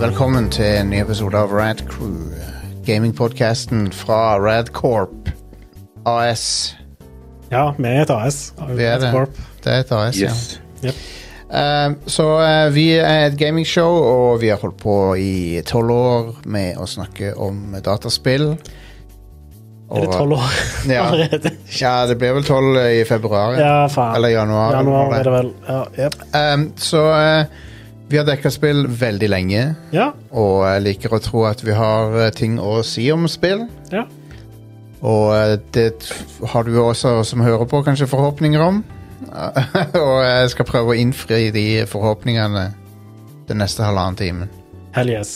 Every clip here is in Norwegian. velkommen til en ny episode av Rad Crew. Gamingpodkasten fra Radcorp AS. Ja, vi er et AS. Vi er det. Corp. Det er et AS, Yes. ja. Yep. Eh, så eh, vi er et gamingshow, og vi har holdt på i tolv år med å snakke om dataspill. Er det tolv år Ja. allerede? Ja, det blir vel tolv i februar. Ja, faen. Eller januar. Januar eller er det vel. Ja. jep. Eh, så eh, vi har dekka spill veldig lenge, ja. og jeg liker å tro at vi har eh, ting å si om spill. ja. Og eh, det t- har du også som hører på kanskje forhåpninger om. og jeg skal prøve å innfri de forhåpningene den neste halvannen timen. Hell yes.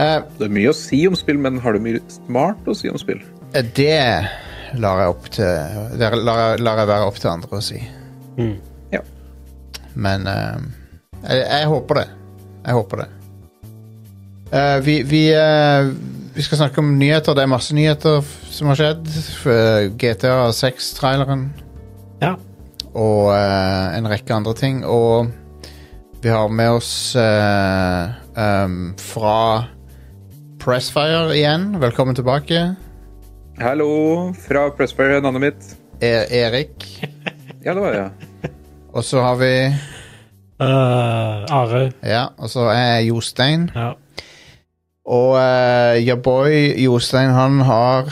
Eh, Det er mye å si om spill, men har du mye smart å si om spill? eh, det lar jeg opp til Det lar, jeg- lar jeg være opp til andre å si. Mm. Ja. Men eh, jeg, jeg håper det. Jeg håper det. Eh, vi, vi, eh, vi skal snakke om nyheter. Det er masse nyheter f- som har skjedd. F- eh, GTA 6-traileren. Ja. og eh, en rekke andre ting. Og vi har med oss eh, em, fra Pressfire igjen. Velkommen tilbake, Hallo fra Pressfire, navnet mitt. e Erik. Ja, det var jeg. Og så har vi Eh, Are. Ja, og så er jeg Jostein. Ja. Og uh, your boy Jostein, han har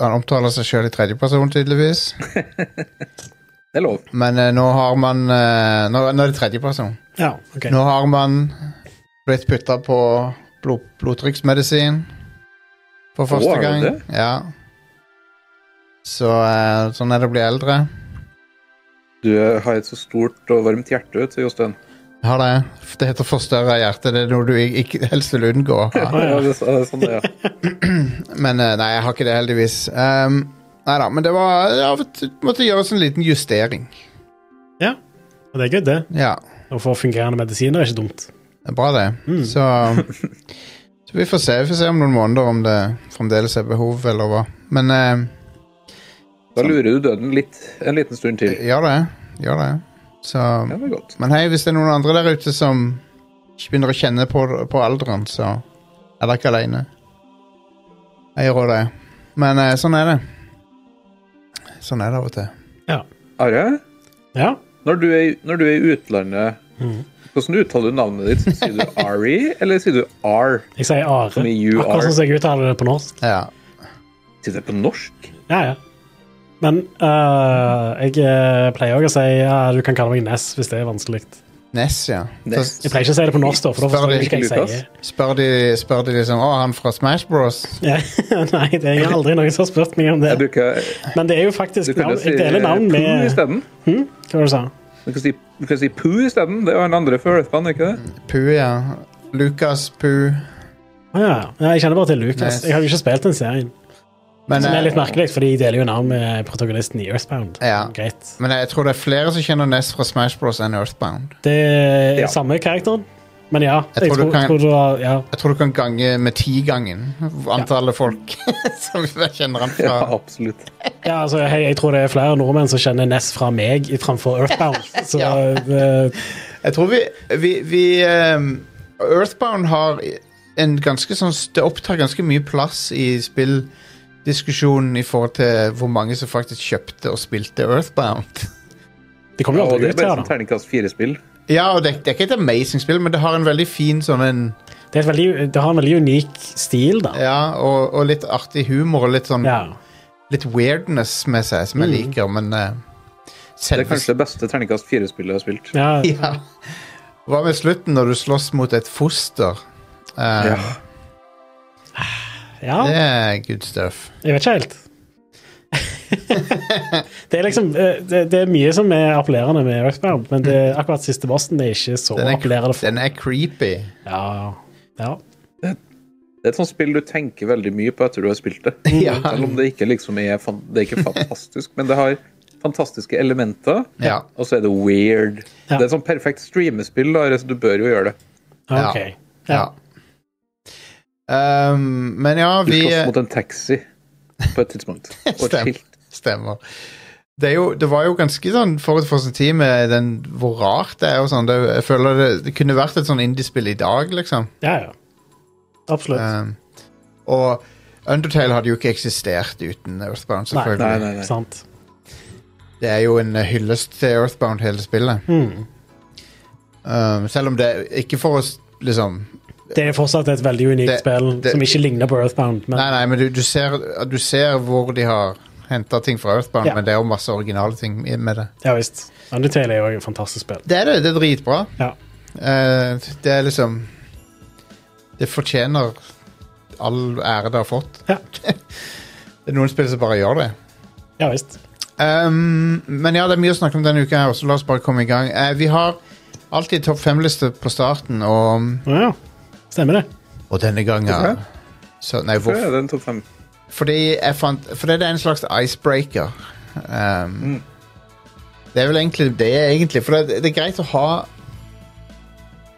Han omtaler seg sjøl i tredjeperson, tydeligvis. Det er lov. Men eh, nå har man eh, nå, nå er det tredjeperson. ja, ok. Nå har man blitt putta på blod, blodtrykksmedisin for første Å, har du gang. det? Ja. Så eh, sånn er det å bli eldre. Du eh, har et så stort og varmt hjerte, til Jostein. Jeg Har det. Det heter forstørra hjerte. Det er noe du ik- ikke helst vil unngå. å ha. Ja, det, er sånn det, er. Men eh, nei, jeg har ikke det, heldigvis. Um, nei da, men det var ja, vi Måtte gjøres en liten justering. Ja. Og det er good, det. Ja. Å få fungerende medisiner er ikke dumt. Det er bra, det. Mm. Så, så vi får se. Vi får se om noen måneder om det fremdeles er behov, eller hva. Men eh, Da lurer du døden litt, en liten stund til. Gjør Eh, det. Gjør det. Så, Ja, det er godt. men hei, hvis det er noen andre der ute som ikke begynner å kjenne på, på alderen, så er dere ikke aleine. Jeg gjør også det. Men eh, sånn er det. Sånn er det av og til. Ja. Are, Ja. når du er, i- når du er i utlandet, Mhm. hvordan uttaler du navnet ditt? Sier du Ari, eller sier du R? Jeg sier Are. Som i you Akkurat are. sånn som jeg uttaler det på norsk. Ja. Sier det på norsk? Ja, ja. Men eh, jeg eh, pleier òg å si ja, du kan kalle meg Ness hvis det er vanskelig. Ness, ja. Ness. Jeg pleier ikke å si det på norsk, da, for da Spør forstår jeg ikke ikke hva jeg Lukas? sier. Så spør de, spør de liksom Å, han fra Smash Bros. Ja. Nei, det er aldri noen som har spurt meg om det. Jeg bruker Men det er jo Du faktisk kan jo navn, si Jeg deler navn Poo med isteden. hm? Hva var det du sa Du kan si, du kan si Poo isteden. Det er jo han andre fra Earthbound, ikke det? Poo, ja. Lucas Poo. Å ja. ja. Jeg kjenner bare til Lucas. Nice. Jeg har jo ikke spilt den serien. Men, Som er eh, litt merkelig, fordi de deler jo navn med protagonisten i Earthbound. Ja. Greit. men jeg tror det er flere som kjenner Ness fra Smash Bros enn Earthbound. Det er Ja. samme karakteren, men ja. Jeg Jeg tror du tror, kan- tror du har ja. Jeg tror du kan gange med tigangen antallet folk som jeg kjenner han Ja, fra. absolutt. ja, altså, hei, Jeg tror det er flere nordmenn som kjenner Ness fra meg i- framfor Earthbound. Så eh, Ja. det- Jeg tror vi, vi, vi ehm, Earthbound har en ganske sånn Det opptar ganske mye plass i spilldiskusjonen i forhold til hvor mange som faktisk kjøpte og spilte Earthbound. de kommer Ja, jo og aldri det er ut her, bare sånn da. terningkast fire-spill. Ja, og det, det er ikke et amazing spill, men det har en veldig fin sånn en Det, er et veldig, det har en veldig unik stil, da. Ja, og, og litt artig humor og litt sånn Ja. Litt weirdness med seg, som jeg Mm. liker, men eh, Det er selve- kanskje det beste terningkast fire-spillet jeg har spilt. ja. Ja. Hva med slutten når du slåss mot et foster? Eh, Ja. ja. Det er good stuff. Jeg vet ikke helt. det er liksom eh, det, det er mye som er appellerende med Earthbound, men det, akkurat siste bossen er ikke så Den er- appellerende. For. Den er creepy. Ja, ja. Det er et sånt spill du tenker veldig mye på etter du har spilt det. Ja. Selv om det ikke liksom er, fan det er ikke fantastisk, men det har fantastiske elementer. Ja. Og så er det weird. Ja. Det er et sånn perfekt streamespill, da, så du bør jo gjøre det. Ja. OK. ja. Ja. Ehm, men ja, Du vi slåss mot en taxi på et tidspunkt. Og et Stemmer. skilt. Stemmer. Det, er jo, det var jo ganske sånn forut for sin tid med eh, den, hvor rart det er og sånn. Det, jeg føler det, det kunne vært et sånn indiespill i dag, liksom. Ja, ja. Absolutt. Um, og Undertale hadde jo ikke eksistert uten Earthbound, Nei. selvfølgelig. Nei, nei, nei. Sant. Det er jo en eh, hyllest til Earthbound, hele spillet. Hmm. Um, selv om det Ikke for å s- liksom Det er fortsatt et veldig unikt Det- spill det- som ikke ligner på Earthbound. Men Nei, nei, men du, du, ser, du ser hvor de har henta ting fra Earthbound, Ja. men det er jo masse originale ting i- med det. ja visst. Undertale er jo et fantastisk spill. Det er det. Det er dritbra. Ja. Eh, det er liksom Det fortjener all ære det har fått. Ja. det er noen spill som bare gjør det. Ja visst. Ehm, men ja, det er mye å snakke om denne uka her, så la oss bare komme i gang. Eh, vi har alltid topp fem-liste på starten, og, Å Ja, stemmer det. og denne gangen Hvorfor? så, Nei, Hvorfor hvorfor? er det en topp fem? Fordi, jeg fant, fordi det er en slags icebreaker. Ehm, Mm. Det er vel egentlig det, egentlig. For det, det er greit å ha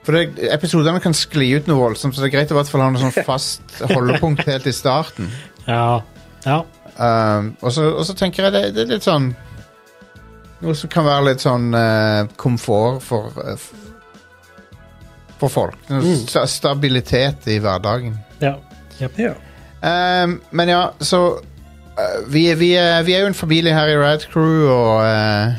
For det, episodene kan skli ut noe voldsomt, så det er greit å i hvert fall ha noe sånn fast holdepunkt helt i starten. Ja. ja. Um, og, så, og så tenker jeg det, det er litt sånn Noe som kan være litt sånn eh, komfort for eh, f- For folk. Noe Mm. sta- Stabilitet i hverdagen. ja. Ja. Um, men ja, så eh, vi, vi, er- vi er jo en familie her i Rad Crew, og, eh,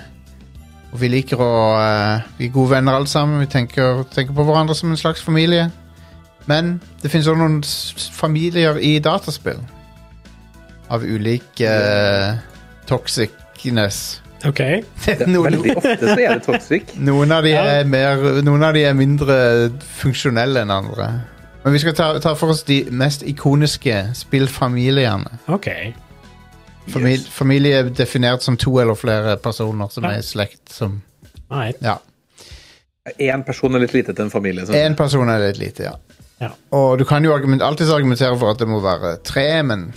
og vi liker å eh, Vi er gode venner alle sammen. Vi tenker, tenker på hverandre som en slags familie. Men det finnes også noen s- s- familier i dataspill. Av ulik eh, toxicness. OK. noen, Veldig ofte så er det toxic. noen, av de Ja. er mer, noen av de er mindre funksjonelle enn andre. Men vi skal ta, ta for oss de mest ikoniske spillfamiliene. ok. Famil, Familie er definert som to eller flere personer som Ja. er i slekt. Som, Right. ja. Én person er litt lite til en familie. sånn. Én person er litt lite, ja. Ja. Og du kan jo argument, alltids argumentere for at det må være tre, men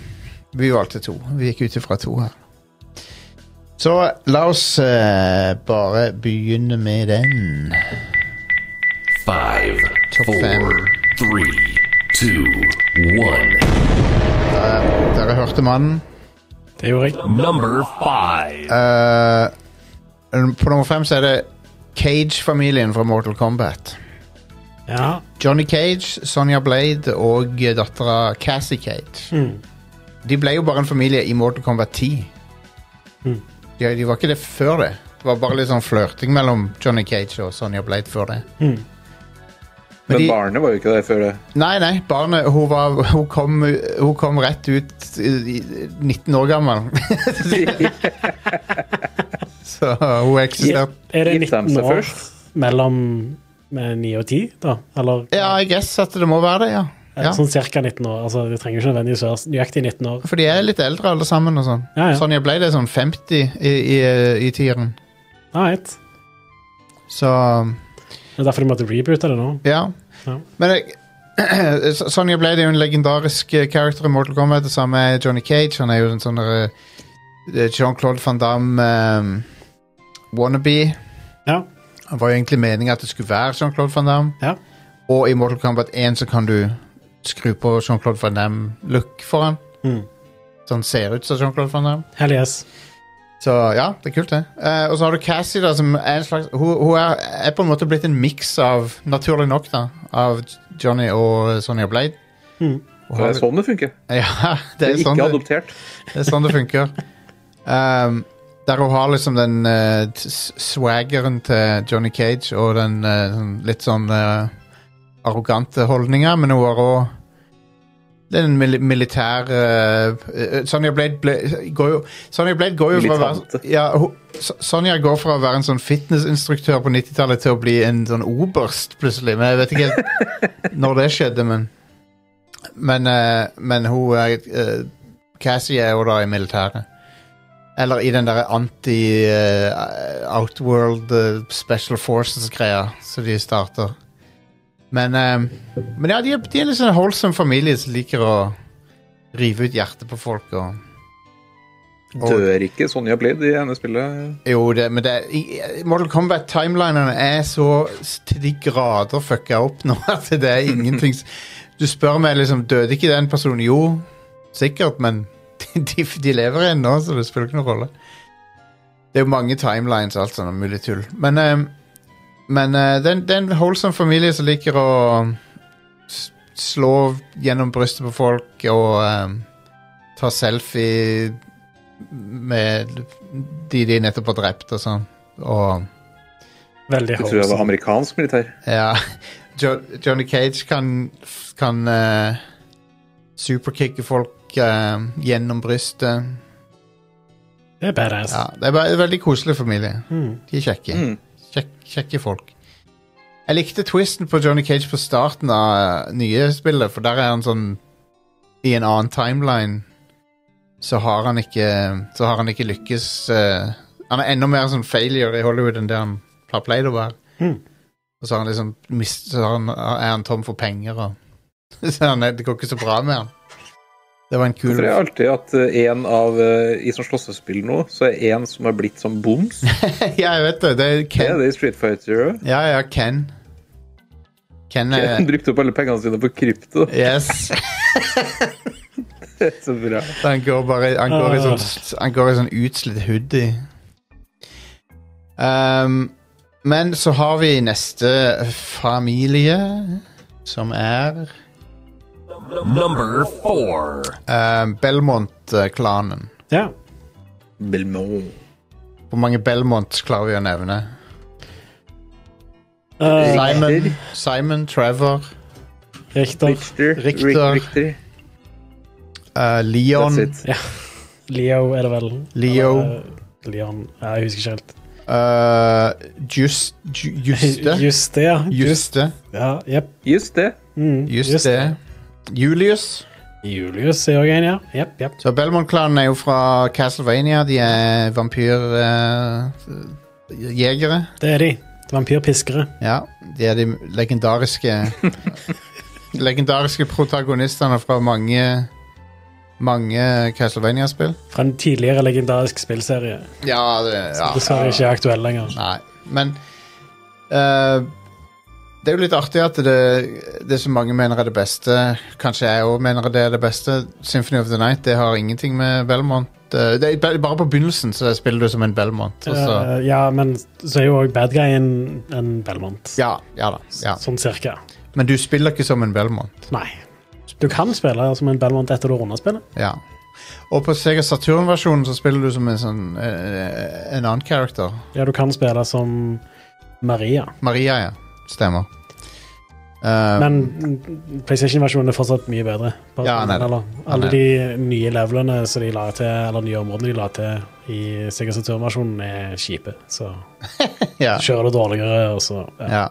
vi valgte to. Vi gikk ut ifra to her. Så la oss eh, bare begynne med den. Five, Top four, three, two, one. Dere hørte mannen. Det gjorde jeg. Number five. Eh, på nummer fem så er det Cage-familien fra Mortal Kombat. Ja. Johnny Cage, Sonja Blade og dattera Cassie Cage. Mm. De ble jo bare en familie i Mortal Kombat 10. Mm. De, de var ikke det før det. Det var bare litt sånn flørting mellom Johnny Cage og Sonja Blade før det. Mm. Men Men de- barnet var jo ikke der før det. Nei, nei, barnet hun, var, hun, kom, hun kom rett ut i- i- 19 år gammel. Så hun eksisterte Er det Gift dem 19 seg år først? mellom eh, 9 og 10, da? Eller Ja, jeg guess at det må være det, ja. eh, ja. sånn ca. 19 år? Altså, det trenger ikke nødvendigvis være nøyaktig 19 år. For de er litt eldre alle sammen og sånn. Ja, ja. Sånn jeg ble det sånn 50 i, i, i tieren. Right. Så um, Det er derfor de måtte reboote det nå. ja. Ja. Men jeg, så- Sonja Blade er jo en legendarisk eh, character i Mortal Kombat. Det samme er Johnny Cage. Han er jo en sånn derre, eh, Jean-Claude van Damme eh, wannabe. Ja. Det var jo egentlig meninga at det skulle være Jean-Claude van Damme. Ja. Og i Mortal Kombat 1 så kan du skru på Jean-Claude van Damme-look for han. Mm. Så han ser ut som Jean-Claude van Damme. Hell yes. Så ja, det er kult, det. Eh, og så har du Cassie, da, som er en slags Hun, hun er, er på en måte blitt en miks av, naturlig nok, da, av Johnny og Sonja Blade. Mm. Hun Det har- er sånn det funker. Ja, det er, ikke sånn det, adoptert. det, er sånn det funker. Um, der hun har liksom den eh, t- s- swaggeren til Johnny Cage og den eh, sånn litt sånn eh, arrogante holdninga, men hun har òg den mil militære eh, eh, Sonja Blade ble, går jo Sonja Blade går jo fra å være Militante. ja, hun- S- Sonja går fra å være en sånn fitnessinstruktør på 90-tallet til å bli en sånn oberst plutselig. Men jeg vet ikke helt når det skjedde, men Men, eh, men hun er eh, Cassie er jo da i militæret. Eller i den derre anti-Outworld eh, Special Forces-greia som de starter. Men, eh, men ja, de er, de er litt sånn wholesome familie som liker å rive ut hjertet på folk. og Og- Dør ikke Sonja Blid i ene spillet. jo, det, men det, i- i Mortal Kombat-timelinene er så s- til de grader fucka opp nå at det er ingenting s- Du spør meg liksom Døde ikke den personen? Jo, sikkert, men de, de lever igjen nå, så det spiller ikke noen rolle. Det er jo mange timelines og alt sånn, og mulig tull. Men, eh, men eh, det er en- det er en wholesome familie som liker å um, s- slå gjennom brystet på folk og ehm, ta selfie med de de nettopp har drept og sånn. Og Veldig Jeg tror jeg var hårdt. amerikansk militær. ja Jo- Johnny Cage kan, kan eh, superkicke folk eh, gjennom brystet. Det er badass. Ja, det er bare en veldig koselig familie. Mm. De er kjekke. Mm. Kjekk, kjekke folk. Jeg likte twisten på Johnny Cage på starten av eh, nye spillet, for der er han sånn I en annen timeline så har han ikke Så har han ikke lykkes eh, Han er enda mer sånn failure i Hollywood enn det han har pleid å være. Mm. Og så har han liksom mist, Så har han, er han tom for penger og Så han er, det går ikke så bra med han. Det var en kul For jeg har alltid at eh, en av eh, I sånn slåssespill nå, så er en som har blitt sånn boms. Ja, jeg vet det. Det er Det Ken. er det i Street Fighter òg. Ja, ja, Ken. Ken er Han brukte opp alle pengene sine på krypto. Yes. Det er Så bra. Han går bare Han går i sånn, han går i sånn utslitt hoodie. Ehm, men så har vi neste familie, som er Number four. ehm, Belmont-klanen. Ja. Belmont. Hvor mange Belmonts klarer vi å nevne? Eh, Simon, Simon Trevor, Richter, Richter. Richter. Rick- Richter. eh, That's Leon, it. Leo er det vel. Leo Eh, Leon Ja, jeg husker ikke helt. eh, Just, Ju- Juste. Just det, ja. Just, Juste. ja, jep. Just det. Mm, Just det. Julius. Julius er òg en, ja. Jep, jep. Så Belmont-klanen er jo fra Castlevania. De er vampyrjegere. Det er de. Vampyrpiskere. ja, de er de legendariske Legendariske protagonistene fra mange Mange Castlevania-spill. Fra en tidligere legendarisk spillserie. Ja, det ja. Dessverre ikke aktuell lenger. Nei, men eh, Det er jo litt artig at det, det som mange mener er det beste, kanskje jeg òg mener det er det beste, Symphony of the Night, det har ingenting med Belmont eh, Det er ba- bare på begynnelsen så spiller du som en Belmont. Og så, Eh, ja, men så er jo òg bad guy en, en Belmont. ja, ja da. Ja. Sånn cirka. Men du spiller ikke som en Belmont. Nei. Du kan spille som en Belmont etter du runder spillet. Ja. Og på Sega Saturn-versjonen så spiller du som en sånn eh, en annen character. Ja, du kan spille som Maria. Maria, ja. Stemmer. Eh, Men PlayStation-versjonen er fortsatt mye bedre. Bare- Ja, nei da. eller, alle de nye levelene som de la til, eller nye områdene de la til i Sega Saturn-versjonen, er kjipe. Så ja. kjører du dårligere, og så ja. Ja.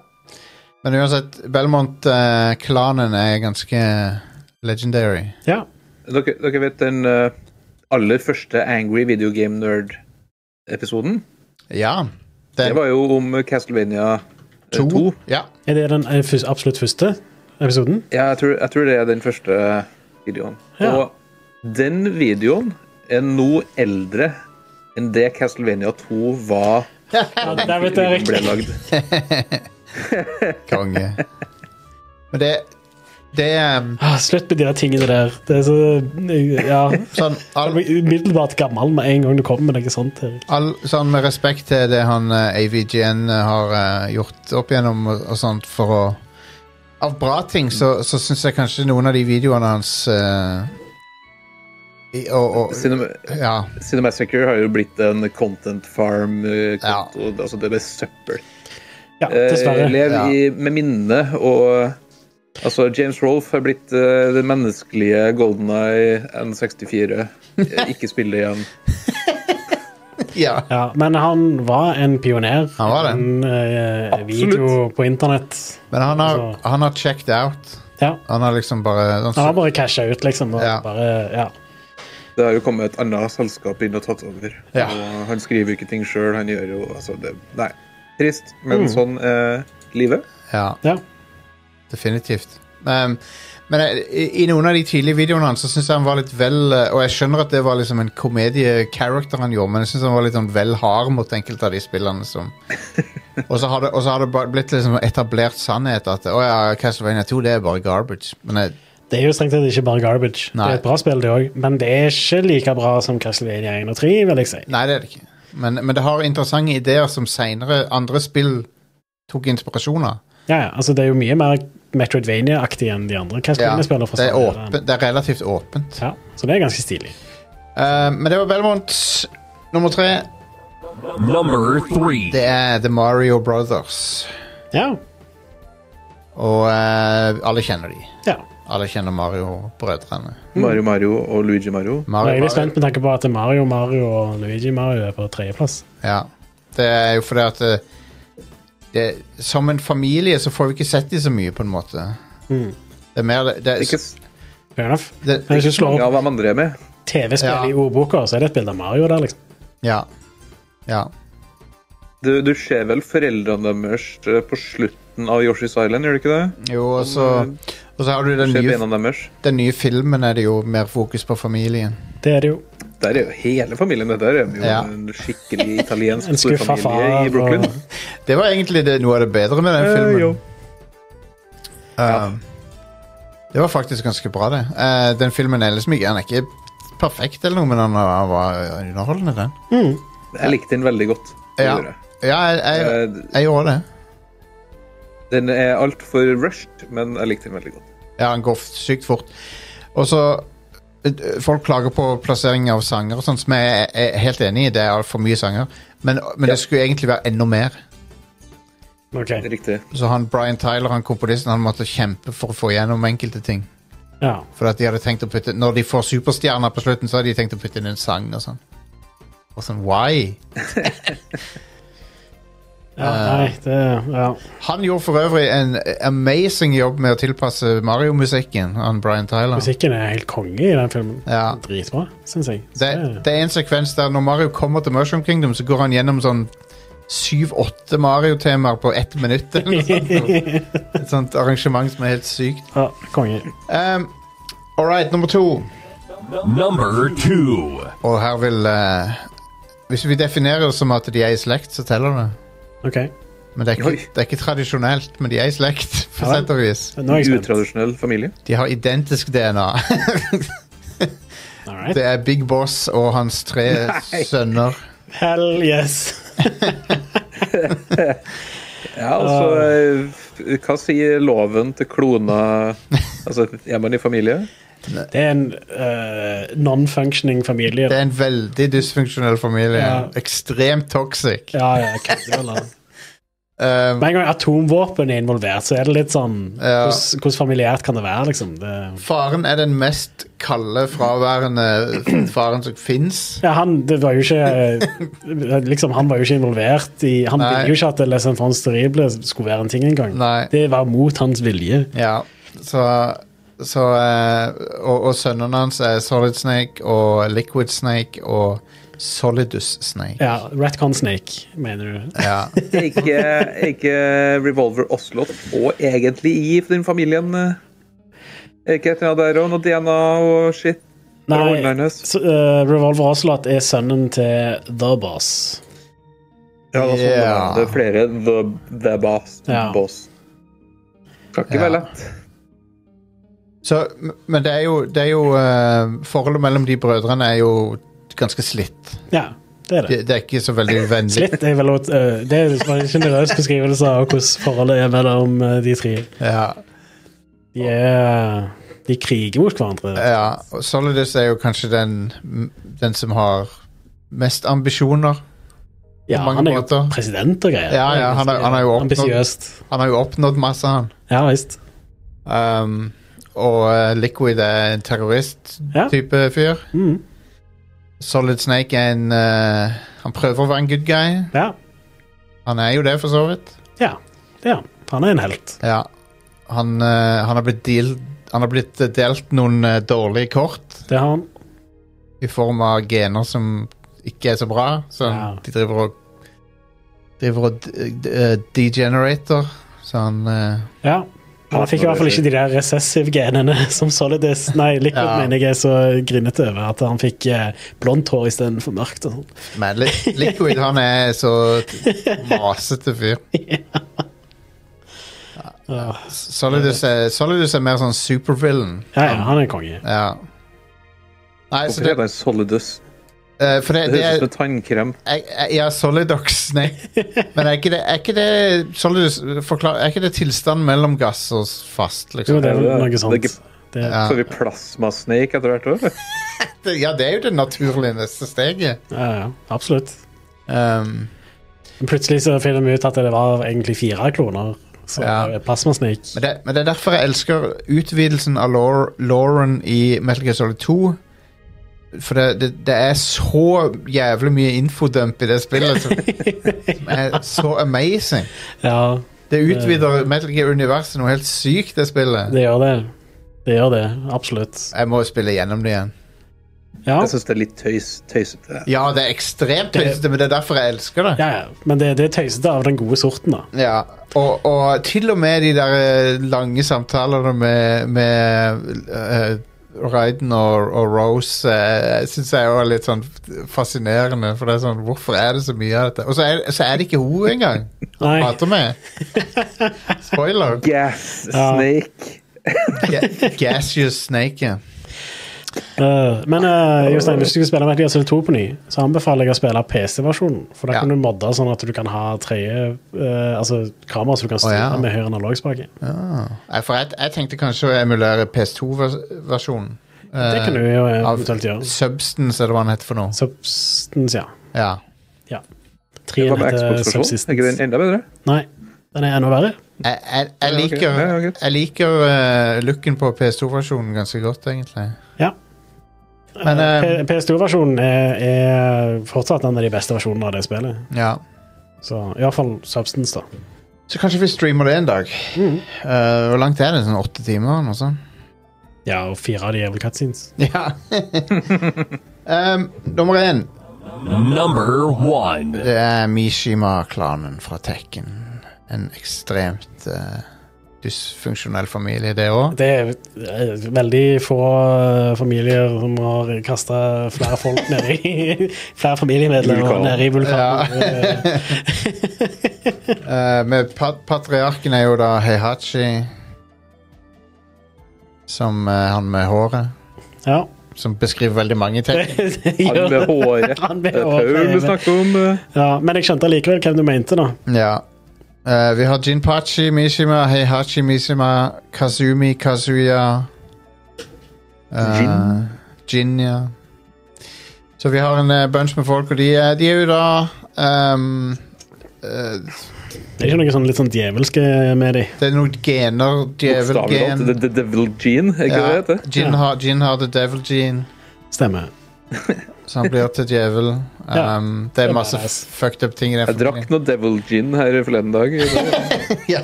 Men uansett, Belmont-klanen er ganske legendary. ja. Dere, dere vet den eh, aller første Angry Video Game Nerd-episoden? Ja. Det var jo om Castlevania eh, 2. Ja. Er det den eh, fys- absolutt første episoden? Ja, jeg tror, jeg tror det er den første videoen. Ja. Og den videoen er nå eldre enn det Castlevania 2 var Ja, der vet jeg ble riktig. lagd. Konge. Men det Det er um, Ah, slutt med de der tingene der. Det er så Ja. sånn, Jeg all, blir umiddelbart gammel med en gang du kommer med noe sånt. Erik. all, sånn med respekt til det han eh, AVGN har eh, gjort opp igjennom og, og sånt for å Av bra ting så, så syns jeg kanskje noen av de videoene hans eh, i, og, og, Cinema- Ja. Cinemassacre har jo blitt en content farm-konto. Altså, det er søppel. Ja, Eh, dessverre. lev i, med minne og Altså, James Rolfe har blitt eh, det menneskelige Golden Eye N64. Eh, Ikke spille igjen. ja. Ja, men han var en pioner. Han var det. En eh, video på internett. Men han har, Altså- han har checked out. Ja. Han har liksom bare han Han har bare casha ut, liksom. Og Ja. bare, ja. Det har jo kommet et annet selskap inn og tatt over. Ja. Og han skriver jo ikke ting sjøl, han gjør jo altså det, Nei. Trist, men Mm. sånn er livet. Ja, ja. definitivt. Um, men jeg- i, i noen av de tidlige videoene hans så syns jeg han var litt vel eh, Og jeg skjønner at det var liksom en komedie-character han gjorde, men jeg syns han var litt sånn vel hard mot enkelte av de spillene som Og så har det, og så har det bare blitt liksom etablert sannhet at å ja, Castlevania 2 det er bare garbage. Men eh, jeg, Det er jo strengt tatt ikke bare garbage. Nei. Det er et bra spill, det òg, men det er ikke like bra som Castlevania 1 og 3, vil jeg si. nei, det er det ikke. Men, men det har interessante ideer som seinere andre spill tok inspirasjon av. Ja, ja, altså Det er jo mye mer Metroidvania-aktig enn de andre Ja, Castlevania-spillene. fra det, er samme åpen, verden. det er relativt åpent. Ja, så det er ganske stilig. Eh, men det var Belmont. Nummer tre, Number three. det er The Mario Brothers. Ja. Og eh, alle kjenner de. ja. Alle kjenner Mario-brødrene. Mm. Mario Mario og Luigi Mario. Jeg er Mario, litt spent med tanke på at Mario Mario og Luigi Mario er på tredjeplass. Ja. Det er jo fordi at eh, det, Som en familie så får vi ikke sett de så mye, på en måte. Mm. Det er mer det, det, Ikke det, s- Fair enough. det, Men hvis du slår opp mange av de andre er med. TV-spill Ja. i ordboka, så er det et bilde av Mario der, liksom. Ja. Ja. Du, du ser vel foreldrene deres eh, på slutten av Yoshi's Island, gjør du ikke det? Jo, og så Og så har du den Ser nye, bena deres. den nye filmen, er det jo mer fokus på familien. Det er det jo. Der er jo hele familien. det Der er jo Ja. en skikkelig italiensk En skuffa storfamilie far. i Brooklyn. og- Det var egentlig det, noe av det bedre med den Eh, filmen. jo. Um, Det var faktisk ganske bra, det. Eh, den filmen er liksom ikke Han er ikke perfekt, eller noe, men han, han var underholdende, den. Mm. Jeg likte den veldig godt. det Ja. gjorde jeg. Ja, jeg, jeg, Eh, jeg gjorde det. Den er altfor rushed, men jeg likte den veldig godt. Ja, han går sykt fort. Og så eh, Folk klager på plassering av sanger og sånt, som jeg er helt enig i. Det er altfor mye sanger. Men, men det skulle egentlig være enda mer. Ok. Riktig. Så han Brian Tyler, han komponisten, han måtte kjempe for å få gjennom enkelte ting. Ja. For at de hadde tenkt å putte Når de får superstjerner på slutten, så har de tenkt å putte inn en sang og sånn. Og sånn, why? Eh. ja. Nei, det Ja. Han gjorde for øvrig en amazing jobb med å tilpasse Mario-musikken. Han Brian Tyler. Musikken er helt konge i den filmen. Ja. Dritbra, syns jeg. Så Det, det er en sekvens der når Mario kommer til Mushroom Kingdom, så går han gjennom sånn syv-åtte Mario-temaer på ett minutt. Eller noe sånt. Et sånt arrangement som er helt sykt. ja, konge. Um, All right, nummer to. Number two. Og her vil eh, Hvis vi definerer det som at de er i slekt, så teller det. OK. Men det er Oi. ikke, det er ikke tradisjonelt, men de er i slekt, på Ja. sett og vis. Nå er jeg spent. Utradisjonell familie. De har identisk DNA. All right. Det er Big Boss og hans tre Nei. sønner. Hell yes. Ja, altså eh, f- Hva sier loven til kloner Altså, er man i familie? Det er en eh, non-functioning familie. Det er en veldig dysfunksjonell familie. Ja. Ekstremt toxic. Ja, ja, jeg kødder, eller? Um, Med en gang atomvåpen er involvert, så er det litt sånn Ja. hvordan, hvordan familiært kan det være, liksom? Det, faren er den mest kalde, fraværende faren som fins. ja, han det var jo ikke Liksom, han var jo ikke involvert i Han Nei. ville jo ikke at Les Enfants Terrible skulle være en ting engang. Nei. Det var mot hans vilje. Ja, så, så eh, Og, og sønnene hans er Solid Snake og Liquid Snake og Solidus Snake. Ja, Ratcon Snake, mener du. Ja. Er ikke, er ikke Revolver Oslot og egentlig i den familien? eh, Er ikke et eller annet der òg? Noe DNA og shit? Eller Nei, ordene hennes? så, eh, Revolver Ocelot er sønnen til The Boss. Ja, det, er sånn det Ja. er. det er flere The, the Boss. Ja. boss. Skal ikke Ja. være lett. Så, m- men det er jo, det er jo eh, Forholdet mellom de brødrene er jo ganske slitt. Ja, det er det. Det, det er ikke så veldig vennlig. Slitt er vel å- eh, Det er bare en generøs beskrivelse av hvordan forholdet er mellom eh, de tre. Ja, De er De kriger mot hverandre. ja. og Solidus er jo kanskje den, den som har mest ambisjoner. Ja, mange han er jo måter. president og greier. Ja, ja, han er- han er jo oppnådd- Ambisiøst. Han har jo oppnådd masse, han. Ja visst. Um, og eh, Liquid er en Ja. terrorist-type fyr. Mm. Solid Snake er en eh, Han prøver å være en good guy. Ja. Han er jo det, for så vidt. ja. Ja. Han er en helt. Ja. Han, eh, han har blitt deal, Han har blitt eh, delt noen eh, dårlige kort. Det har han. i form av gener som ikke er så bra. Så Ja. de driver og Driver og d- d- eh, degenerator. Så han eh, Ja. Han fikk i hvert fall ikke de der recessive-genene som Solidus Nei, Liquid Ja. mener jeg er så grinete over at han fikk eh, blondt hår istedenfor mørkt. og sånn. Men Li- Liquid, han er så masete fyr. Ja, Solidus er, Solidus er mer sånn supervillain. ja, han er konge. Ja. Nei, så Hvorfor det, heter han Solidus? Eh, for det, Det det høres ut er som en tannkrem. jeg, jeg, Ja, Solidox, nei. Men er ikke det, er ikke det Solidus forklar, Er ikke det tilstand mellom gass og s- fast, Jo, liksom? det er det er- noe det er sånt. ikke- Det, Ja. Så har vi plasmasnake etter hvert òg, eller? Det- Ja, det er jo det naturlige neste steget. ja, ja, absolutt. Um, Men plutselig så finner vi ut at det var egentlig fire kloner. Så Ja. ja. plasmasnik. men, det, men det er derfor jeg elsker utvidelsen av Laur- Lauren i Metal Gear Solid 2. For det, det, det er så jævlig mye infodump i det spillet som, som er så amazing. Ja, Det utvider Metal Gear-universet noe helt sykt, det spillet. det gjør det. Det gjør det, absolutt. Jeg må spille gjennom det igjen. Ja, Jeg syns det er litt tøys, tøysete. Ja, det er ekstremt Det- tøysete, men det er derfor jeg elsker det. ja, ja. men det, det er tøysete av den gode sorten, da. Ja, og, og til og med de der eh, lange samtalene med, med eh, Raiden og, og Rose uh, syns jeg også er litt sånn fascinerende. For det er sånn, hvorfor er det så mye av dette? Og så er, så er det ikke hun engang han Nei, prater med. Spoiler. Gas Ja. snake. Ga- Gaseous Snake. ja. eh, men eh, Jostein, hvis du skal spille Metal Gear Solid 2 på ny, så anbefaler jeg å spille PC-versjonen. For da kan Ja. du modde sånn at du kan ha tredje eh, altså, kamera som du kan Å, styre ja. med høyre analogspake. Nei, For jeg, jeg tenkte kanskje å emulere PS2-versjonen. Det kan du jo eh, av eventuelt gjøre. Substance, er det hva han heter for noe. Substance, ja. Ja. ja. Hva Trien med heter Xbox-versjonen? Er ikke den Subsistence. enda bedre? Nei, den er enda verre. Jeg, jeg, jeg Ja, ok. liker, Ja, ja, ok. jeg liker eh, looken på PS2-versjonen ganske godt, egentlig. Ja. Men, eh, P- PS2-versjonen er, er fortsatt en av de beste versjonene av det spillet. Ja. Så i hvert fall Substance, da. Så kanskje vi streamer det en dag. Eh, hvor langt er det? Sånn åtte timer? eller Noe sånt? Ja, og fire av de er vel cutscenes. Ja. um, nummer én. Number one. Det er Mishima-klanen fra Tekken. En ekstremt eh, dysfunksjonell familie, det òg. Det er eh, veldig få eh, familier som har kasta flere folk nedi Flere familiemedlemmer Vulkan. nedi Ja. vulkanen. Eh, Eh, med pat patriarken er jo da Heihachi. Som eh, han med håret. Ja. Som beskriver veldig mange Det, Tekken. det Han gjør med det. håret. Han med Det er håret. Paul du snakker om. eh. Ja, men jeg skjønte allikevel hvem du mente, da. Ja. Eh, vi har Jinpachi Mishima, Heihachi Mishima, Kazumi Kazuya eh, Jin? Jin, ja. Så vi har en eh, bunch med folk, og de, er- de er jo da ehm, eh, Det er ikke noe sånn litt sånn djevelske med de. Det er noen gener, Bokstavelig talt. The, djevelgen the Devil Gene, er ikke det det heter? Jin, Ja. har, Jin har the devil gene, Stemmer. så han blir til djevel. Ja. Ehm, det er masse badass. fucked up ting i den Jeg drakk noe Devil Gene her forleden dag. Ja.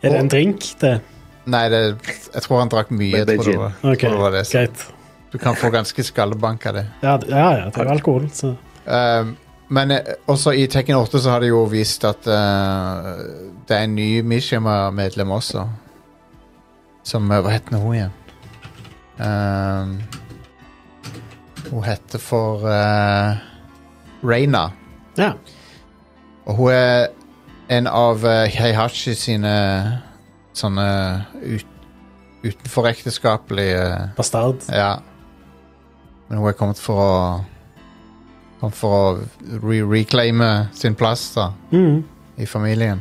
Er det en drink, det? Nei, det, jeg tror han drakk mye. Jeg Det er tror det gin. var, OK, tror det var det. Så greit. Du kan få ganske skallebank av det. Ja, d- ja, ja, det er jo alkohol, så Um, men eh, også i Tekken 8 så har de jo vist at eh, det er en ny Mishima-medlem også. Som eh, Hva heter hun igjen? Um, hun heter for eh, Reina. Ja. Og hun er en av eh, Heihachi sine sånne ut, utenforekteskapelige eh, Bastard. ja. Men hun er kommet for å Kommet for å re reclaime sin plass da Mm. i familien.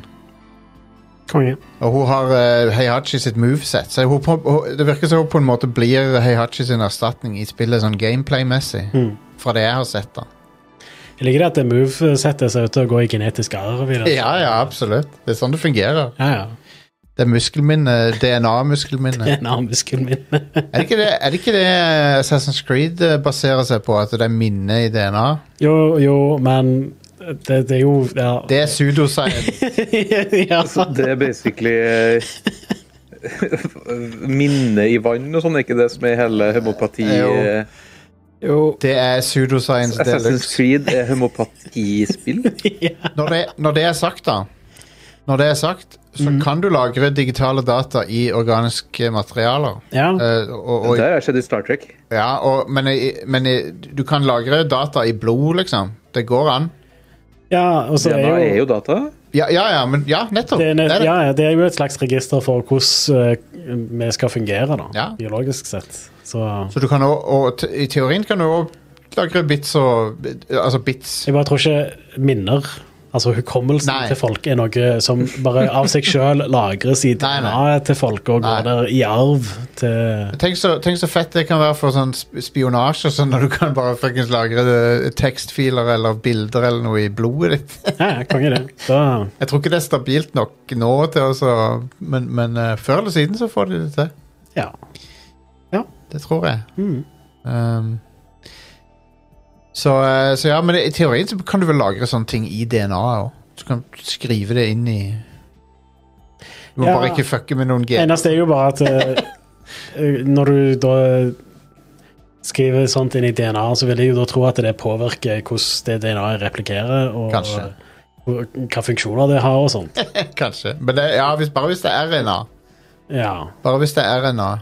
Konge. Og hun har eh, Heihachi sitt moveset. Så hun, på- hun, det virker som hun på en måte blir Heihachi sin erstatning i spillet sånn gameplay-messig. Mm. Fra det jeg har sett, da. Jeg liker det at det movesettet ser ut til å gå i genetisk arv. i det. Ja, ja, absolutt. Det er sånn det fungerer. ja, ja. Det er muskelminne, DNA-muskelminne. Det er en annen muskel min. Er, det ikke det- er det ikke det Assassin's Creed eh, baserer seg på? At det er minne i DNA? jo, jo, men det, det er jo ja. Det er pseudoscience. ja. Så det er basically eh, minne i vann og sånn, er ikke det som er hele homopati Jo. eh, Jo. Det er pseudoscience Assassin's deluxe. Creed er homopatispill. Når det, når det er sagt, da Når det er sagt, så Mhm. kan du lagre digitale data i organiske materialer. ja. Eh, og, og, Det har jeg sett i Star Trek. ja, og, men i- men i- du kan lagre data i blod, liksom. Det går an. ja, og så DNA er er jo jo E data. Ja, ja, ja men ja, nettopp. det er, Det er nett- det. ja, ja, det er jo et slags register for hvordan eh, vi skal fungere, da, Ja. biologisk sett. Så Så du kan òg Og te- i teorien kan du òg lagrer bits og Altså bits. Jeg bare tror ikke minner, altså hukommelsen Nei. til folk, er noe som bare av seg sjøl lagres i Nei, nei. DNA til folk og Nei. går der i arv til Tenk så, tenk så fett det kan være for sånn sp- spionasje, og sånn når du kan bare fuckings lagre det- tekstfiler eller bilder eller noe i blodet ditt. Ja, konge, det. Da Jeg tror ikke det er stabilt nok nå, til å så- men, men eh, før eller siden så får de det til. Ja. Det tror jeg. Mm. Ehm, så, eh, så ja, men i teorien så kan du vel lagre sånne ting i DNA-et òg. Du kan skrive det inn i Du må Ja. bare ikke fucke med noen gen. Eneste er jo bare at eh, når du da skriver sånt inn i DNA, så vil jeg jo da tro at det påvirker hvordan det DNA-et replikerer, og Kanskje. og hva funksjoner det har og sånt. Kanskje. Men det, ja, hvis, bare hvis det er RNA. Ja. Bare hvis det er RNA.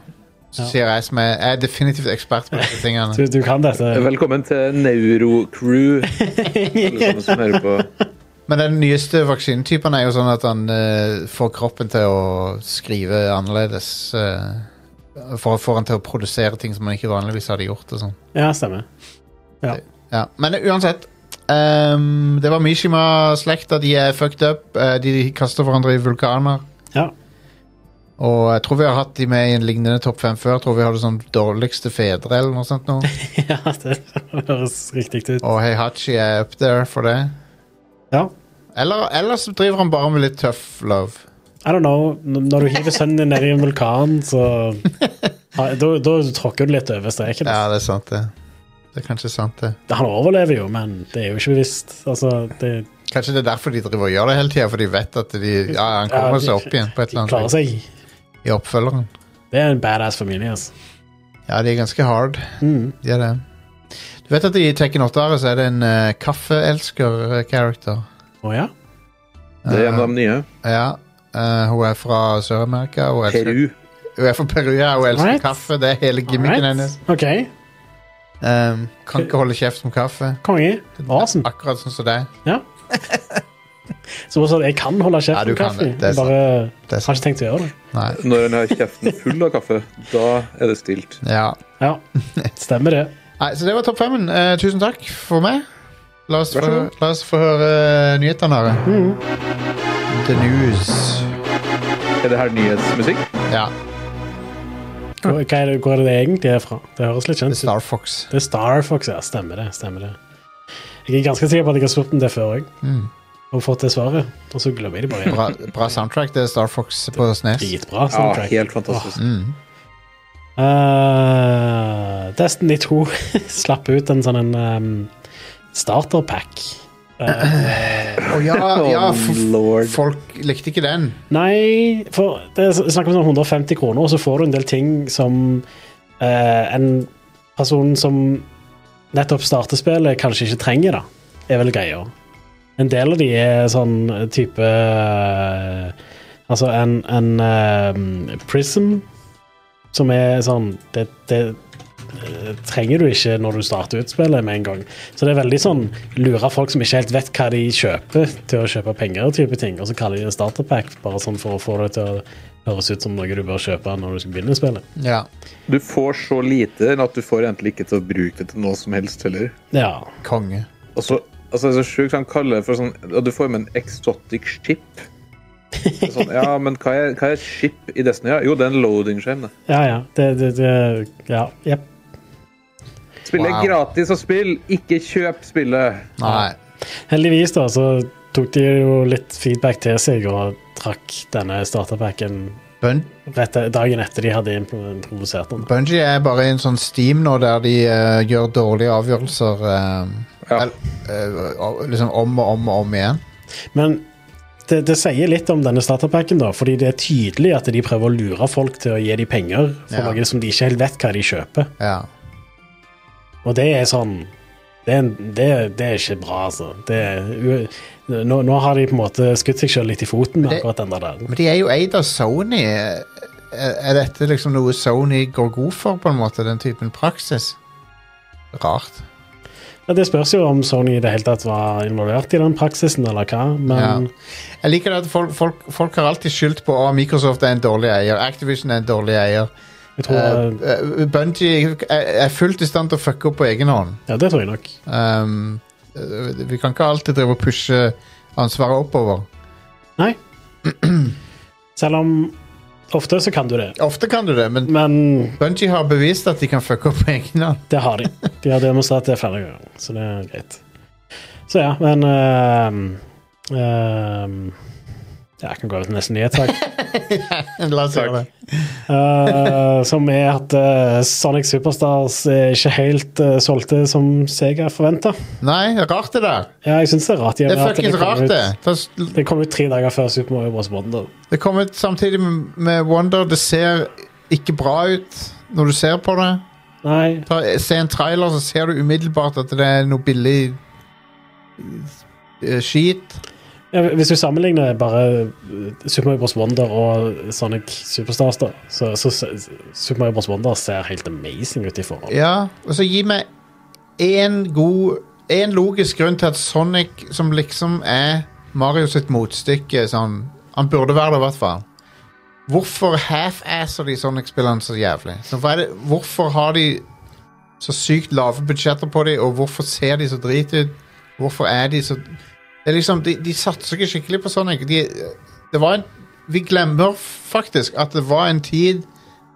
Så Ja. sier jeg som er, jeg er definitivt ekspert på disse Du, tingene. du kan dette. Velkommen til Neuro-crew. Alle sammen som hører på. Men den nyeste vaksinetypen er jo sånn at han eh, får kroppen til å skrive annerledes. eh, for Får han til å produsere ting som han ikke vanligvis hadde gjort. og sånn. Ja, stemmer. Ja, men uansett ehm, Det var Mishima-slekta De er fucked up eh, De kaster hverandre i vulkaner Ja. Og jeg tror vi har hatt de med i en lignende topp 5 før Jeg tror vi hadde sånn dårligste fedre Eller noe sånt nå ja, det høres riktig ut. Og Heihachi er up there for det Ja. Eller, eller så driver han bare med litt tøff love I don't know. N- Når du hiver sønnen din ned i en vulkan, så ja, Da da tråkker du litt over streken. Ja, det er sant det Det er kanskje sant det Han overlever jo, men det er jo ikke bevisst. Altså, det Kanskje det er derfor de driver og gjør det hele tiden For de vet at de, ja, han Ja, kommer de- seg opp igjen På et de eller annet klarer seg. vis, I oppfølgeren Det er en badass familie, altså. Ja, de er ganske hard Mm. De er det. Du vet at i Tekken 8 så er det en eh, uh, kaffeelsker-character. Å ja? Det er en av de nye. ja. eh, hun er fra Sør-Amerika. Hun, elsker- Peru. hun er fra Peru, ja. Hun elsker Alright. kaffe. Det er hele gimmicken Alright. hennes. OK. Um, kan ikke holde kjeft om kaffe. Konge. Awesome. Akkurat sånn som deg. Så også at jeg kan holde Ja, kjeft du om kan kaffe. det. Det er Jeg bare Det er har sant. ikke tenkt å gjøre det. Nei. Når en har kjeften full av kaffe, da er det stilt. Ja. Ja, stemmer det. Nei, så det var topp femmen. Eh, tusen takk for meg. La oss, Vær så få, god. la oss få høre eh, nyhetene. her. The news. Er det her nyhetsmusikk? Ja. Hvor, hva er det, hvor er det det egentlig er fra? Det høres litt The kjent ut. Star Fox. Det er Star Fox, ja. Stemmer det. stemmer det. Jeg er ganske sikker på at jeg har spurt om det før òg, Mm. og fått det svaret. Og så glemmer jeg det bare. igjen. Bra, bra soundtrack, det er Star Fox på Snes. Dritbra Ja, soundtrack. helt fantastisk. Mm. Eh, Destiny 2 slapp ut en sånn en um, starterpack. Eh, Å ja, ja Oh, f lord. folk likte ikke den. nei, for det er snakk om sånn 150 kroner, og så får du en del ting som eh, en person som nettopp starter spillet, kanskje ikke trenger, da. Er vel greia. En del av de er sånn type eh, Altså en, en eh, prism, som er sånn det, det eh, trenger du ikke når du starter ut spillet med en gang. Så det er veldig sånn lure folk som ikke helt vet hva de kjøper, til å kjøpe penger og type ting, og så kaller de det starterpack, bare sånn for å få det til å høres ut som noe du bør kjøpe når du skal begynne spillet. Ja. Du får så lite at du får egentlig ikke til å bruke det til noe som helst heller. Ja. Konge. Og så altså, det er så sjukt han kaller det for sånn Og du får med en exotic ship. Det er Sånn, ja, men hva er, hva er et ship i Destiny? Ja, jo, det er en loading skjerm. det. Ja, ja. Det, det, det Ja. Jepp. Spill er Wow. gratis å spille, ikke kjøp spillet. Nei. Heldigvis, da, så tok de jo litt feedback til seg og trakk denne starterpacken Bun rett e- dagen etter de hadde introdusert den. Bungie er bare i en sånn steam nå der de eh, gjør dårlige avgjørelser eh, Ja. el- eh, o- liksom om og om og om igjen. Men det, det sier litt om denne starterpacken, da, fordi det er tydelig at de prøver å lure folk til å gi dem penger for Ja. noe som de ikke helt vet hva de kjøper. Ja. Og det er sånn Det er, en- det, er- det er ikke bra, altså. Det er, u- nå, nå har de på en måte skutt seg sjøl litt i foten med det- akkurat den der. Men de er jo eid av Sony. Er, er dette liksom noe Sony går god for, på en måte? Den typen praksis? Rart. Ja, det spørs jo om Sony i det hele tatt var involvert i den praksisen, eller hva, men Ja. Jeg liker det at folk, folk, folk har alltid skyldt på at Microsoft er en dårlig eier, Activision er en dårlig eier. Jeg tror, eh, Bunji er fullt i stand til å fucke opp på egen hånd. ja, det tror jeg nok. Ehm, eh, vi kan ikke alltid drive og pushe ansvaret oppover. Nei. Selv om ofte så kan du det. Ofte kan du det, men Men Bunji har bevist at de kan fucke opp på egen hånd. Det har de. De har demonstrert det flere ganger, så det er greit. Så ja, men ehm, ehm, ja, Jeg kan gå over til neste nyhet, takk. La oss gjøre det. Takk. Eh, som er at eh, Sonic Superstars er ikke helt eh, solgte som Sega forventa. Nei, rart det der. Ja, jeg syns det er rart. i og Det med er at fuckings kom rart, ut- det. Det er- Det kom ut tre dager før Super Mario Bros. Wonder. Det kom ut samtidig med- med Wonder. Det ser ikke bra ut når du ser på det. Nei, Ta, se en trailer, så ser du umiddelbart at det er noe billig eh, skit. ja, Hvis du sammenligner bare eh, Super Mario Bros. Wonder og Sonic Superstars, da, så, så, så Super Mario Bros. Wonder ser helt amazing ut i forhold. Ja, og så gi meg én god Én logisk grunn til at Sonic, som liksom er Mario sitt motstykke sånn, Han burde være det, i hvert fall. Hvorfor half-asser de Sonic-spillene så jævlig? Så hva er det, hvorfor har de så sykt lave budsjetter på dem, og hvorfor ser de så drit ut? Hvorfor er de så det er liksom, de, de satser ikke skikkelig på Sonic. De, det var en, vi glemmer faktisk at det var en tid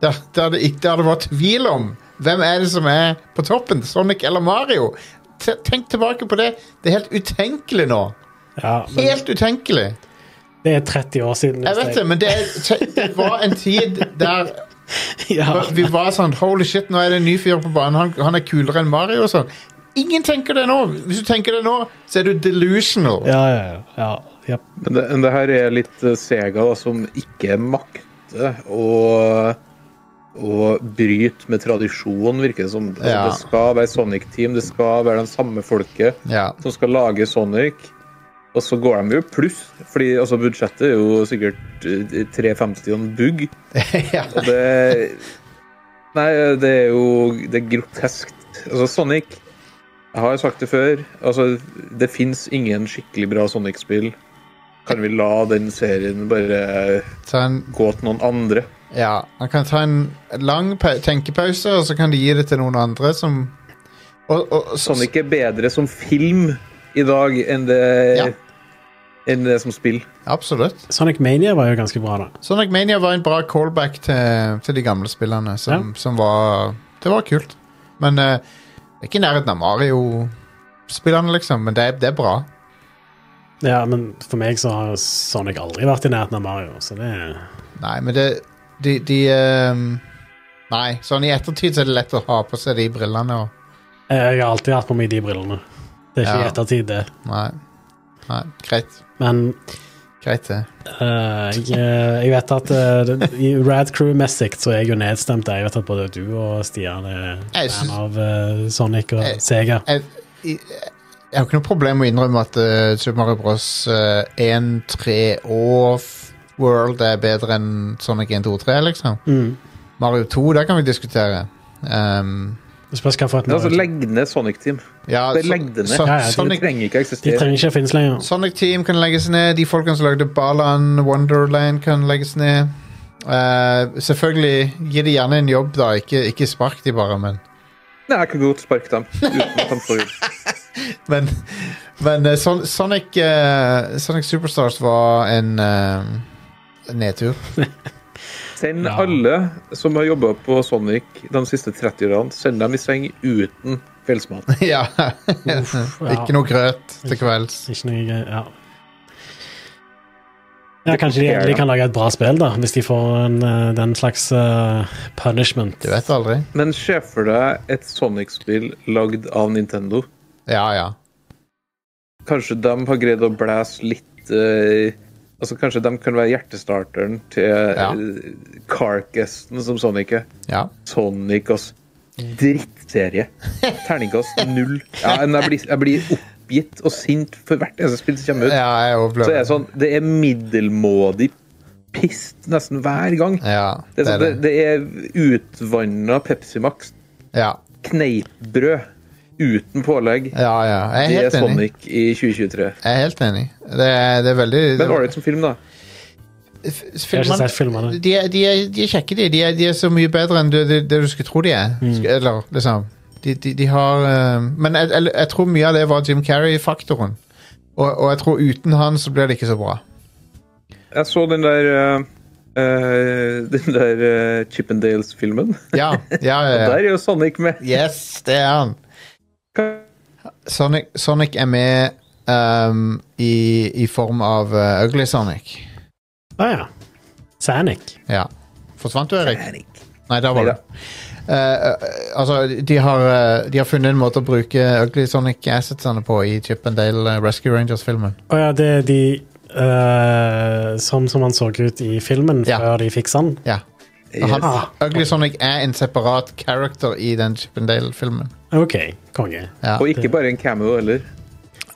der, der, det, ikke, der det var tvil om hvem er det som er på toppen, Sonic eller Mario. T tenk tilbake på det. Det er helt utenkelig nå. Ja, men- Helt utenkelig. Det er 30 år siden. Jeg vet det, men det, er, te- det var en tid der Ja. vi var sånn Holy shit, nå er det en ny fyr på banen. Han, han er kulere enn Mario og sånn. Ingen tenker det nå. Hvis du tenker det nå, så er du delusional. Ja, ja, ja. ja. japp. Men det, men det her er litt eh, Sega da, som ikke makter å, å bryte med tradisjon, virker det som. Altså, Ja. Det skal være Sonic-team, det skal være de samme folket Ja. som skal lage Sonic. Og så går de jo pluss, fordi altså, budsjettet er jo sikkert eh, 350 og en bugg. ja. Og det Nei, det er jo Det er groteskt. Altså, Sonic Jeg har sagt det før. Altså, det fins ingen skikkelig bra Sonic-spill. Kan vi la den serien bare Ta en gå til noen andre? Ja, han kan ta en lang pa- tenkepause, og så kan de gi det til noen andre som og, og, og- Sonic er bedre som film i dag enn det Ja. Enn det som spill. Absolutt. Sonic Mania var jo ganske bra, da. Sonic Mania var en bra callback til, til de gamle spillene, som, som var Det var kult. Men eh, det er ikke i nærheten av Mario-spillene, liksom. Men det er, det er bra. Ja, Men for meg så har Sonic aldri vært i nærheten av Mario, så det er Nei, men det De, de eh, Nei, sånn i ettertid så er det lett å ha på seg de brillene og Jeg har alltid hatt på meg de brillene. Det er ikke i Ja. ettertid, det. Nei. nei greit. Men Greit, det. eh, jeg, jeg vet at eh, det- i Rad Crew-messig så er jeg jo nedstemt. Jeg vet at både du og Stian er Jeg fan syns- av eh, Sonic og Jeg- Sega. jeg, jeg, jeg har ikke noe problem med å innrømme at eh, Super Mario Bros. eh, 1, 3 og f- World er bedre enn Sonic 1, 2, 3, liksom. Mm. Mario 2, der kan vi diskutere. Um, Det Spørs hva for et Men altså, Mario- legg ned Sonic-team. ja, Bare so- legg det ned. so- Ja, ja, det- De Sonic, trenger ikke De eksistere. trenger ikke å finnes lenger. Sonic Team kan legges ned. De folkene som lagde Balan Wonderland, kan legges ned. Eh, selvfølgelig, gi de gjerne en jobb, da. Ikke, ikke spark de bare, men Nei, jeg kan godt sparke dem. Uten at de får Men, men eh, Son Sonic, eh, Sonic Superstars var en eh, nedtur. Send Ja. alle som har jobba på Sonic de siste 30 årene, send dem i seng uten kveldsmat. ja. ja. Ikke noe grøt til kvelds. Ikke noe gøy, ja. Ja, Kanskje de endelig kan lage et bra spill, da, hvis de får en, eh, den slags eh, punishment. Du vet aldri. Men se for deg et Sonic-spill lagd av Nintendo. Ja, ja. Kanskje de har greid å blæse litt eh, Altså, Kanskje de kan være hjertestarteren til ja. Carcassen som Sonic er. ja. Sonic, ass. Drittserie. Terningkast null. Ja, men jeg, blir, jeg blir oppgitt og sint for hvert eneste spill som kommer ut. ja jeg Så er det overlever. sånn, det er middelmådig pist nesten hver gang. Ja, Det er, sånn, det, det er utvanna Pepsi Max, Ja, kneippbrød uten pålegg. ja. ja. Jeg Det er er sånn helt enig. Sonic i 2023. Jeg er helt enig. Det er, det er veldig Men ålreit som film, da. f- Jeg har ikke filmene- sett filmene. de, er- de, er, de er kjekke, de. De er, de er så mye bedre enn det, det, det du skulle tro de er. Mm. Sk- Eller, liksom. De, de, de har eh, Men jeg, jeg, jeg tror mye av det var Jim Carrey-faktoren. Og, og jeg tror uten han så blir det ikke så bra. Jeg så den der eh, eh, Den der eh, Chippendales-filmen. Ja, ja, Og ja, Der ja. er jo Sonic med. Yes, det er han. Sonic, Sonic er med ehm, i, i form av eh, Ugly Sonic. Å ja. Sanic. Ja. Forsvant du, Erik? Sonic. Nei, der var Neida. det. Eh, eh, altså, de har, eh, de har funnet en måte å bruke Ugly Sonic assetsene på i Chip and Dale eh, Rescue Rangers-filmen. Å ja, det er de eh, Sånn som han så ut i filmen Ja. før de fiksa han. Ja. Og Yes. Han, Ugly Sonic er en separat character i den Chip and Dale-filmen. OK, konge. Ja. Og ikke bare en cameo heller.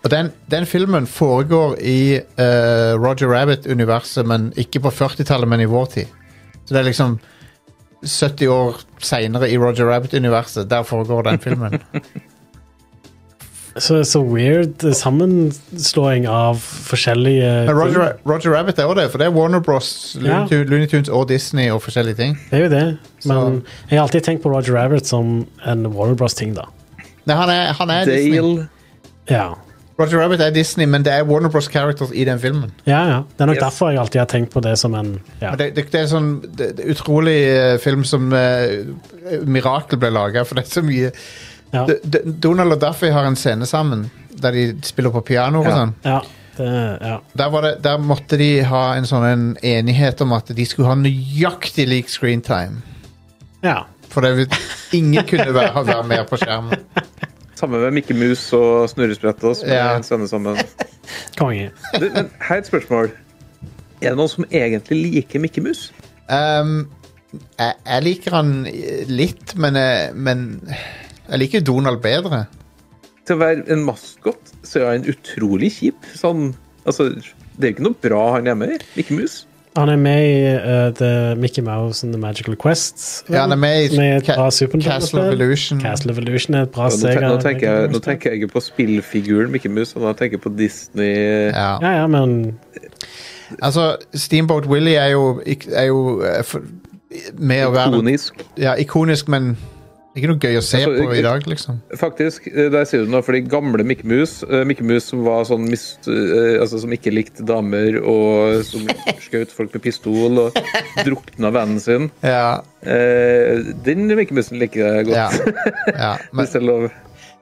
Og den, den filmen foregår i eh, Roger Rabbit-universet, men ikke på 40-tallet, men i vår tid. Så det er liksom 70 år seinere i Roger Rabbit-universet. Der foregår den filmen. Så, så weird eh, sammenslåing av forskjellige Men Roger, Roger Rabbit er også det, for det er Warner Bros, Looney Ja. Tunes, Looney Tunes og Disney og forskjellige ting. Det er jo det. Men Så- jeg har alltid tenkt på Roger Rabbit som en Warner Bros-ting, da. Nei, han er, han er Disney. Dale. Ja, Roger Rabbit er Disney, men det er Warner Bros characters i den filmen. ja. ja. Det er nok Yes. derfor jeg alltid har tenkt på det som en ja. Og Det, det, det er sånn det, det er utrolig eh, film som eh, Mirakel ble laga, for det er så mye Ja. D- D- Donald og Daffy har en scene sammen, der de spiller på piano og Ja. sånn. ja, det, ja. Der, var det, der måtte de ha en sånn en enighet om at de skulle ha nøyaktig lik screentime. ja. For det, vil- ingen kunne være, være mer på skjermen. Sammen med Mikke Mus og Snurresprettet. som Ja. er en scene sammen. Konge. Du, men her er et spørsmål. Er det noen som egentlig liker Mikke Mus? Ehm, jeg, jeg liker han eh, litt, men, jeg- men jeg liker Donald bedre. Til å være en maskot så er han utrolig kjip. Sånn, altså, det er jo ikke noe bra han er med i. Mikke Mus. Han er med i eh, The Mickey Mouse and The Magical Quest. Ja, han er med i Med et Ca- bra Super Castle of Nintendo-spill. Illusion. Castle of Illusion er et bra Ja, Nå, seger. ten- nå, tenker jeg, nå tenker jeg ikke på spillfiguren Mikke Mus, og da tenker jeg på Disney. Ja. Ja, ja, men Altså, Steamboat Willie er jo, ikk- er jo eh, for, med å være Ikonisk. ja, ikonisk, men ikke noe gøy å se Altså, på ik- i dag, liksom. Faktisk, eh, der sier du noe, fordi gamle Mikke Mus, eh, Mikke Mus som var sånn mis, eh, altså, som ikke likte damer, og som skjøt folk med pistol, og drukna vennen sin, Ja, eh, den Mikke Musen liker jeg godt. ja, ja. Men Hvis det er lov.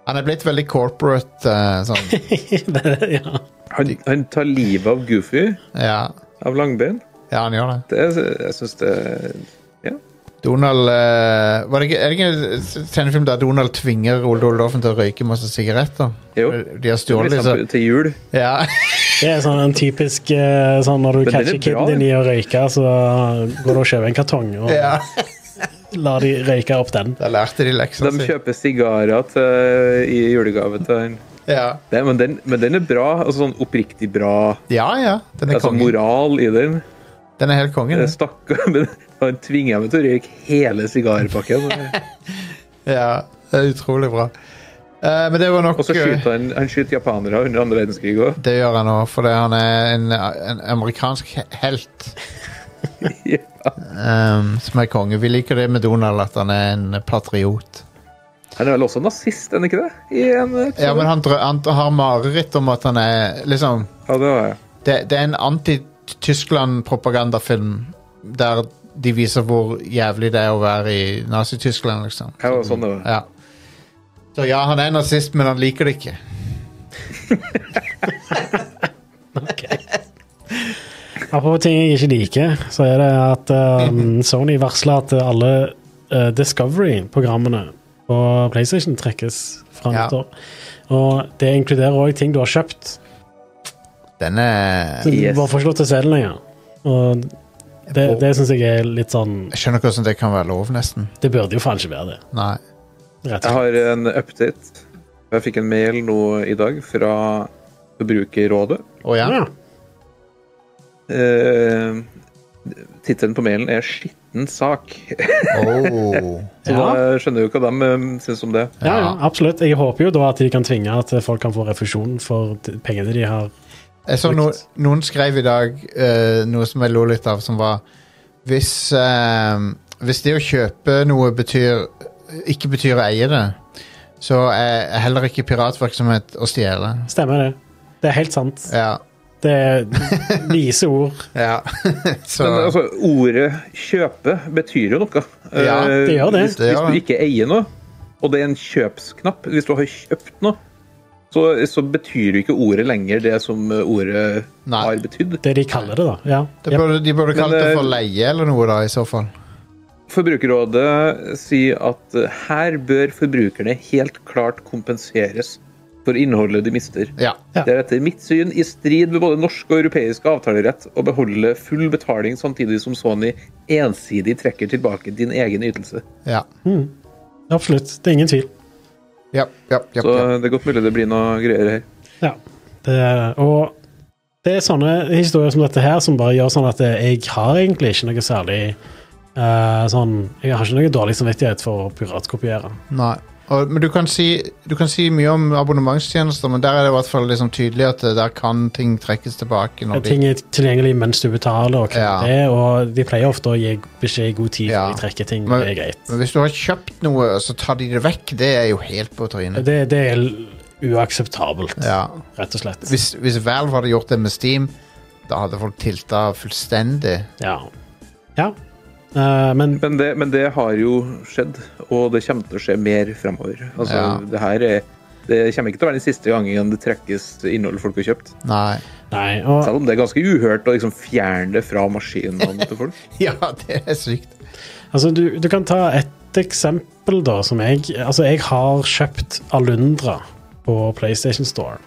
han er blitt veldig corporate, eh, sånn. ja. Han, han tar livet av Goofy, Ja. av langbein. ja, han gjør det. Det, er- jeg syns det Donald eh, var det ikke, Er det ikke en tegnefilm der Donald tvinger Ole Doldoffen til å røyke masse sigaretter? Jo. De har det er stjålet disse. liksom til jul. Ja. Det er sånn en typisk eh, sånn Når du Men den er catcher bra, kiden din i å røyke, så eh, går du og kjøper en kartong og ja. lar de røyke opp den. Da lærte de leksa De kjøper sigarer til, i julegave til han. Ja. Det, men, den, men den er bra. altså Sånn oppriktig bra. ja, ja. Den er Altså kongen. moral i den. Den er helt kongen. Det er Stakkar. Men han tvinger meg til å røyke hele sigarpakken. Ja, det er utrolig bra. Eh, men det var nok Og så skyter han, han skyter japanere under andre verdenskrig òg. Det gjør han òg, fordi han er en, en amerikansk he- helt Ja. ehm, som er konge. Vi liker det med Donald, at han er en patriot. Han er vel også nazist, er han ikke det? I en, Ja, men han, drø han har mareritt om at han er liksom ja, det var jeg. Det, det er en anti-Tyskland-propagandafilm der de viser hvor jævlig det er å være i Nazi-Tyskland, liksom. Jeg var sånn det var. Ja. Så ja, han er nazist, men han liker det ikke. Ok. Apropos ting jeg ikke liker, så er det at um, Sony varsler at alle eh, Discovery-programmene på PlayStation trekkes fra Ja. nyttår. Og det inkluderer òg ting du har kjøpt. Den er Så Du Yes. bare får ikke lov til å se det lenger. Og det, det syns jeg er litt sånn Jeg skjønner ikke hvordan det kan være lov, nesten. Det burde jo faen ikke være det. Nei. Rett Jeg og slett. har en update. Jeg fikk en mail nå i dag fra Forbrukerrådet. Å ja? Ja. Eh, Tittelen på mailen er 'Skitten sak'. Oh. Så Ja. da skjønner jeg jo hva de eh, syns om det. Ja, ja, absolutt. Jeg håper jo da at de kan tvinge at folk kan få refusjon for t- pengene de har Jeg så no, noen skrev i dag eh, noe som jeg lo litt av, som var Hvis, eh, hvis det å kjøpe noe betyr, ikke betyr å eie det, så er heller ikke piratvirksomhet å stjele. Stemmer det. Det er helt sant. Ja. Det er vise ord. ja. så Men altså, ordet 'kjøpe' betyr jo noe. Ja, Eh, det gjør det. Hvis, Det gjør hvis du det. ikke eier noe, og det er en kjøpsknapp Hvis du har kjøpt noe, så, så betyr jo ikke ordet lenger det som eh, ordet Nei. har betydd. Det de kaller det, da. Ja. det burde, de burde kalt Men, det eh, for leie eller noe, da, i så fall. Forbrukerrådet sier at eh, her bør forbrukerne helt klart kompenseres for innholdet de mister. Ja. Ja. Det er etter mitt syn i strid med både norsk og europeisk avtalerett å beholde full betaling samtidig som Sony ensidig trekker tilbake din egen ytelse. Ja. Absolutt. Det er ingen tvil. Ja. Ja. Ja. Så ja. det er godt mulig det blir noe greier her. Ja. Det, og det er sånne historier som dette her som bare gjør sånn at jeg har egentlig ikke noe særlig eh, sånn Jeg har ikke noe dårlig samvittighet for å piratkopiere. Nei. Og, men du kan, si, du kan si mye om abonnementstjenester, men der er det i hvert fall liksom tydelig at eh, der kan ting trekkes tilbake. Når de, Ting er tilgjengelig mens du betaler, og, hva Ja. det er, og de pleier ofte å gi beskjed i god tid Ja. før de trekker ting. Men- det er greit. men hvis du har kjøpt noe, så tar de det vekk. Det er jo helt på trynet. Det, det er uakseptabelt, Ja. rett og slett. Hvis, hvis Valve hadde gjort det med Steam, da hadde folk tilta fullstendig. Ja. ja. Eh, men Men det, men det har jo skjedd, og det kommer til å skje mer fremover. Altså, Ja. det her er det kommer ikke til å være den siste gangen det trekkes innhold folk har kjøpt. Nei. nei. Og, Selv om det er ganske uhørt å liksom fjerne det fra maskinene til folk. Ja, det er sykt. Altså, du, du kan ta et eksempel, da, som jeg Altså, jeg har kjøpt Alundra på PlayStation Store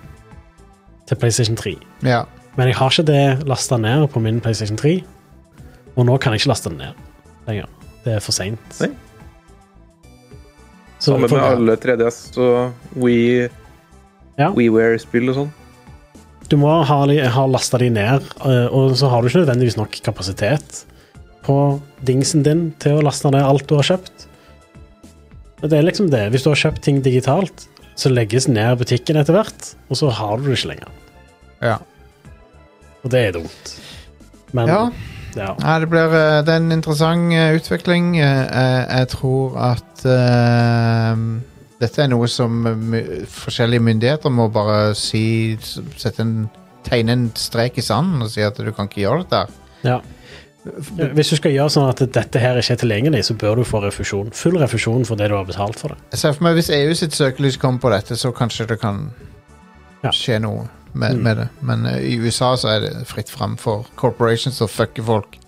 til PlayStation 3. Ja. Men jeg har ikke det lasta ned på min PlayStation 3, og nå kan jeg ikke laste den ned lenger. Det er for seint. Nei. Sammen med alle 3DS og We, Ja. WeWare-spill og sånn. Du må ha, de- ha lasta de ned, eh, og så har du ikke nødvendigvis nok kapasitet på dingsen din til å laste ned alt du har kjøpt. Og Det er liksom det. Hvis du har kjøpt ting digitalt, så legges ned butikken etter hvert, og så har du det ikke lenger. ja. Og det er dumt. Men Ja. ja. Nei, det blir eh, Det er en interessant eh, utvikling. Eh, eh, jeg tror at eh, dette er noe som eh, my- forskjellige myndigheter må bare si s- sette en, tegne en strek i sanden og si at du kan ikke gjøre dette. her. ja. Hvis du skal gjøre sånn at dette her ikke er tilgjengelig, så bør du få refusjon. Full refusjon for det du har betalt for det. Jeg ser for meg hvis EU sitt søkelys kommer på dette, så kanskje det kan Ja. Mm. skje noe med, med det. Men eh, i USA så er det fritt fram for corporations å fucke folk.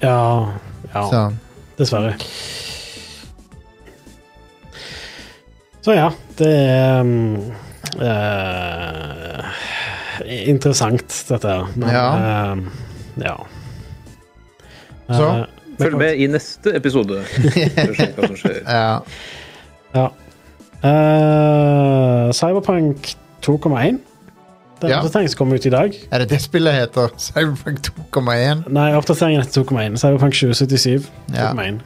Ja, ja. Så Dessverre. Så ja, det er um, eh, Interessant, dette her. Men, Ja. ehm, ja. Så, Eh, men- Følg med i neste episode. for å se hva som skjer. ja. Ja. Eh, Cyberpunk 2,1. Den Ja. oppdateringen som kom ut i dag. Er det det spillet heter? Cyberpunk 2,1? Nei, oppdateringen etter 2,1. Cyberpunk 2077. Ja. 2,1.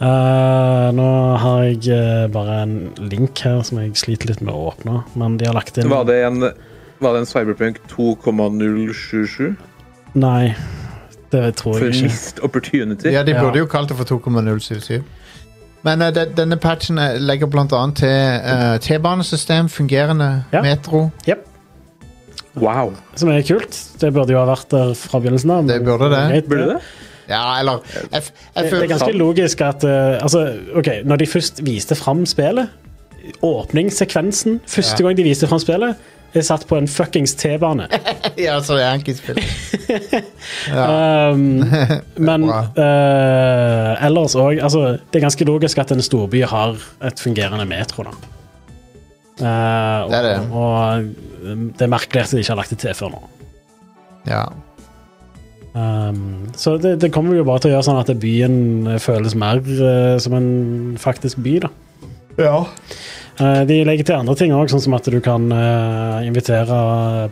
Eh, nå har jeg eh, bare en link her som jeg sliter litt med å åpne, men de har lagt inn Var det en, var det en Cyberpunk 2,077? Nei, det tror jeg For ikke. missed opportunity? Ja, de Ja. burde jo kalt det for 2,077. Men eh, de, denne patchen eh, legger blant annet til eh, T-banesystem, fungerende Ja. metro. Jep, Wow. Som er kult. Det burde jo ha vært der fra begynnelsen av. men Det burde det. greit, Burde det? Ja, eller jeg, f- jeg Det det er føler ganske logisk at eh, altså, ok, Når de først viste fram spillet Åpningssekvensen første Ja. gang de viste fram spillet, er satt på en fuckings T-bane. Ja, så det er Yankees-spill. Um, men Bra. eh, ellers òg altså, Det er ganske logisk at en storby har et fungerende metro, da. Eh, Det er det. Og, og det er merkelig at de ikke har lagt det til før nå. Ja. Um, så det, det kommer jo bare til å gjøre sånn at byen føles mer eh, som en faktisk by, da. ja. Eh, de legger til andre ting òg, sånn som at du kan eh, invitere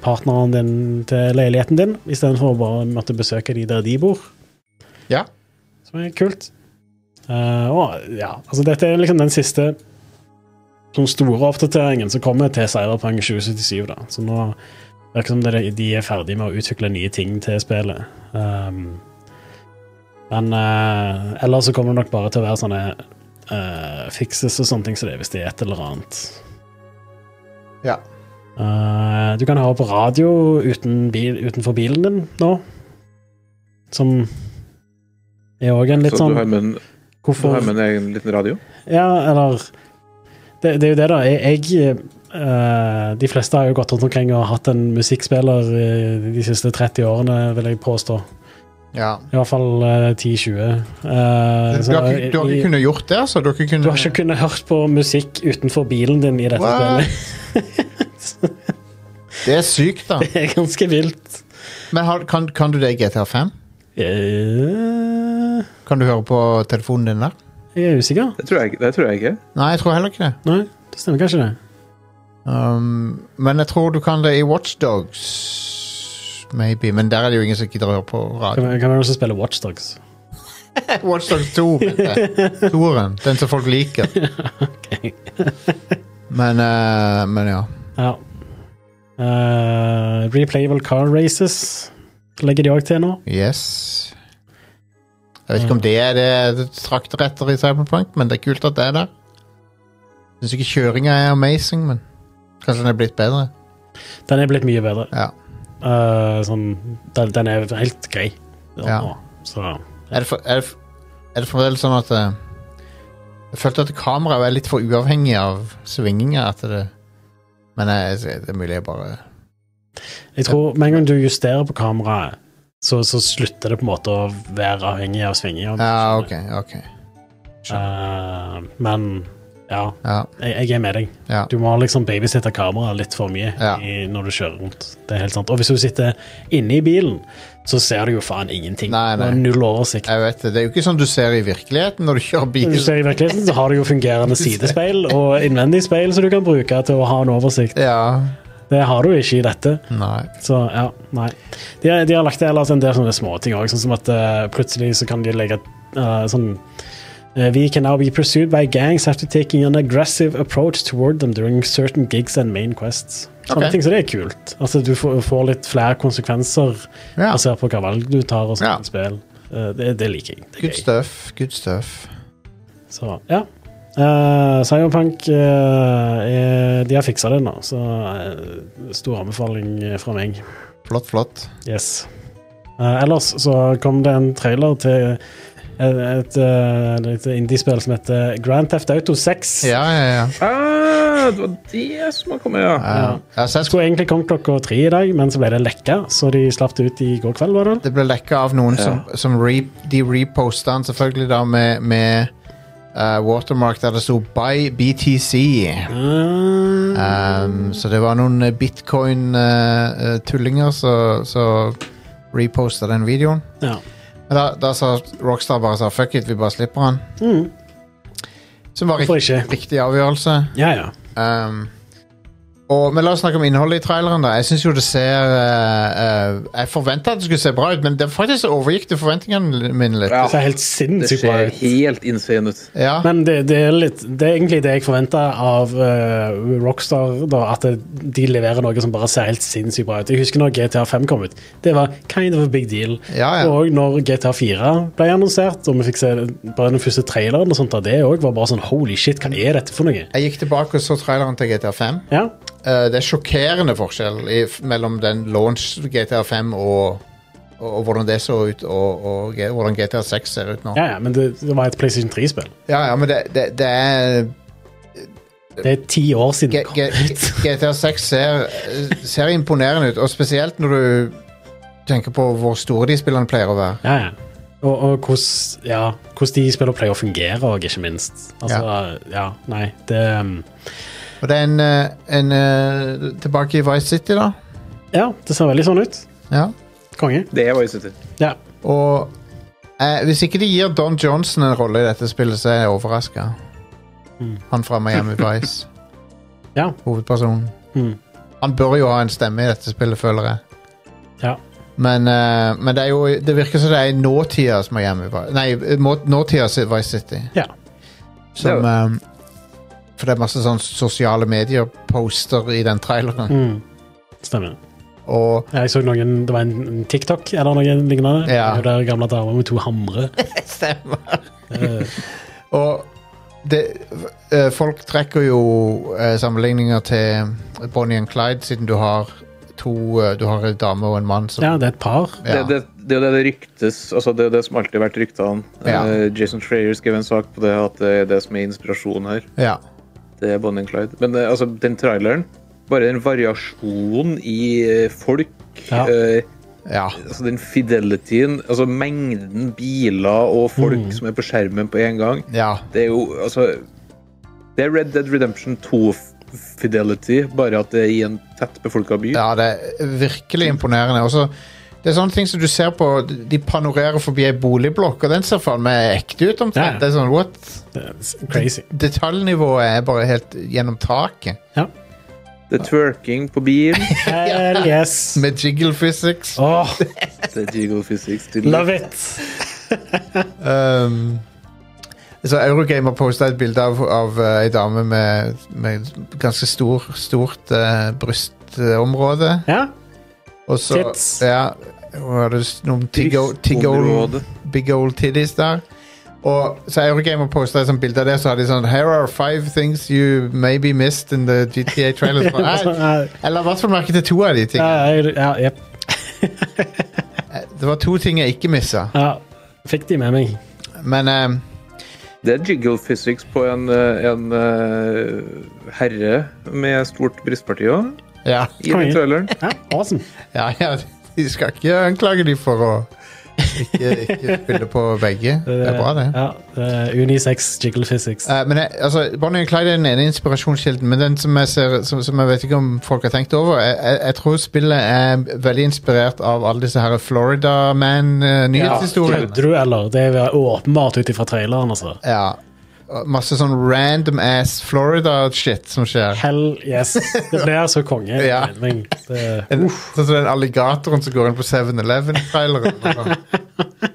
partneren din til leiligheten din, istedenfor å bare måtte besøke de der de bor. Ja. Som er kult. Eh, og ja, altså dette er liksom den siste sånn store oppdateringen som kommer til Cyberpunk 2077, da. Så nå Det virker som det, de er ferdige med å utvikle nye ting til spillet. Um, men eh, ellers så kommer det nok bare til å være sånne eh, fixes og sånne ting som det er hvis det er et eller annet. Ja. Eh, du kan høre på radio uten bil, utenfor bilen din nå, som er òg en litt så sånn du har med en, du har med en egen liten radio? ja, eller Det, det er jo det, da. Jeg, jeg eh, De fleste har jo gått rundt omkring og hatt en musikkspiller eh, de siste 30 årene, vil jeg påstå. ja. I hvert fall eh, 10-20. Eh, Du så har ikke, du har i- ikke kunnet gjort det, altså? Du har ikke kunnet du har ikke kunnet hørt på musikk utenfor bilen din i dette What? spillet. Det er sykt, da. Det er ganske vilt. Men har, kan, kan du det i GTA5? Eh, Kan du høre på telefonen din der? jeg er usikker. Det tror jeg, ikke- det tror jeg ikke. Nei, jeg tror heller ikke det. Nei, det stemmer kanskje, det. Um, men jeg tror du kan det i Watchdogs, maybe. Men der er det jo ingen som gidder å høre på radio. Hvem hvem er det som spiller Watchdogs? Watchdogs 2, mente jeg. Toeren. Den som folk liker. Men, eh, men ja. Ja. Eh, replayable car races legger de òg til nå. Yes. Jeg vet ikke om det er det trakteretter i Cyberpunk, men det er kult at det er der. Syns ikke kjøringa er amazing, men kanskje den er blitt bedre. Den er blitt mye bedre. Ja. Eh, sånn, den, den er helt grei. Ja. nå, Så Er det, for, er det, f- er det fremdeles sånn at eh, Jeg følte at kameraet er litt for uavhengig av svinginga. At det, men jeg, jeg- det er mulig jeg bare jeg tror med en gang du justerer på kameraet, så, så slutter det på en måte å være avhengig av svinginger. Ja, OK. ok Eh, men ja, Ja, jeg, jeg er med deg. ja. Du må liksom babysitte kameraet litt for mye Ja. i, når du kjører rundt. Det er helt sant. Og hvis du sitter inne i bilen, så ser du jo faen ingenting. Nei, nei. Du har Null oversikt. Jeg vet det. Det er jo ikke sånn du ser i virkeligheten når du kjører bil. Hvis du ser i virkeligheten, så har du jo fungerende sidespeil og innvendig speil som du kan bruke til å ha en oversikt. Ja. Det har du ikke i dette. Nei. Så ja, nei. De, har- de har lagt til ellers en del sånne småting òg, sånn som at eh, plutselig så kan de legge eh, sånn eh, We can now be pursued by gangs after taking an aggressive approach toward them during certain gigs and main quests. Sånne Ok. ting, så det er kult. Altså, du får, får litt flere konsekvenser Ja. basert på hva valg du tar og Ja. sånne spill. Eh, det, det liker jeg. Det er Good gøy. stuff. Good stuff. Så ja. Eh, Cyberpunk eh, er, De har fiksa det nå, så eh, stor anbefaling fra meg. Flott, flott. Yes. Eh, ellers så kom det en trailer til et, et, eh, litt indiespill som heter Grand Theft Auto 6. Ja, ja, ja. Ah, det var det som har kommet, ja. ja. Jeg har Det sett skulle egentlig kommet klokka tre i dag, men så ble det lekka, så de slapp det ut i går kveld. var det vel? det ble lekka av noen som, som re, De reposta den selvfølgelig da med, med eh, watermark der det sto 'Buy BTC'. Um, så det var noen eh, bitcoin-tullinger som reposta den videoen. Ja. Men da, da sa Rockstar bare sa, fuck it, vi bare slipper han. Mm. Som var Hvorfor rikt, ikke? riktig avgjørelse. Ja, ja. Um, og, men la oss snakke om innholdet i traileren. da Jeg synes jo det ser eh, eh, Jeg forventa at det skulle se bra ut, men det faktisk overgikk det forventningene mine litt. Ja. Det ser helt Det sinnssykt bra ser ut. helt insane ut. Ja, Men det, det, er litt, det er egentlig det jeg forventa av eh, Rockstar. Da, at det, de leverer noe som bare ser helt sinnssykt bra ut. Jeg husker når GTA 5 kom ut. Det var kind of a big deal. Ja, ja. Og når GTA 4 ble annonsert, og vi fikk se bare den første traileren, og sånt, da, det også var bare sånn holy shit, hva er dette for noe? Jeg gikk tilbake og så traileren til GTA5. Ja, Eh, det er sjokkerende forskjell i, mellom den launch GTA5 og, og, og hvordan det så ut, og, og G- hvordan GTA6 ser ut nå. ja, ja men det, det var et PlayStation 3-spill. Ja, ja, men det, det, det er Det er ti år siden G- det G- kom ut. G- GTA 6 ser, ser imponerende ut, og spesielt når du tenker på hvor store de spillene pleier å være. Ja, ja. Og, og hvordan ja, hvordan de spiller pleier å fungere, og ikke minst. Altså, ja. nei, det um, Og det er en, eh, en eh, Tilbake i Vice City, da. Ja, det ser veldig sånn ut. Ja. Konge. Det var jo sitter. Ja. Og eh, hvis ikke de gir Don Johnson en rolle i dette spillet, så er jeg overraska. Han fra Miami Vice. Mm. Ja. Hovedpersonen. Mm. Han bør jo ha en stemme i dette spillet, føler jeg. Ja. Men, eh, men det, er jo, det virker som det er nåtidas Miami Vice Nei, må- nåtidas Vice City. Ja. Som, Det eh, for det er masse sånn sosiale medier-poster i den traileren. Mm. Stemmer. Og Ja, Jeg så noen, Det var en en TikTok eller noe lignende. Ja. Det er jo Der gamle damer med to hamre. Stemmer. Eh, Og det, eh, folk trekker jo eh, sammenligninger til Bonnie and Clyde, siden du har to eh, Du har en dame og en mann som ja, det er et par. Ja. Det, det, det er jo det det ryktes altså Det er jo det som alltid har vært ryktene. Ja. Eh, Jason Schreier skrev en sak på det at det er det som er inspirasjonen her. ja. Det er Bonnie and Clyde. Men eh, altså, den traileren Bare den variasjonen i eh, folk Ja. eh, ja. altså Den fidelityen, altså mengden biler og folk Mm. som er på skjermen på en gang ja. Det er jo altså Det er Red Dead Redemption 2-fidelity, bare at det er i en tett befolka by. Ja, det er virkelig imponerende. Også, det er sånne ting som du ser på De panorerer forbi ei boligblokk, og den ser faen meg ekte ut omtrent. Ja. Det er sånn, what? Det er s- crazy. Detaljnivået er bare helt gjennom taket. Ja. Det er twerking på bil. Hell yes! Med jiggle physics. Åh, Det er jiggle physics. love it! Um, så Eurogamer posta et bilde av, av eh, ei dame med, med ganske stor, stort eh, brystområde. Ja, Og så Tits. Ja, hun hadde s- noen tigg old- tigg old- Brystområde. big old titties der. Og så Eurogamer posta et sånt bilde av det, så hadde de sånn Here are five things you maybe missed in the GTA trailer. Så bare, "Nei." Ja, Jeg la i hvert fall merke til to av de tingene. jeg- ja, jep. Det var to ting jeg ikke missa. ja. Fikk de med meg. Men eh, Det er jiggle physics på en, eh, en eh, herre med stort brystparti òg, ja. i Oi. den traileren. Ja, awesome. Ja, ja, de skal ikke anklage de for å ikke, ikke spille på begge. Det er bra, det. Ja, det er unisex jiggle physics. Eh, men jeg, altså, Bonnie and Clyde er den ene inspirasjonskilden, men den som jeg, ser, som, som jeg vet ikke om folk har tenkt over jeg, jeg, jeg tror spillet er veldig inspirert av alle disse her Florida eh, Man-nyhetshistoriene. Kødder du, eller? Det er åpenbart ut ifra traileren, altså. Ja. Og Masse sånn random ass Florida-shit som skjer. Hell yes. Det blir så konge. Ja. jeg mener. Det- En, sånn som den alligatoren som går inn på 7-Eleven-traileren. og sånn.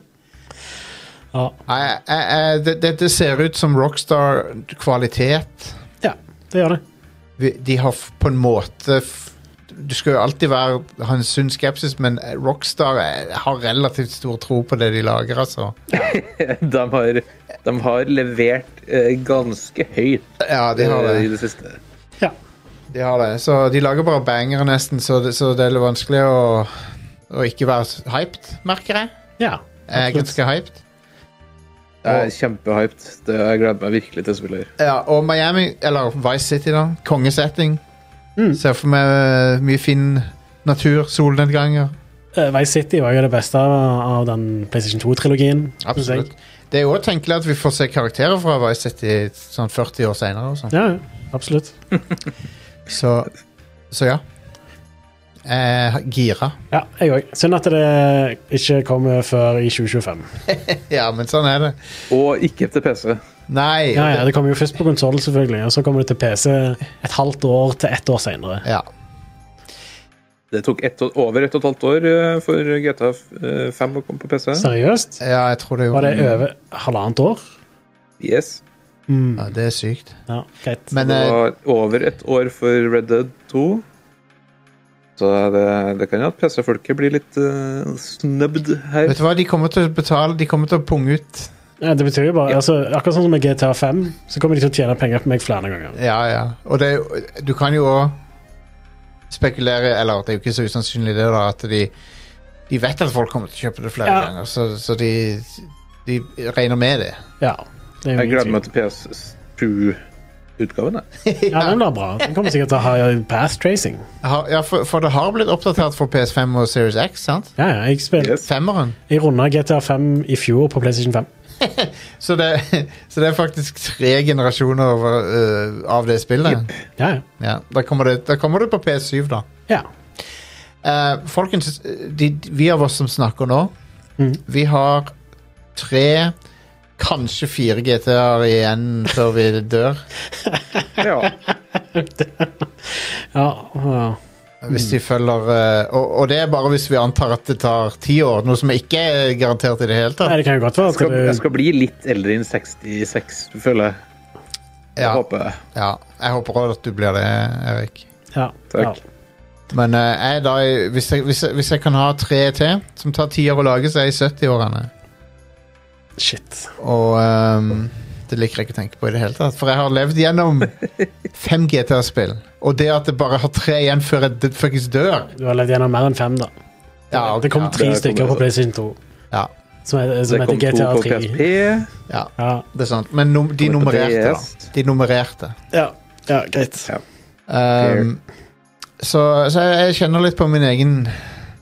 Ja. Nei, jeg- jeg- det- Dette ser ut som Rockstar-kvalitet. ja, det gjør det. vi- de har f- på en måte f- Du skal jo alltid være, ha en sunn skepsis, men eh, Rockstar eh, har relativt stor tro på det de lager, altså. De har, de har levert eh, ganske høyt Ja, de har eh, i det. det siste. Ja. De, har det. Så de lager bare banger, nesten, så det, så det er litt vanskelig å, å ikke være s- hyped, merker jeg. ja. Jeg er absolutt. ganske hyped. Jeg er kjempehyped. Det- Jeg gleder meg virkelig til å spille her. Ja, og Miami, eller Vice City, da. Kongesetting. Ser for meg eh, mye fin natur, solnedganger. Eh, Vice City var jo det beste av den PlayStation 2-trilogien. synes jeg. Absolutt. Det er jo også tenkelig at vi får se karakterer fra Vice City sånn 40 år seinere. og sånn. Ja, ja, absolutt. Så, så ja. Eh, gira. Ja, jeg òg. Synd at det ikke kommer før i 2025. Ja, men sånn er det. Og ikke til PC. Nei. Ja, ja, det, Det kommer jo først på konsoll, selvfølgelig, og så kommer det til PC et halvt år til ett år senere. ja. Det tok ett, og- over ett og et halvt år eh, for GTA 5 eh, å komme på PC. Seriøst? ja, jeg tror det Var gjorde det over halvannet år? Yes. ja, Det er sykt. Ja, greit. Men Det eh, var over ett år for Red Dead 2. Så det, det kan jo at PC-folket blir litt uh, snøbd her. eh, vet du hva, de kommer til å betale De kommer til å punge ut. Ja, det betyr jo bare, altså, Akkurat sånn som med GTA 5, så kommer de til å tjene penger på meg flere ganger. Ja, ja. Og det, er jo- du kan jo òg spekulere Eller det er jo ikke så usannsynlig, det, da, at de De vet at folk kommer til å kjøpe det flere Ja. ganger, så, så de De regner med det. Ja, det er jo Jeg ingen gleder tvil. meg til PS7-utgaven. Ja, den blir bra. Den kommer sikkert til å ha path tracing. Har- Ja, for, for det har blitt oppdatert for PS5 og Series X, sant? Ja, ja, Jeg, spil, Yes. Femmeren. jeg runda GTA 5 i fjor på PlayStation 5. Så det, så det er faktisk tre generasjoner over, øh, av det spillet. Ja, ja. Ja, da, kommer det, da kommer det på PS7, da. ja. Eh, folkens, de, vi av oss som snakker nå, Mm. Mhm. vi har tre, kanskje fire GTA-er igjen før vi dør. Ja. ja, ja. Mm. Hvis de følger eh, og, og det er bare hvis vi antar at det tar ti år, noe som ikke er garantert i det hele Nei, tatt. det kan jo godt være Jeg skal, jeg at det, skal bli litt eldre enn 66, føler jeg. Jeg Ja, håper jeg. ja. Jeg håper også at du blir det, Erik. ja, Takk. Ja. Men eh, jeg er da, i- hvis, jeg, hvis, jeg, hvis jeg kan ha tre til, som tar ti år å lage, så er jeg i 70-årene. Shit. Og ehm, det liker jeg ikke å tenke på i det hele tatt. For jeg har levd gjennom fem GTA-spill. Og det at jeg bare har tre igjen før jeg d- fuckings dør Du har levd gjennom mer enn fem, da. Ja, det kom ja, tre det stykker kommer- på PlayStation 2 ja, som, er, som Det heter kom to GTA på 3. PSP. ja, Ja. det er sant. Men num de kom på nummererte, da. DS. De nummererte. Ja. ja, greit. Ehm, så, så jeg kjenner litt på min egen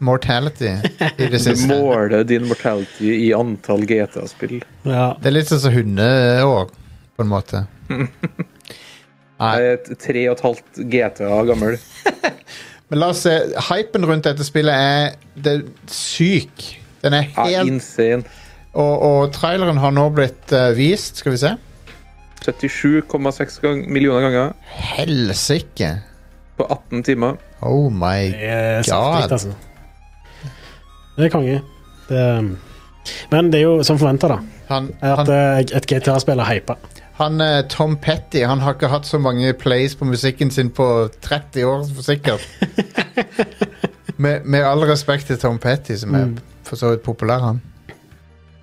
mortality i det Du siste. måler din mortality i antall GTA-spill. Ja. Det er litt sånn som hundeår, på en måte. Nei. Jeg er et tre og et halvt GTA gammel. Men la oss se. Hypen rundt dette spillet er, det er syk. Den er Ja, helt insane. og, og traileren har nå blitt eh, vist. Skal vi se. 77,6 gang- millioner ganger Helsike! på 18 timer. Oh my Det er God. saftig, altså. Det er konge. Det er, men det er jo som forventa, da. Han, At han, eh, et GTA-spill er hypa. han eh, Tom Petty han har ikke hatt så mange plays på musikken sin på 30 år, for sikkert. med, med all respekt til Tom Petty, som er Mm. for så vidt populær, han.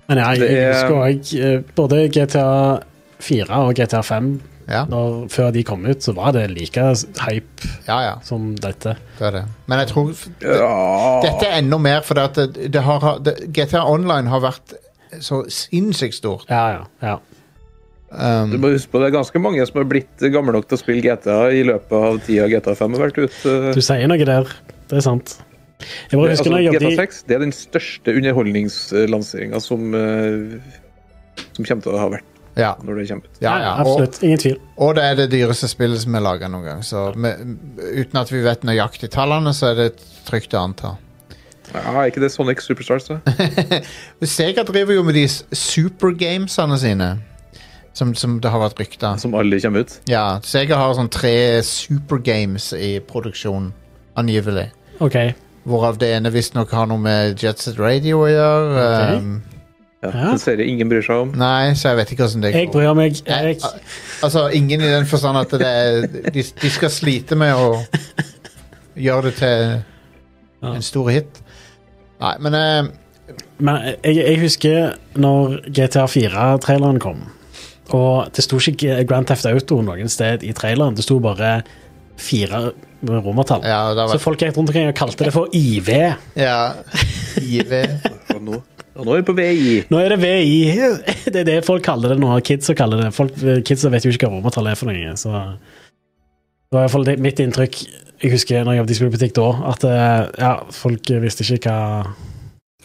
Men ja, jeg Det er- husker òg både GTA 4 og GTA 5. Ja, Når, før de kom ut, så var det like hype ja, ja som dette. det er det. Men jeg tror f- Ja. dette er enda mer, for det, det har, det, GTA Online har vært så sinnssykt stort. Ja, ja. ja. Du Um, må huske på Det er ganske mange som har blitt gamle nok til å spille GTA i løpet av tida GTA 5 har vært ute. Du sier noe der. Det er sant. Jeg bare Altså, husker når jeg GTA jobbet i 6 det er den største underholdningslanseringa som, eh, som kommer til å ha vært ja, når det kommer ut. ja, ja. Ja, Og, Absolutt. Ingen tvil. Og det er det dyreste spillet som er laga noen gang. Så med, uten at vi vet nøyaktig tallene, så er det trygt å anta. Ja, er ikke det Sonic Superstars, da? Sega driver jo med de s- supergamesene sine, som, som det har vært rykter om. Som alle kommer ut? Ja, Sega har sånn tre supergames i produksjon, angivelig. OK. Hvorav det ene visstnok har noe med Jetset Radio å gjøre. Ok. Um, Ja, Ja. En serie ingen bryr seg om. nei, så jeg vet ikke åssen det Jeg går. bryr meg. Jeg- Jeg, al- altså, ingen i den forstand at det er, de, de skal slite med å gjøre det til Ja. en stor hit. Nei, men eh, Men jeg, jeg husker når GTA 4-traileren kom, og det sto ikke G- Grand Theft Auto noen sted i traileren. Det sto bare fire romertall. ja, det har Så vært folk gikk rundt omkring og kalte det for IV. ja, IV. Og nå, og nå er vi på vei. Nå er det VI. Det er det folk kaller det nå. Kidsa kaller det folk, Kidsa vet jo ikke hva romertall er for noe. Så det var iallfall mitt inntrykk. Jeg husker når jeg jobbet i spillbutikk da, at eh, ja, folk visste ikke hva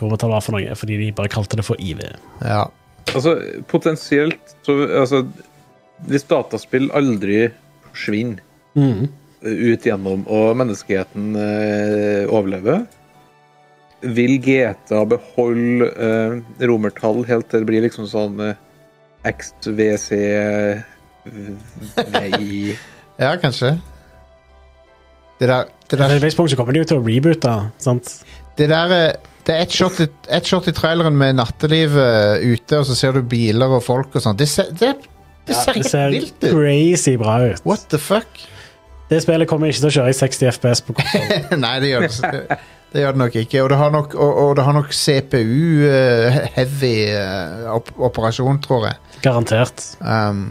romertall var for noe, fordi de bare kalte det for IV. Ja. Altså, potensielt så altså, Hvis dataspill aldri forsvinner Mm. eh, ut gjennom og menneskeheten eh, overlever, vil GTA beholde eh, romertall helt til det blir liksom sånn eh, XVC eh, Nei ja, kanskje. Det der, det På der, et visst punkt så kommer de jo til å reboote. sant? det der eh, Det er ett shot, i- ett shot i traileren med nattelivet ute, og så ser du biler og folk og sånn. Det, ser- det, det ser Det helt ser vilt ut! crazy bra ut. What the fuck? Det spillet kommer ikke til å kjøre i 60 FPS på konsoll. Nei, det gjør det, det, det gjør det nok ikke. Og det har nok, og, og det har nok eh, CPU-heavy op eh, operasjon, tror jeg. Garantert. Um,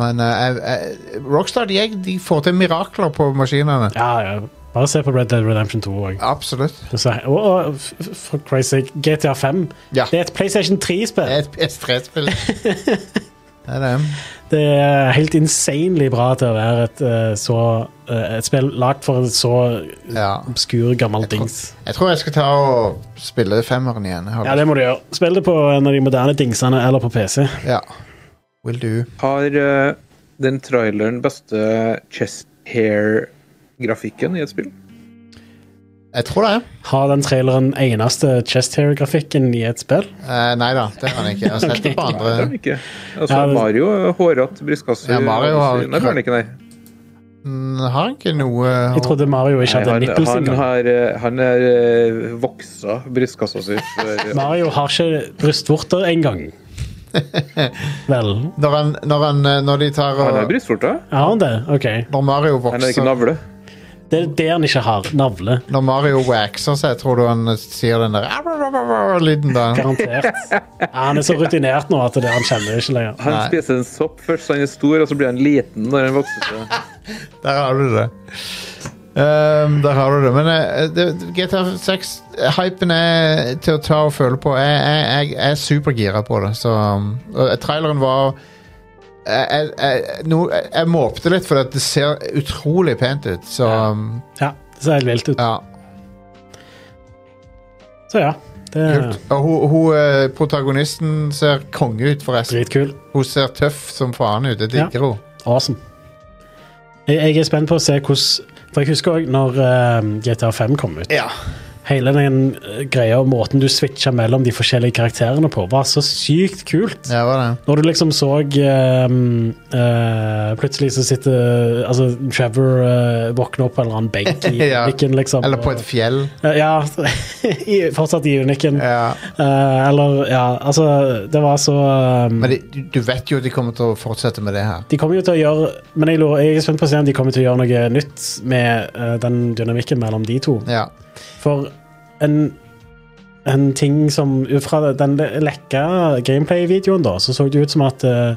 men eh, jeg- jeg- Rockstar de, er- de får til mirakler på maskinene. Ja, ja. Bare se på Red Dead Redemption 2 òg. Absolutt. For Christ's sake, GTA 5 Ja. Det er et PlayStation Det er 3-spill. et PS3-spill. det er det. Det er helt insanely bra til å være et, eh, så, eh, et spill lagd for en så Ja. obskur, gammel tror- dings. Jeg tror jeg skal ta og spille femmeren igjen. Jeg har Ja, det må du gjøre. Spill det på en av de moderne dingsene eller på PC. lyst- ja. Will do. Har eh, den traileren beste chest hair-grafikken i et spill? Jeg tror det. Har den traileren eneste chest hair-grafikken i et spill? Uh, nei da, det har han ikke. Jeg har sett det på Nei, det har andre. han ikke. Altså, Ja, det- Mario er hårete brystkasse. Ja, Mario har- Nei, det har han ikke, nei. Mm, Har han ikke noe Jeg trodde Mario ikke Nei, hadde han, nipples han, engang. har, eh, han er eh, voksa brystkassa si. før- Mario har ikke brystvorter engang. Vel, Når, han, når, han, eh, når de tar Han er og brystvorte. har han det? OK. Når Mario Han er ikke vokser navle. Det er det han ikke har. Navle. Når Mario waxer seg, tror du han sier den der lyden da? Garantert. Ja, han er så rutinert nå at det han kjenner det ikke lenger. Han Nei. spiser en sopp først, så han er stor, og så blir han liten når han vokser seg. Der har du det. Ehm, der har du det. Men eh, det- GTA 6 Hypen er til å ta og føle på. Jeg, jeg, jeg, jeg er supergira på det. Så, um, og traileren var jeg, jeg, jeg, no, jeg, jeg måpte litt, for det ser utrolig pent ut. Så um, Ja, det ser helt vilt ut. ja. Så ja. Det er Kult. Og hun, hun, eh, protagonisten ser konge ut, forresten. dritkul. Hun ser tøff som faen ut. Jeg digger henne. Awesome. Jeg, jeg er spent på å se hvordan For jeg husker òg når eh, GTA 5 kom ut. Ja. Hele den eh, greia og måten du switcha mellom de forskjellige karakterene på, var så sykt kult. Det var det. Når du liksom så ehm, eh, Plutselig så sitter altså, Trevor eh, våkner opp på en eller annen benk i Ja. unikken, liksom. Eller på et fjell. Eh, Ja, i, fortsatt i unikken. Ja. Eh, eller, ja, altså Det var så ehm, Men de, du- du vet jo at de kommer til å fortsette med det her. De kommer jo til å gjøre Men jeg, lurer, jeg er spent på å se om de kommer til å gjøre noe nytt med eh, den dynamikken mellom de to. Ja. For en, en ting som Ut fra den le- lekka gameplay-videoen, da, så så det ut som at eh,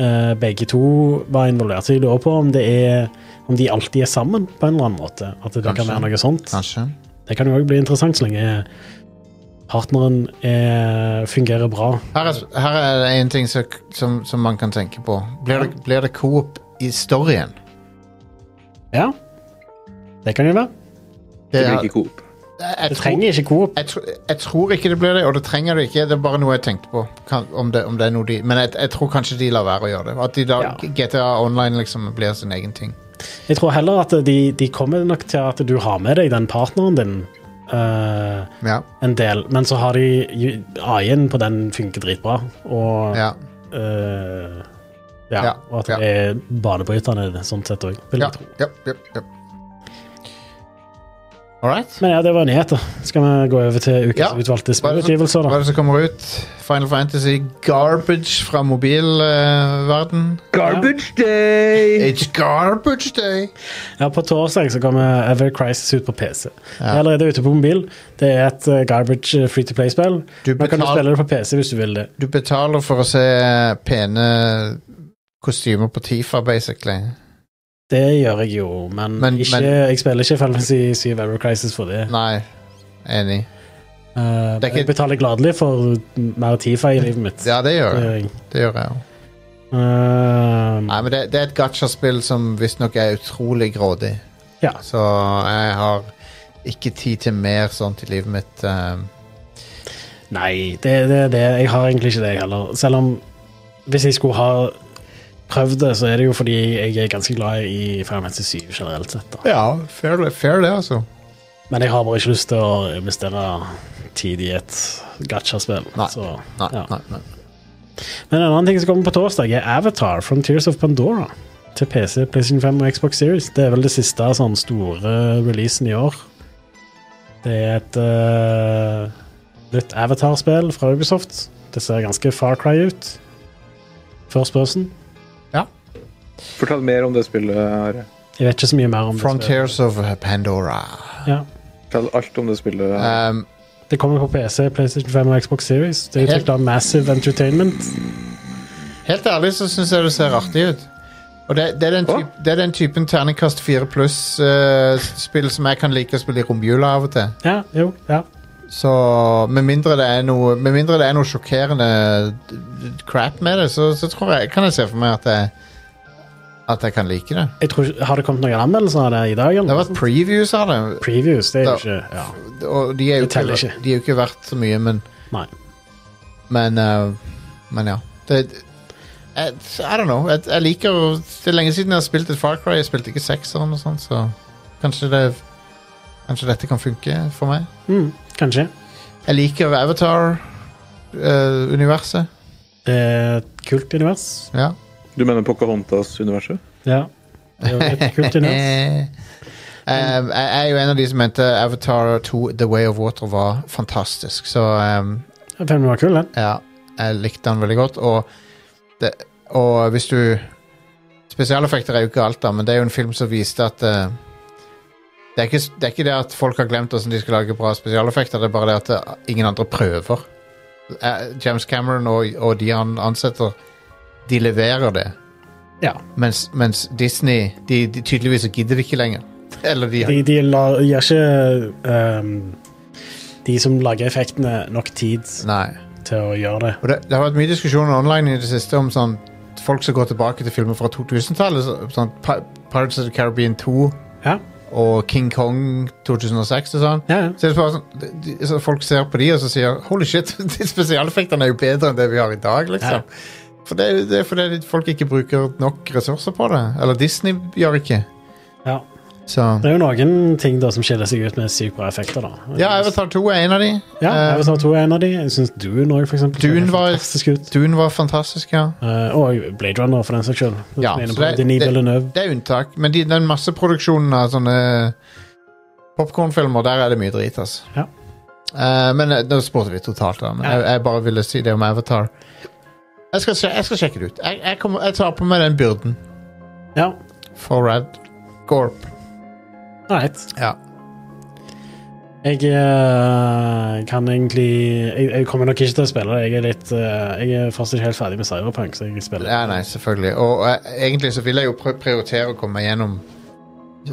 eh, begge to var involvert. Så jeg lurer på om det er om de alltid er sammen på en eller annen måte. At det kan Kanskje. være noe sånt. Kanskje. Det kan jo òg bli interessant så lenge partneren er, fungerer bra. Her er, her er det en ting som, som, som man kan tenke på. Blir det, blir det coop i storyen? Ja. Det kan jo være. Det, Det blir er- ikke Coop. jeg, jeg, Det tror, trenger ikke Coop. jeg, tr- jeg tror ikke det blir det, og det trenger det ikke. Det er bare noe jeg tenkte på. Kan, om, det, om det er noe de, men jeg, jeg tror kanskje de lar være å gjøre det. At de da, Ja. GTA Online liksom blir sin egen ting. Jeg tror heller at de, de kommer nok til at du har med deg den partneren din eh, Ja. en del, men så har de ju- AI-en på den funker dritbra, og ja. eh, ja, Ja, og at ja. det er banebrytende sånn sett òg, vil Ja, jeg tro. ja, ja, ja. All right. Men ja, det var nyheter. Skal vi gå over til ukas Ja. utvalgte Hva er, det som, spillutgivelser, hva da? er det som kommer ut? Final Fantasy Garbage fra mobilverden. Garbage day! It's garbage day! Ja, På torsdag så kommer Ever Crisis ut på PC. Det Ja. er allerede ute på mobil. Det er et eh, garbage eh, free to play-spill. Du Man kan jo betal- spille det på PC hvis du vil det. Du betaler for å se eh, pene kostymer på Tifa, basically. Det gjør jeg jo, men, Men- ikke, men- jeg spiller ikke Final Fantasy 7 Ever Crisis for det. Nei, enig. Eh, Det er ikke- Jeg betaler gladelig for mer Tifa i livet mitt. Ja, det Det gjør jeg. gjør jeg. Det gjør jeg også. Eh, Nei, men det, det er et gacha-spill som visstnok er utrolig grådig. Ja. Så jeg har ikke tid til mer sånt i livet mitt. eh. nei, det er det, det. Jeg har egentlig ikke det, jeg heller. Selv om hvis jeg skulle ha prøvd det, så er det jo fordi jeg er ganske glad i Final Fantasy 7 generelt sett. Da. Ja, fair, fair det, altså. Men jeg har bare ikke lyst til å investere tid i et gacha-spill. Nei. så- Nei, Ja. nei, nei. Men en annen ting som kommer på torsdag, er Avatar from Tears of Pandora. Til PC, PlayStation 5 og Xbox Series. Det er vel det siste sånn store releasen i år. Det er et eh, nytt Avatar-spill fra Ubisoft. Det ser ganske Far Cry ut. First person. Fortell mer om det spillet. Are. Jeg vet ikke så mye mer om det. Frontiers of Pandora. spillet. Ja. Fortell alt om det spillet. Um, Det kommer på PC, PlayStation 5 og Xbox Series. Det er utvikla av Massive Entertainment. Helt ærlig så syns jeg det ser artig ut. Og det, det, er, den typ, det er den typen terningkast 4 pluss-spill som jeg kan like å spille i romjula av og til. Ja, jo, ja. Så med mindre det er noe, med mindre det er noe sjokkerende d- d- crap med det, så, så tror jeg, kan jeg se for meg at jeg, at jeg kan like det. Jeg tror, ikke- har det kommet noen anmeldelser av det i dag? Det har Eller? vært previews av det, Previews, det er jo Det- ikke ja. og de er jo Det teller ikke, ikke. de er jo ikke verdt så mye, men Nei. Men, eh, men ja. Det, jeg, I don't know. Jeg, jeg liker å Det er lenge siden jeg har spilt et Far Cry. Jeg spilte ikke sekseren og sånn, så kanskje, det, kanskje dette kan funke for meg. Mm, kanskje. Jeg liker eh, Avatar-universet. Det er et Eh, kult univers. ja. Du mener Pocahontas-universet? Ja. Det er jo et kult univers. Eh, jeg er jo en av de som mente Avatar 2 The Way of Water var fantastisk, så eh, Filmen var kul, den. Ja, jeg likte den veldig godt. Og, det, og hvis du Spesialeffekter er jo ikke alt, da, men det er jo en film som viste at eh, Det er, ikke, det er ikke det at folk har glemt hvordan de skal lage bra spesialeffekter, det er bare det at eh, ingen andre prøver. Eh, James Cameron og, og de han ansetter, de leverer det. Ja. Mens, mens Disney de, de tydeligvis så gidder de ikke lenger. Eller de, De, de la, gir ikke ehm, de som lager effektene, nok tid Nei. til å gjøre det. Og det, det har vært mye diskusjoner online i det siste om sånn folk som går tilbake til filmer fra 2000-tallet. så- Sånn Pi- Pirates of the Caribbean 2 Ja, og King Kong 2006 og sånn. ja. ja. Så det er bare sånn, de- de, så Folk ser på de og så sier Holy shit, de spesialeffektene er jo bedre enn det vi har i dag. liksom. For det, er jo- det er fordi folk ikke bruker nok ressurser på det. Eller Disney gjør ikke. ja. Så Det er jo noen ting da som skiller seg ut med sykt bra effekter. da. Ja, Avatar 2 er en av de. Ja, Eh, Avatar 2 er en av de. Jeg syns Dune òg, for eksempel. ser Dune var- fantastisk ut. Dune var fantastisk, ja. Eh, og Blade Runner, for den saks skyld. Ja, Den ene så det- på Denis det- Villeneuve. Det er unntak, men de, den masseproduksjonen av sånne popkornfilmer, der er det mye drit, altså. Ja. Eh, men eh, nå spurte vi totalt, da. Men Ja. jeg, jeg bare ville si det om Avatar. Jeg skal, sje- jeg skal sjekke det ut. Jeg, jeg, kommer, jeg tar på meg den byrden Ja, for Rad Gorp. ålreit. Ja. Jeg eh, kan egentlig jeg, jeg kommer nok ikke til å spille det. Jeg er litt eh, Jeg er fortsatt ikke helt ferdig med Cyberpunk, så jeg spiller ja, nei, selvfølgelig. Og eh, egentlig så vil jeg jo pr- prioritere å komme meg gjennom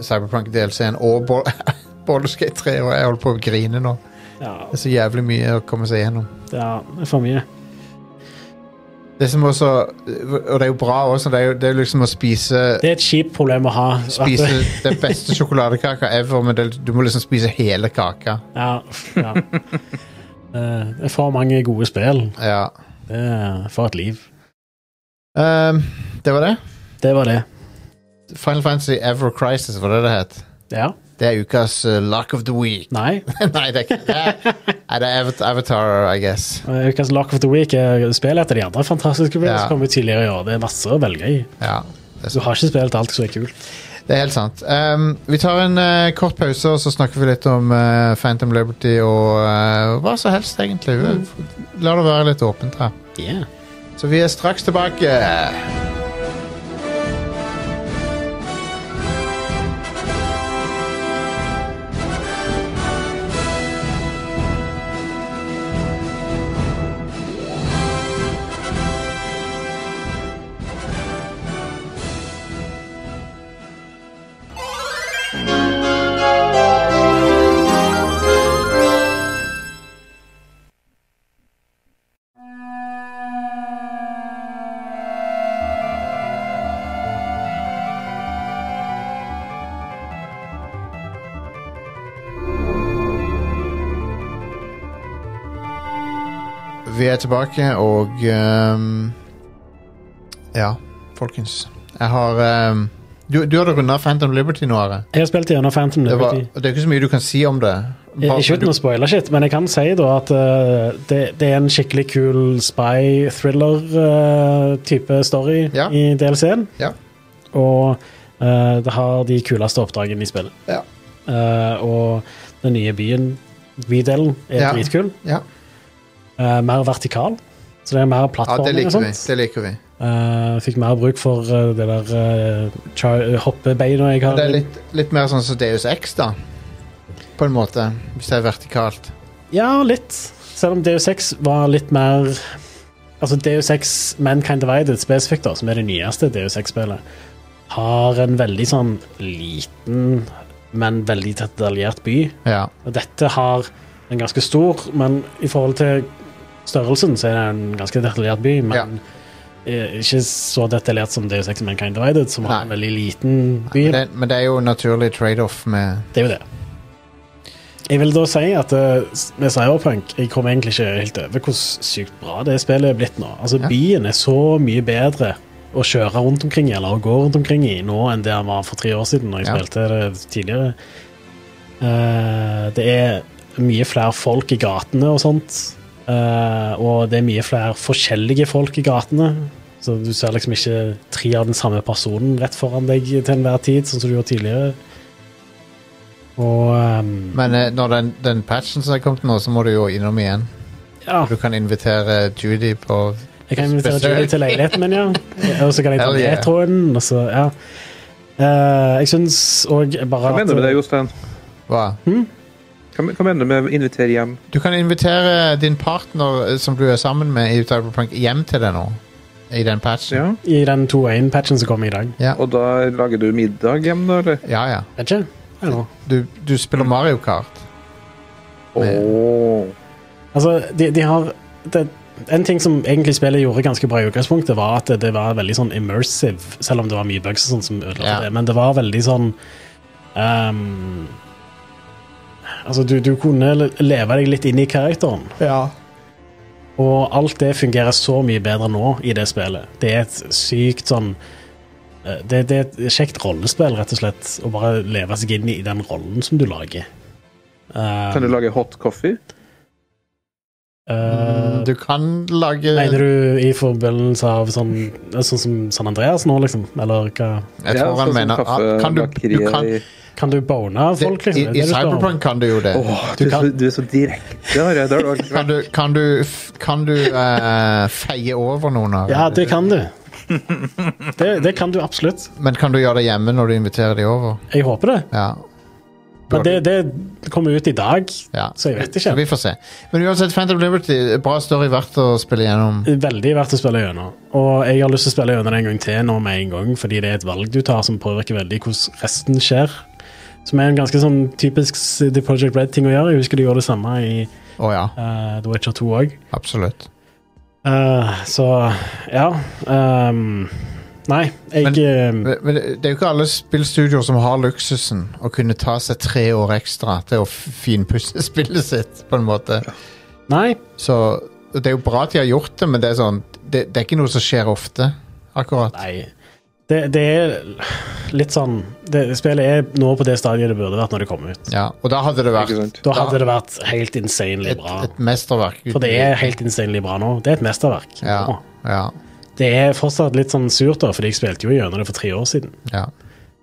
Cyberpunk DLC-en og Bolleskate 3, og jeg holder på å grine nå. Ja, Det er så jævlig mye å komme seg gjennom. ja, det er for mye. Det som også Og det er jo bra også, det er jo, det er jo liksom å spise Det er et kjipt problem å ha. at- Spise den beste sjokoladekaka ever, men det, du må liksom spise hele kaka. Ja, ja. Eh, Det er for mange gode spill. Ja. Det er for et liv. Ehm, det var det. Det var det. Final Fantasy Ever Crisis, var det det het? Ja. Det er ukas eh, Lock of the Week. Nei. Nei, det er ikke det. Er, nei, det er Avat- Avatar, I guess. Eh, Ukas Lock of the Week er spill etter de andre fantastiske spillene Ja. som kom ut tidligere i år. Det er masse å velge i. Ja, det er, Du sant. har ikke spilt alt som er kult. Det er helt sant. Ehm, vi tar en eh, kort pause, og så snakker vi litt om eh, Phantom Liberty og eh, hva som helst, egentlig. Vi- La det være litt åpent her. Yeah. Så vi er straks tilbake. Vi er tilbake, og ehm, Ja, folkens. Jeg har ehm, du, du hadde runda Phantom Liberty nå, Are. Jeg har spilt gjennom Phantom Det, var, Liberty. det er ikke så mye du kan si om det. Eh, Bare- Ikke uten du, å spoile shit, men jeg kan si da at eh, det, det er en skikkelig kul spy thriller-type story Ja. i DLC-en. Ja. Og eh, det har de kuleste oppdragene i spillet. Ja. Eh, og den nye byen, bydelen, er Ja. dritkul. ja. Eh, mer vertikal. Så det er mer ja, det plattforming og liker vi. sånt. Det liker vi. Eh, fikk mer bruk for eh, det der eh, char- hoppebeina jeg har. Det er litt, litt mer sånn som Deus X, da. På en måte. Hvis det er vertikalt. Ja, litt. Selv om DU6 var litt mer Altså, DU6 Mankind Divided spesifikt, da, som er det nyeste DU6-spillet, har en veldig sånn liten, men veldig detaljert by. Ja. Og dette har en ganske stor, men i forhold til størrelsen så er det en ganske detaljert by, men eh, ikke så detaljert som DU6 Mankind Divided, som har en Nei. veldig liten by. Men det, men det er jo en naturlig trade-off med Det er jo det. Jeg vil da si at eh, s- med Cyberpunk Jeg kommer egentlig ikke helt over hvor sykt bra det spillet er blitt nå. Altså Ja. Byen er så mye bedre å kjøre rundt omkring i, eller å gå rundt omkring i nå enn det han var for tre år siden, når jeg Ja. spilte det tidligere. Eh, det er mye flere folk i gatene og sånt. eh, og det er mye flere forskjellige folk i gatene. Så du ser liksom ikke tre av den samme personen rett foran deg til enhver tid, sånn som du gjorde tidligere. Og ehm, Men eh, når den, den patchen som er kommet nå, så må du jo innom igjen. ja, Du kan invitere Judy på jeg kan invitere Spesielt. Julie til leiligheten min, ja. Og så kan jeg ta Hell yeah. metroen, og så, ja. Eh, jeg syns òg bare Hva at mener du med det, Jostein? Hva? Hva, hva mener du med invitere hjem? Du kan invitere din partner eh, som du er sammen med i Cyberpunk hjem til deg nå. I den patchen. Ja. I den 2.1-patchen som kom i dag. Ja, Og da lager du middag hjem, da, eller? ja. ja. Vet ikke? Eller? Du, du spiller Mario Kart. Åh. Altså, de, de har det, En ting som egentlig spillet gjorde ganske bra i utgangspunktet, var at det, det var veldig sånn immersive, selv om det var mye bugs og sånn som ødela Ja. det, men det var veldig sånn ehm, Altså, du, du kunne le- leve deg litt inn i karakteren, Ja. og alt det fungerer så mye bedre nå i det spillet. Det er et sykt sånn eh, det, det er et kjekt rollespill, rett og slett, å bare leve seg inn i den rollen som du lager. Eh, Kan du lage hot coffee? eh, Mm, Du kan lage Mener du i forbindelse av sånn Sånn som San Andreas nå, liksom? Eller hva? Jeg tror sånn han mener ah, kan du, du kan, Kan du bone folk, det, liksom? I, I Det er det du spør om. Cyberpunk kan du jo det. du, er så, du er så direkte, Are. Det har du aldri Kan vært. du, kan du, f- kan du eh, feie over noen av Ja, det kan du. Det, det kan du absolutt. Men kan du gjøre det hjemme når du inviterer de over? Jeg håper det. Ja. Men det, det kommer ut i dag, ja. så jeg vet Så ikke. vi får se. Men uansett, Phantom Liberty, bra story verdt å spille gjennom. Veldig verdt å spille gjennom. Og jeg har lyst til å spille gjennom det en gang til nå med en gang, fordi det er et valg du tar som påvirker veldig hvordan resten skjer. Som er en ganske sånn typisk The Project Red-ting å gjøre. Jeg husker de gjorde det samme i Å ja, eh, The Witcher 2 òg. absolutt. Eh, så ja ehm, Nei, jeg Mm. eh, Men, men det er jo ikke alle spillstudioer som har luksusen å kunne ta seg tre år ekstra til å f- finpusse spillet sitt, på en måte. Nei. Så og det er jo bra at de har gjort det, men det er sånn Det, det er ikke noe som skjer ofte, akkurat. nei. Det, det er litt sånn det, Spillet er nå på det stadiet det burde vært når det kom ut. Ja, og da hadde det vært Ikke sant? Da hadde det vært helt insanely et, bra. et mesterverk. For det er helt insanely bra nå. Det er et mesterverk. Ja, nå. ja, Det er fortsatt litt sånn surt, da, fordi jeg spilte jo gjennom det for tre år siden. ja.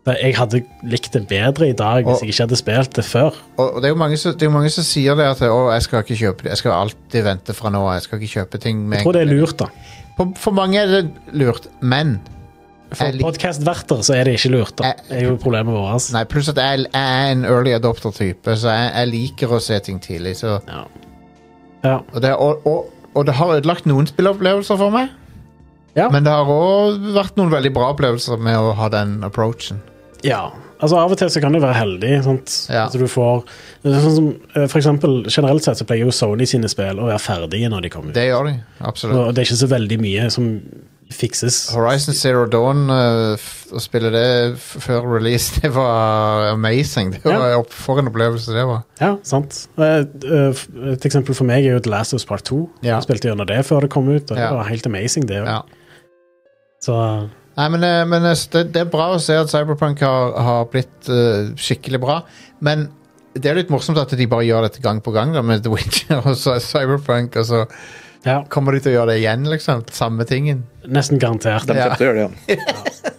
Da Jeg hadde likt det bedre i dag Og- hvis jeg ikke hadde spilt det før. Og og det er jo mange som, det er jo mange som sier det at å, jeg skal ikke kjøpe det. Jeg skal alltid vente fra nå av. Jeg skal ikke kjøpe ting med Jeg tror det er lurt, da. For, for mange er det lurt, men Jeg For lik- podkastverter så er det ikke lurt, da. Jeg- Det er jo problemet vårt. Nei, pluss at jeg, jeg er en early adopter-type, så jeg, jeg liker å se ting tidlig. Så, Ja. ja. og, det, og, og, og det har ødelagt noen spilleopplevelser for meg. Ja. Men det har òg vært noen veldig bra opplevelser med å ha den approachen. Ja. Altså Av og til så kan du være heldig. Sant? Ja. At du får sånn som, eh, For eksempel, generelt sett så pleier jo Sony sine spill å være ferdige når de kommer ut. Det gjør de. Absolutt. Og det er ikke så veldig mye som fikses. Horizon Zero Dawn, øh, f- å spille det f før release, det var amazing. Det var opp, For en opplevelse det var. Ja, sant Eh, eh, f- Et eksempel for meg er jo The Last of Us Part 2. Ja. Jeg spilte gjennom det før det kom ut, og det Ja. var helt amazing, det òg. Ja. Så Nei, men, eh, men eh, det, det er bra å se at Cyberpunk har, har blitt eh, skikkelig bra. Men det er litt morsomt at de bare gjør dette gang på gang da, med The Witcher og så Cyberpunk. Og så ja, kommer de til å gjøre det igjen, liksom. Samme tingen. nesten garantert. De kommer til å gjøre det igjen.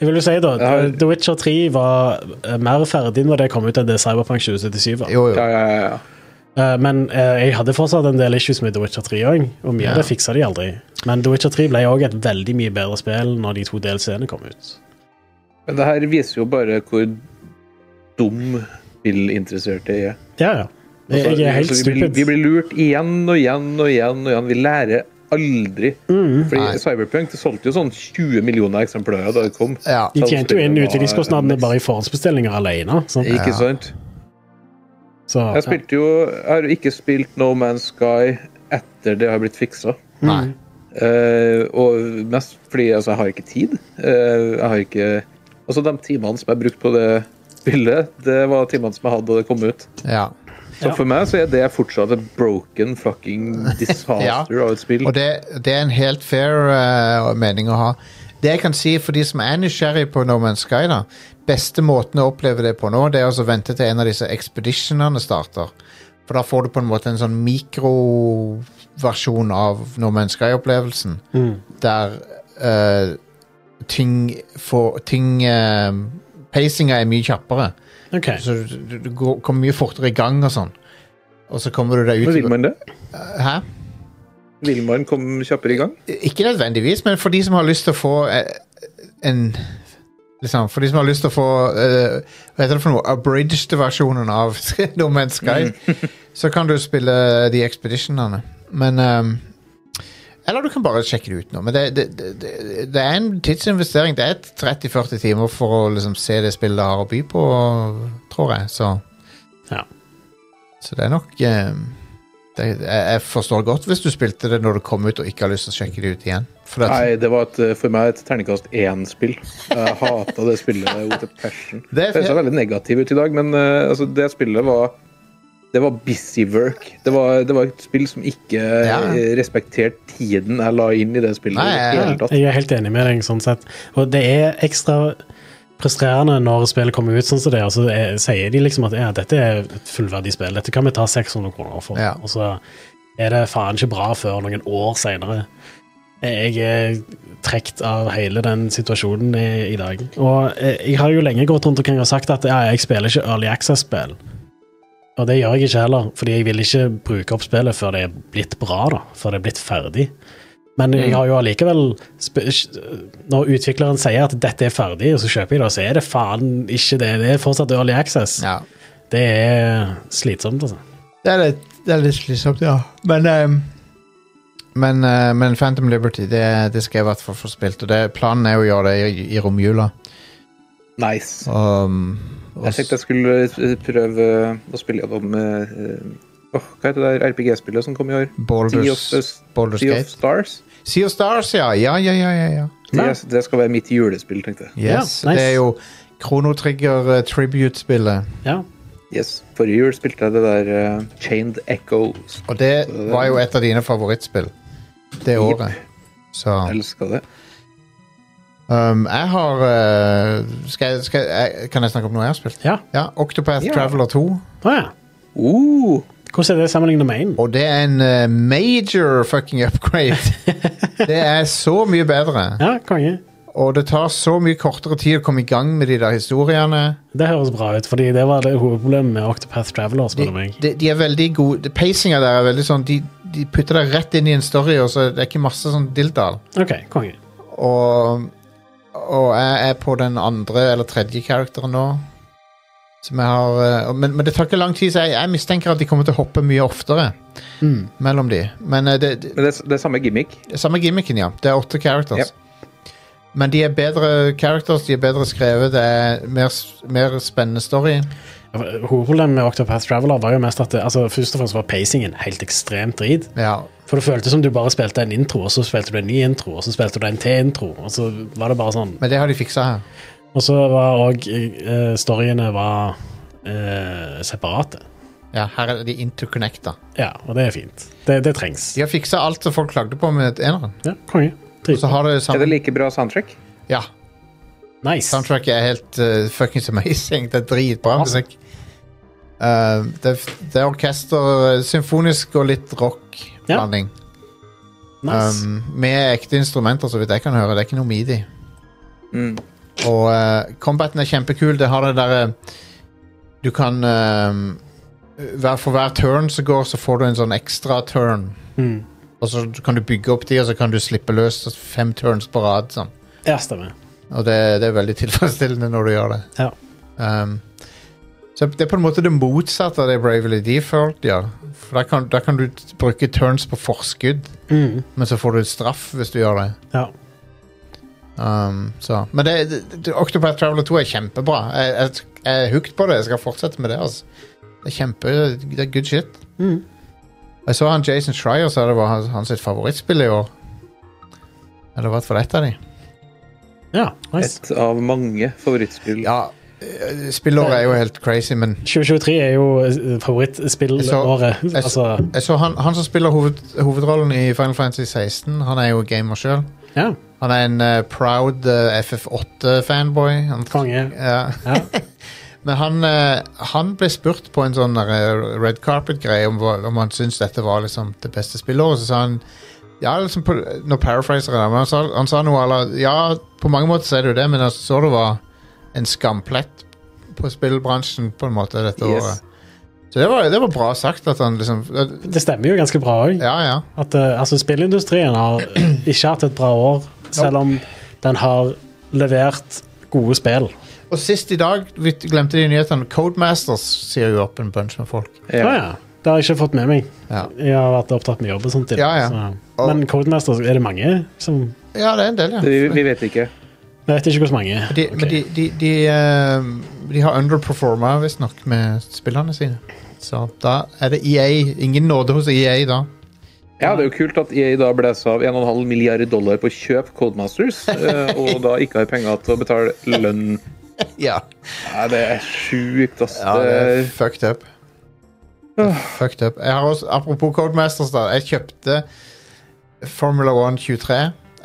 Jeg vil jo si da, eh, Ja. The Witcher 3 var eh, mer ferdig når det kom ut enn det Cyberpunk 2077 var. Jo, jo. Ja, ja, ja, ja. Eh, Men eh, jeg hadde fortsatt en del issues med The Witcher 3 òg, og mye av det fiksa de aldri. Men The Witcher 3 ble òg et veldig mye bedre spill når de to DLC-ene kom ut. Men det her viser jo bare hvor dum spillinteresserte er. Ja, ja. Jeg, Altså, jeg er helt altså, vi, blir- stupid. vi blir lurt igjen og igjen og igjen. og igjen. Vi lærer aldri. Mm. Fordi Nei. Cyberpunk det solgte jo sånn 20 millioner eksemplarer da det kom. Ja. De tjente jo inn utviklingskostnadene bare i forhåndsbestillinger alene. sant? Ikke sant? Så, Jeg spilte jo Jeg har jo ikke spilt No Man's Sky etter det har blitt fiksa. Nei. Eh, og mest fordi altså, jeg har ikke tid. Eh, jeg har ikke Altså, de timene som jeg brukte på det spillet, det var timene som jeg hadde da det kom ut. Ja. Så Ja. for meg så er det fortsatt et broken fucking disaster av et spill. Og det, det er en helt fair eh, mening å ha. Det jeg kan si for de som er nysgjerrig på No Man's Sky, da, beste måten å oppleve det på nå, det er altså å vente til en av disse expeditionene starter. For da får du på en måte en sånn mikroversjon av No Man's Sky-opplevelsen. Mm. Der eh, ting får Ting eh, Pacinga er mye kjappere. ok. Så du, du, du går, kommer mye fortere i gang og sånn. Og så kommer du deg Men vil ut man det? Hæ? Vil man komme kjappere i gang? Ikke nødvendigvis, men for de som har lyst til å få eh, en Liksom, for de som har lyst til å få eh, Hva heter det for noe? Abridged versjonen av No Man's Sky. så kan du spille de expeditionene. Men ehm, Eller du kan bare sjekke det ut nå. Men det, det, det, det- det er en tidsinvestering. Det er et 30-40 timer for å liksom, se det spillet har å by på, tror jeg. Så, Ja. så det er nok ehm, det, jeg, jeg forstår godt hvis du spilte det når det kom ut og ikke har lyst til å sjekke det ut igjen. For at, Nei, det var et, eh, for meg et terningkast én-spill. Jeg hata det spillet. Out of passion. Det er Det ser veldig negativ ut i dag, men eh, altså, det spillet var Det var busy work. Det var, det var et spill som ikke eh, respekterte tiden jeg la inn i det spillet. Nei, i det hele tatt. Jeg er helt enig med deg, sånn sett. Og det er ekstra frustrerende når spillet kommer ut sånn som det, er, og så er, sier de liksom at ja, dette er et fullverdig spill, dette kan vi ta 600 kroner for, Ja. og så er det faen ikke bra før noen år senere. Jeg er trekt av hele den situasjonen i, i dag. Og jeg, jeg har jo lenge gått rundt omkring og sagt at ja, jeg spiller ikke Early Access-spill. Og det gjør jeg ikke heller, fordi jeg vil ikke bruke opp spillet før det er blitt bra, da. Før det er blitt ferdig. Men jeg har jo allikevel sp- Når utvikleren sier at dette er ferdig, og så kjøper jeg det, så er det faen ikke det. Det er fortsatt Early Access. ja. Det er slitsomt, altså. Det er litt, det er litt slitsomt, ja. Men, ehm, men, eh, men Phantom Liberty, det, det skal jeg i hvert fall få spilt. Og det, planen er jo å gjøre det i, i romjula. Nice. Um, og Jeg s- tenkte jeg skulle eh, prøve å spille gjennom eh, eh, åh, Hva heter det der RPG-spillet som kom i år? Sea of, Baldur's, Baldur's sea of Gate. Stars? Sea of Stars, ja. Ja, ja, ja. ja, ja. Det, Ja. det skal være mitt julespill, tenkte jeg. Yes, Ja, nice. Det er jo Chrono Trigger eh, Tribute-spillet. Ja. Yes, Forrige jul spilte jeg det der eh, Chained Echoes. Og det var jo et av dine favorittspill det Jep. året. Så Jeg elska det. um, jeg har eh, skal, jeg- skal, jeg, Kan jeg snakke om noe jeg har spilt? Ja. Ja, Octopath Ja. Traveler 2. Å ja. Uh, Hvordan er det sammenlignet med én? Og det er en eh, major fucking upgrade. det er så mye bedre. Ja, konge. Og det tar så mye kortere tid å komme i gang med de der historiene. Det høres bra ut, fordi det var det hovedproblemet med Octopath Traveler. De, spør du meg. de, de er veldig gode Pacinga der er veldig sånn De, de putter deg rett inn i en story, og så er det ikke masse sånn dilldall. OK, konge. Og, og jeg er på den andre eller tredje karakteren nå. Som jeg har eh, og- men, men det tar ikke lang tid, så jeg, jeg mistenker at de kommer til å hoppe mye oftere Mm. mellom de. Men eh, det, det, men det, er s- det er samme gimmick. Det er Samme gimmicken, ja. Det er åtte characters. Ja. Men de er bedre characters, de er bedre skrevet, det er mer, s- mer spennende story. Hovedproblemet med Octopath Traveler var jo mest at det, altså, først og fremst var pacingen helt ekstremt drit. Ja. For det føltes som du bare spilte en intro, og så spilte du en ny intro, og så spilte du en til intro, og så var det bare sånn. Men det har de fiksa her. Og så var òg eh, storyene var eh, separate. Ja, her er de interconnecta. Ja, og det er fint. Det, det trengs. De har fiksa alt som folk klagde på med eneren. Ja, konge. Og så Dritbra. har det Er det samme like bra soundtrack? Ja, Nice. soundtracket er helt uh, fuckings amazing. Det er dritbra Awesome. musikk. Uh, det, er f- det er orkester, uh, symfonisk og litt Ja. rock-blanding. nice. Um, med ekte instrumenter, så vidt jeg kan høre. Det er ikke noe midi. Mm. Og eh, combaten er kjempekul. Det har det derre Du kan eh, hver, For hver turn som går, så får du en sånn ekstra turn. Mm. Og så kan du bygge opp de, og så kan du slippe løs fem turns på rad. Sånn. Ja, stemmer. Og det, det er veldig tilfredsstillende når du gjør det. Ja. Um, så det er på en måte det motsatte av det Bravely Default gjør. For der kan, der kan du t- bruke turns på forskudd, Mm. men så får du straff hvis du gjør det. Ja. Um, så. Men det, det, det- Octopath Traveler 2 er kjempebra. Jeg, jeg, jeg er hooked på det. Jeg skal fortsette med det. Altså. Det er kjempe, det er good shit. Mm. Jeg så han Jason Schreier sa det var hans, hans sitt favorittspill i år. Eller i hvert fall ett av de. ja, nice. Et av mange favorittspill. Ja, eh, spillåret er jo helt crazy, men 2023 er jo eh, favorittspillåret. Jeg så- Altså, jeg så han, han som spiller hoved, hovedrollen i Final Fantasy 16, han er jo gamer sjøl. ja, Han er en eh, proud eh, FF8-fanboy. Han konge. Ja. Ja. Men han, eh, han ble spurt på en sånn der, eh, red carpet-greie om, hva- om han syntes dette var liksom det beste spillåret. Så sa han ja, liksom på, Nå paraphraser jeg, det, men han sa, han sa noe à la Ja, på mange måter så er det jo det, men jeg så det var en skamplett på spillbransjen på en måte dette Yes. året. Så det var, det var bra sagt at han liksom Det stemmer jo ganske bra òg. Ja, ja. At eh, altså, spillindustrien har ikke hatt et bra år, selv om den har levert gode spill. Og sist i dag, vi glemte de nyhetene, Codemasters sier jo opp en bunch med folk. Ja. Ja. ja. Det har jeg ikke fått med meg. Ja, Jeg har vært opptatt med jobb og sånt. i dag, Ja, ja. Så. Men Codemaster, er det mange som ja det er en del, ja. Det, vi, vi vet ikke. Jeg vet ikke hvordan mange. De, Ok. Men de, de, de, eh, de har underperforma visstnok med spillerne sine. Så da er det EA. Ingen nåde hos EA da. Ja, Det er jo kult at EA da blæsa av 1,5 milliard dollar på å kjøpe Codemasters, eh, og da ikke har penger til å betale lønn. Ja, Nei, det er sjukt, ass. det er det er, fucked up. Det er Fucked up. Jeg har også, apropos Codemasters, da. Jeg kjøpte Formula 1 23.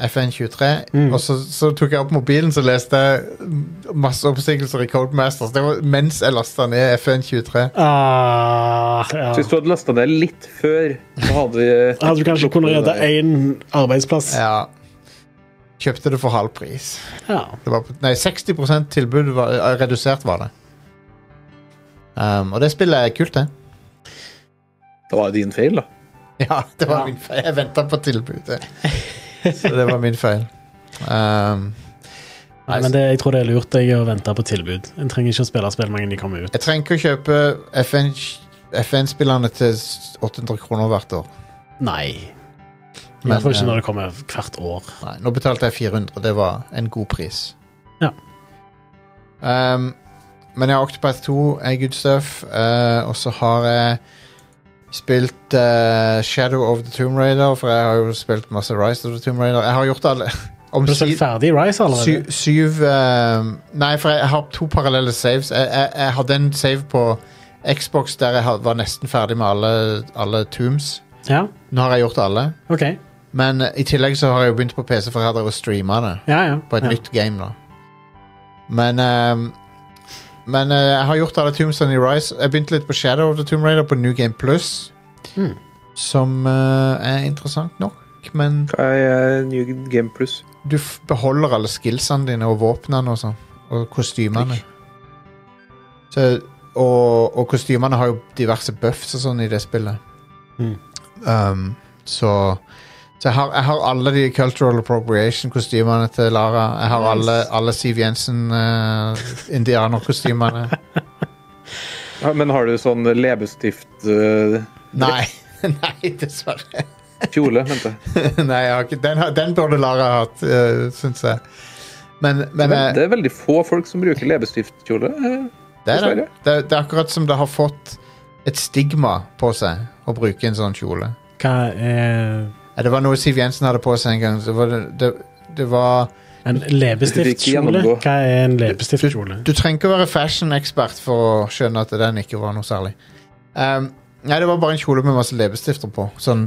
FN 23. Og så, så tok jeg opp mobilen så leste jeg masse oppsigelser i Codemasters. Det var mens jeg lasta ned FN 23. Ah, ja. hvis du hadde lasta ned litt før, så hadde vi Hadde du kanskje kunnet redde én arbeidsplass? Ja. Kjøpte det for halv pris. Ja. Det var, på- nei, 60 tilbud var, eh, redusert var det. Um, og det spillet er kult, det. Det var din feil, da. Ja, det var Ja. min feil. Jeg venta på tilbudet. Så det var min feil. Um, Nei, men det, jeg tror det er lurt jeg, å vente på tilbud. En trenger ikke å spille spill mange de kommer ut. jeg trenger ikke å kjøpe FN FN-spillerne til s- 800 kroner hvert år. Nei. I Men, hvert fall eh, ikke når det kommer hvert år. Nei, nå betalte jeg 400. Det var en god pris. Ja. Um, men jeg har Octopath 2, er good stuff. eh, og så har jeg spilt eh, Shadow of the Tomb Raider, for jeg har jo spilt masse Rise of the Tomb Raider. Jeg har gjort alle om Har du si- spilt ferdig Rise allerede? Sy, syv ehm, Nei, for jeg har to parallelle saves. Jeg, jeg, jeg hadde en save på Xbox der jeg ha- var nesten ferdig med alle, alle tombs. Ja, Nå har jeg gjort alle. ok. Men eh, i tillegg så har jeg jo begynt på PC, for jeg har drevet og streama det Ja, ja. på et ja. nytt game. da Men ehm, Men eh, jeg har gjort alle tombsene i Rise. Jeg begynte litt på Shadow of the Tomb Raider på New Game Plus, Hmm. som eh, er interessant nok. Men Hva er New Game Plus? du f- beholder alle skillsene dine og våpnene og sånn. Og kostymene. Så, og, og kostymene har jo diverse buffs og sånn i det spillet. Mm. Um, så så jeg, har, jeg har alle de Cultural Appropriation-kostymene til Lara. Jeg har alle, alle Siv eh, Jensen-indianerkostymene. Ja, Men har du sånn eh, leppestift-kjole, nei, nei, dessverre. mente jeg? nei, jeg har ikke, den, har- den burde Lara hatt, uh, syns jeg. Men, men Men eh, det er veldig få folk som bruker leppestiftkjole. eh, Det er, det. Dessverre. Det, det er akkurat som det har fått et stigma på seg å bruke en sånn kjole. Hva er Ja, Det var noe Siv Jensen hadde på seg en gang. Så var det, det, det var en Du vil leppestiftkjole? ikke gjennomgå. Hva er en du, leppestiftkjole? du trenger ikke å være fashion-ekspert for å skjønne at den ikke var noe særlig. Ehm, nei, det var bare en kjole med masse leppestifter på. Sånn,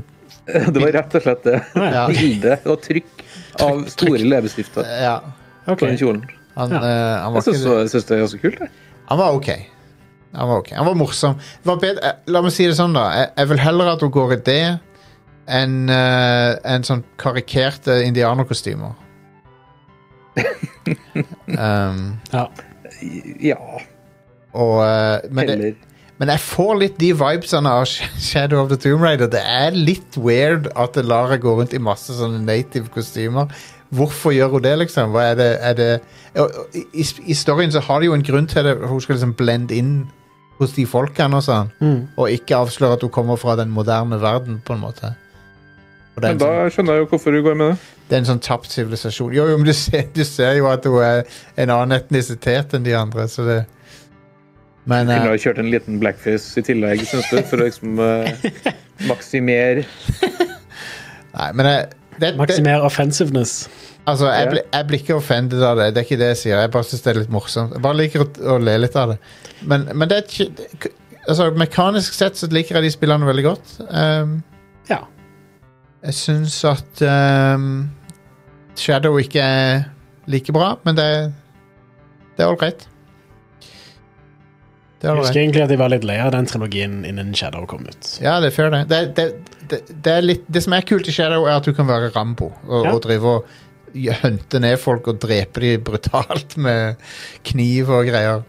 Det var rett og slett det. Ja. Bilde og trykk av store leppestifter ja. Ok. på den kjolen. Han, Ja. eh, han, Jeg var syns ikke, jeg syns det er ganske kult. jeg. han var ok. Han var ok. Han var morsom. Det var bedre, eh, la meg si det sånn, da. Jeg, jeg vil heller at hun går i det enn eh, enn sånn karikerte indianerkostymer. Ehm, Ja. Ja, og, eh, men, det, heller. men jeg får litt de vibesene av Sh- Shadow of the Tomb Raider. Det er litt weird at Lara går rundt i masse sånne native kostymer. Hvorfor gjør hun det, liksom? Hva er det, er det og- og i, I storyen så har de jo en grunn til det. for Hun skal liksom blende inn hos de folkene og sånn. Mm. Og ikke avsløre at hun kommer fra den moderne verden, på en måte. Og det er Men en da sånn, skjønner jeg jo hvorfor du går med det. det er en sånn tapt sivilisasjon. Jo, jo, men du ser, du ser jo at hun er en annen etnisitet enn de andre, så det Men eh, Kunne ha kjørt en liten blackface i tillegg, syns du, for å liksom eh, maksimere Nei, men jeg, det, det, Maksimer offensiveness. altså, jeg, blir- jeg blir ikke offended av det. Det er ikke det jeg sier. Jeg bare syns det er litt morsomt. Jeg bare liker å, å le litt av det. Men, men det er ikke det- Altså, mekanisk sett så liker jeg de spillene veldig godt. Ehm, Ja. jeg syns at ehm, Shadow ikke er like bra, men det, det er ålreit. Det er Jeg ålreit. husker egentlig at jeg var litt lei av den trilogien innen Shadow kom ut. Ja, det er fair, det. Det, det, det, det, er litt, det som er kult i Shadow, er at du kan være Rambo og, Ja. og drive og hunte ned folk og drepe dem brutalt med kniv og greier.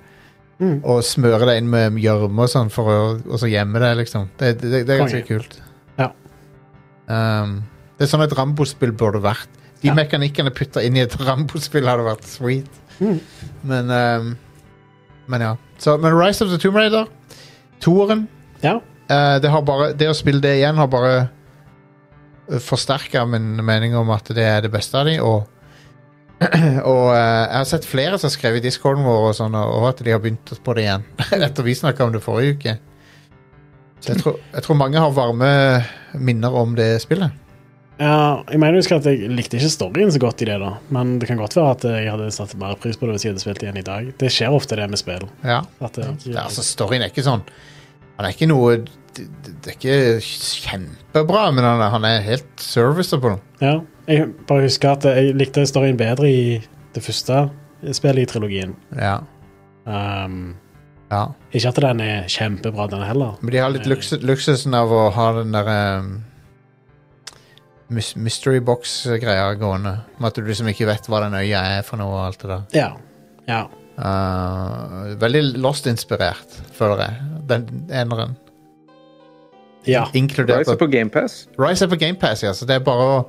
Mm. Og smøre deg inn med gjørme og sånn, for å, og så gjemme deg, liksom. Det, det, det, det er ganske Konge. kult. Ja. Um, det er sånn et Rambo-spill burde vært. De Ja. mekanikkene putta inn i et Rambo-spill hadde vært sweet. Mm. Men ehm, Men ja. Så, men Rise of the Tomb Raider, toeren Ja. eh, det, har bare, det å spille det igjen har bare forsterka min mening om at det er det beste av de, og og eh, jeg har sett flere som har skrevet i discorden vår og, sånn, og at de har begynt på det igjen. Etter vi snakka om det forrige uke. Så jeg tror, jeg tror mange har varme minner om det spillet. Ja, jeg mener jeg husker at jeg likte ikke storyen så godt i det, da. Men det kan godt være at jeg hadde satt mer pris på det hvis jeg hadde spilt igjen i dag. Det skjer ofte, det med spill. Ja. At eh, jeg, Det, er- altså, storyen er ikke sånn Han er ikke noe Det, det er ikke kjempebra, men han er, han er helt serviceable. ja. jeg bare husker at jeg likte storyen bedre i det første spillet i trilogien. Ja. Um, ja. ikke at den er kjempebra, den heller. Men de har litt luksus, luksusen av å ha den der ehm, mys- mystery box-greia gående. Med at du liksom ikke vet hva den øya er for noe og alt det der. Ja. ja. Eh, veldig Lost-inspirert, føler jeg. Den eneren. Ja. Inkludert Rise er på GamePass. Rise er på GamePass, ja. Så det er bare å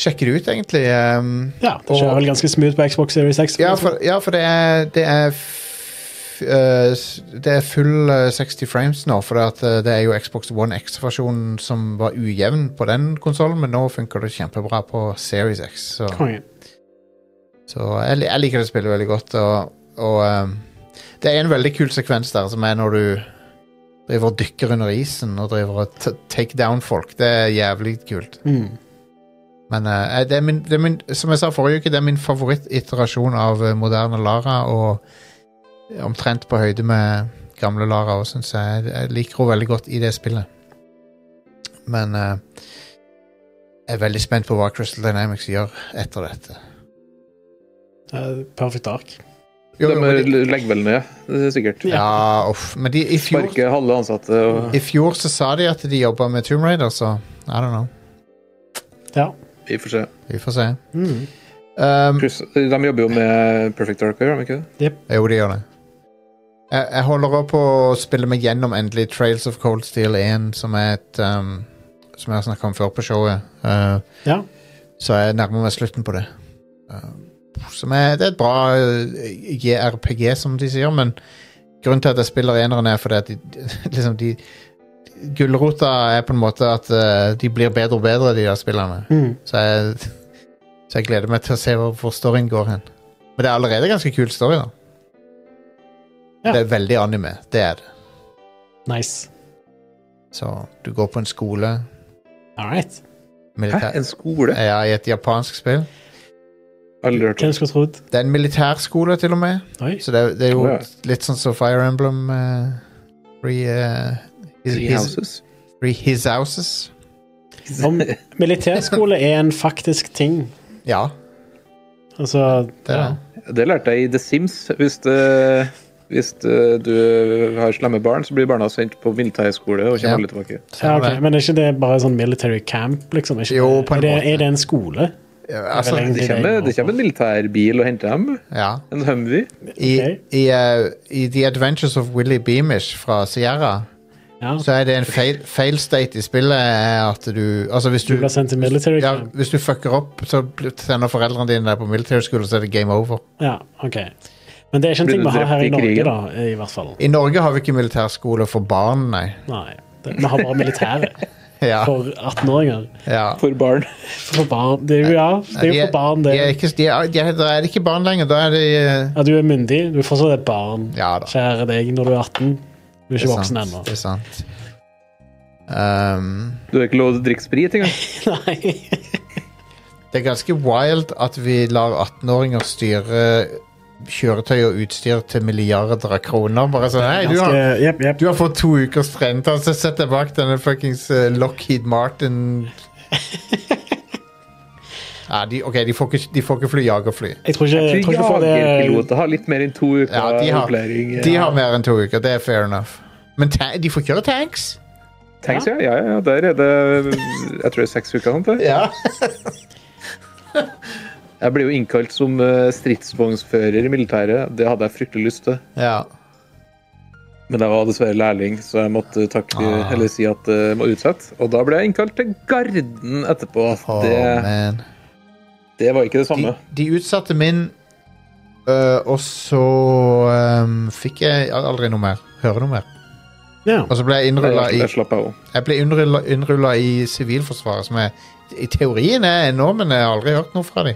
sjekke det ut, egentlig. ehm. ja det skjer Og- vel ganske smooth på Xbox Series X. Ja, for, ja, for det er Det er, f, eh, s- det er full eh, 60 frames nå, for at, eh, det er jo Xbox One X-versjonen som var ujevn på den konsollen, men nå funker det kjempebra på Series X. Så, Konge. så jeg, li- jeg liker det spillet veldig godt. Og, og eh, det er en veldig kul sekvens der, som er når du driver og dykker under isen og driver og t take down folk. Det er jævlig kult. Mm. Men eh, det er min, det er min, som jeg sa forrige uke, det er min favorittiterasjon av eh, moderne Lara. Og omtrent på høyde med gamle Lara òg, syns jeg. Jeg liker henne veldig godt i det spillet. Men eh, jeg er veldig spent på hva Crystal Dynamics gjør etter dette. Eh, Perfect Dark. Jo, jo, men de, De legger vel ned, det er sikkert. ja, uff. Men de, i, fjor, Sparker halve ansatte og i fjor så sa de at de jobba med Tomb Raider, så I don't know. Ja. Vi får se. Vi får se. Mm. Um, Kryss- De jobber jo med Perfect Dark, gjør de ikke det? Jo, det gjør det. Jeg, jeg holder opp på å spille meg gjennom endelig Trails of Cold Steel 1, som er et um, Som jeg har snakka om før på showet. Uh, Ja. Så jeg nærmer meg slutten på det. Uh, som er, det er et bra uh, JRPG, som de sier, men grunnen til at jeg spiller eneren, er fordi at de, liksom de Gulrota er på en måte at uh, de blir bedre og bedre, de der spillerne. Mm. Så jeg, så jeg gleder meg til å se hvor, hvor storyen går hen. Men det er allerede ganske kul story, da. Ja. Det er veldig anime. Det er det. Nice. Så du går på en skole All right. Hæ, militær, en skole? Ja, i et japansk spill. Aldri hørt om. Hvem skulle trodd? Det er en militærskole, til og med. Oi. Så det, er- det er jo Ja. litt sånn som Fire Emblem eh, Three eh, his, Three his, Houses? three his Houses. Om militærskole er en faktisk ting. Ja, Altså, det er det. Det lærte jeg i The Sims. Hvis, det, hvis det, du har slemme barn, så blir barna sendt på militærskole og Ja. kommer aldri tilbake. ja, Stemmer det. ok, Men er ikke det bare sånn military camp, liksom? Er Ikke Jo, på en er det, måte. Er det en skole? Ja, altså, Det er vel Det kommer, det kommer en militærbil og henter dem. ja. En Humvee. I, Ok. i, eh, I The Adventures of Willy Beamish fra Sierra Ja. så er det en fail, fail state i spillet er at du Altså, hvis Du du blir sendt til military ja, camp? hvis du fucker opp, så blir- sender foreldrene dine deg på military school, så er det game over. Ja, OK. Men det er ikke en Blir ting du vi har her i drept i Norge, krigen? da, i hvert fall. I Norge har vi ikke militærskole for barn, nei. Nei. Det, vi har bare militæret Ja, for 18-åringer. ja. For barn. For barn. Det er jo, ja, det er jo for barn, det. De er ikke, de er, de er, da er det ikke barn lenger. Da er de eh, Ja, du er myndig. Du er fortsatt et barn. Ja da. Kjære deg, når du er 18. Du er det er ikke voksen sant, ennå. Det er sant. Um, Du har ikke lov til å drikke sprit engang. Nei. det er ganske wild at vi lar 18-åringer styre kjøretøy og utstyr til milliarder av kroner. Bare sånn Hei, du har Ganske, jep, jep. Du har fått to ukers trening. Ta så Sett deg bak denne fuckings eh, Lockheed Martin. Ja, de, ok, de får ikke, de får ikke fly jagerfly. Jeg tror ikke, jeg tror ikke du får Eh, det Jagerpiloter har litt mer enn to uker Ja, de har, opplæring. eh. de har mer enn to uker. Det er fair enough. Men ta, de får kjøre tanks. Tanks, ja. Ja, ja, ja. Der er det Jeg tror det er seks uker. Sant? det? Ja. Jeg ble jo innkalt som eh, stridsvognsfører i militæret. Det hadde jeg fryktelig lyst til. ja. Men jeg var dessverre lærling, så jeg måtte takke, Ah. eller si at det må utsette. Og da ble jeg innkalt til Garden etterpå. Oh, det, man. det var ikke det De, samme. de utsatte min Eh, og så ehm, fikk jeg aldri noe mer. Høre noe mer. Ja. Og så ble jeg innrulla i Det slapp jeg òg. Jeg ble innrulla- innrulla i Sivilforsvaret, som jeg, i teorien er enorm, men jeg har aldri hørt noe fra dem.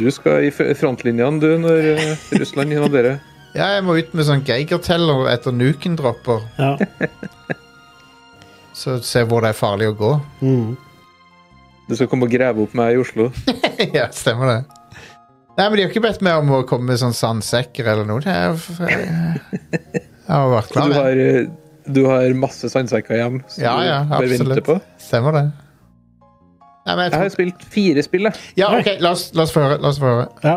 Du skal i f- frontlinjene, du, når eh, Russland invaderer. Ja, jeg må ut med sånn Geiger-teller etter nuken dropper, ja. så se hvor det er farlig å gå. Mm. Du skal komme og grave opp meg i Oslo. ja, stemmer det. Nei, men de har ikke bedt meg om å komme med sånn sandsekker eller noe. Det er, jeg, jeg har vært Du klar. jeg. har, eh, du har masse sandsekker hjem som Ja, ja, du bør vente absolutt. på. Stemmer det. Nei, men jeg Jeg har tror... jo spilt fire spill, jeg. Ja, ok, la oss, la oss få høre. La oss få høre. ja.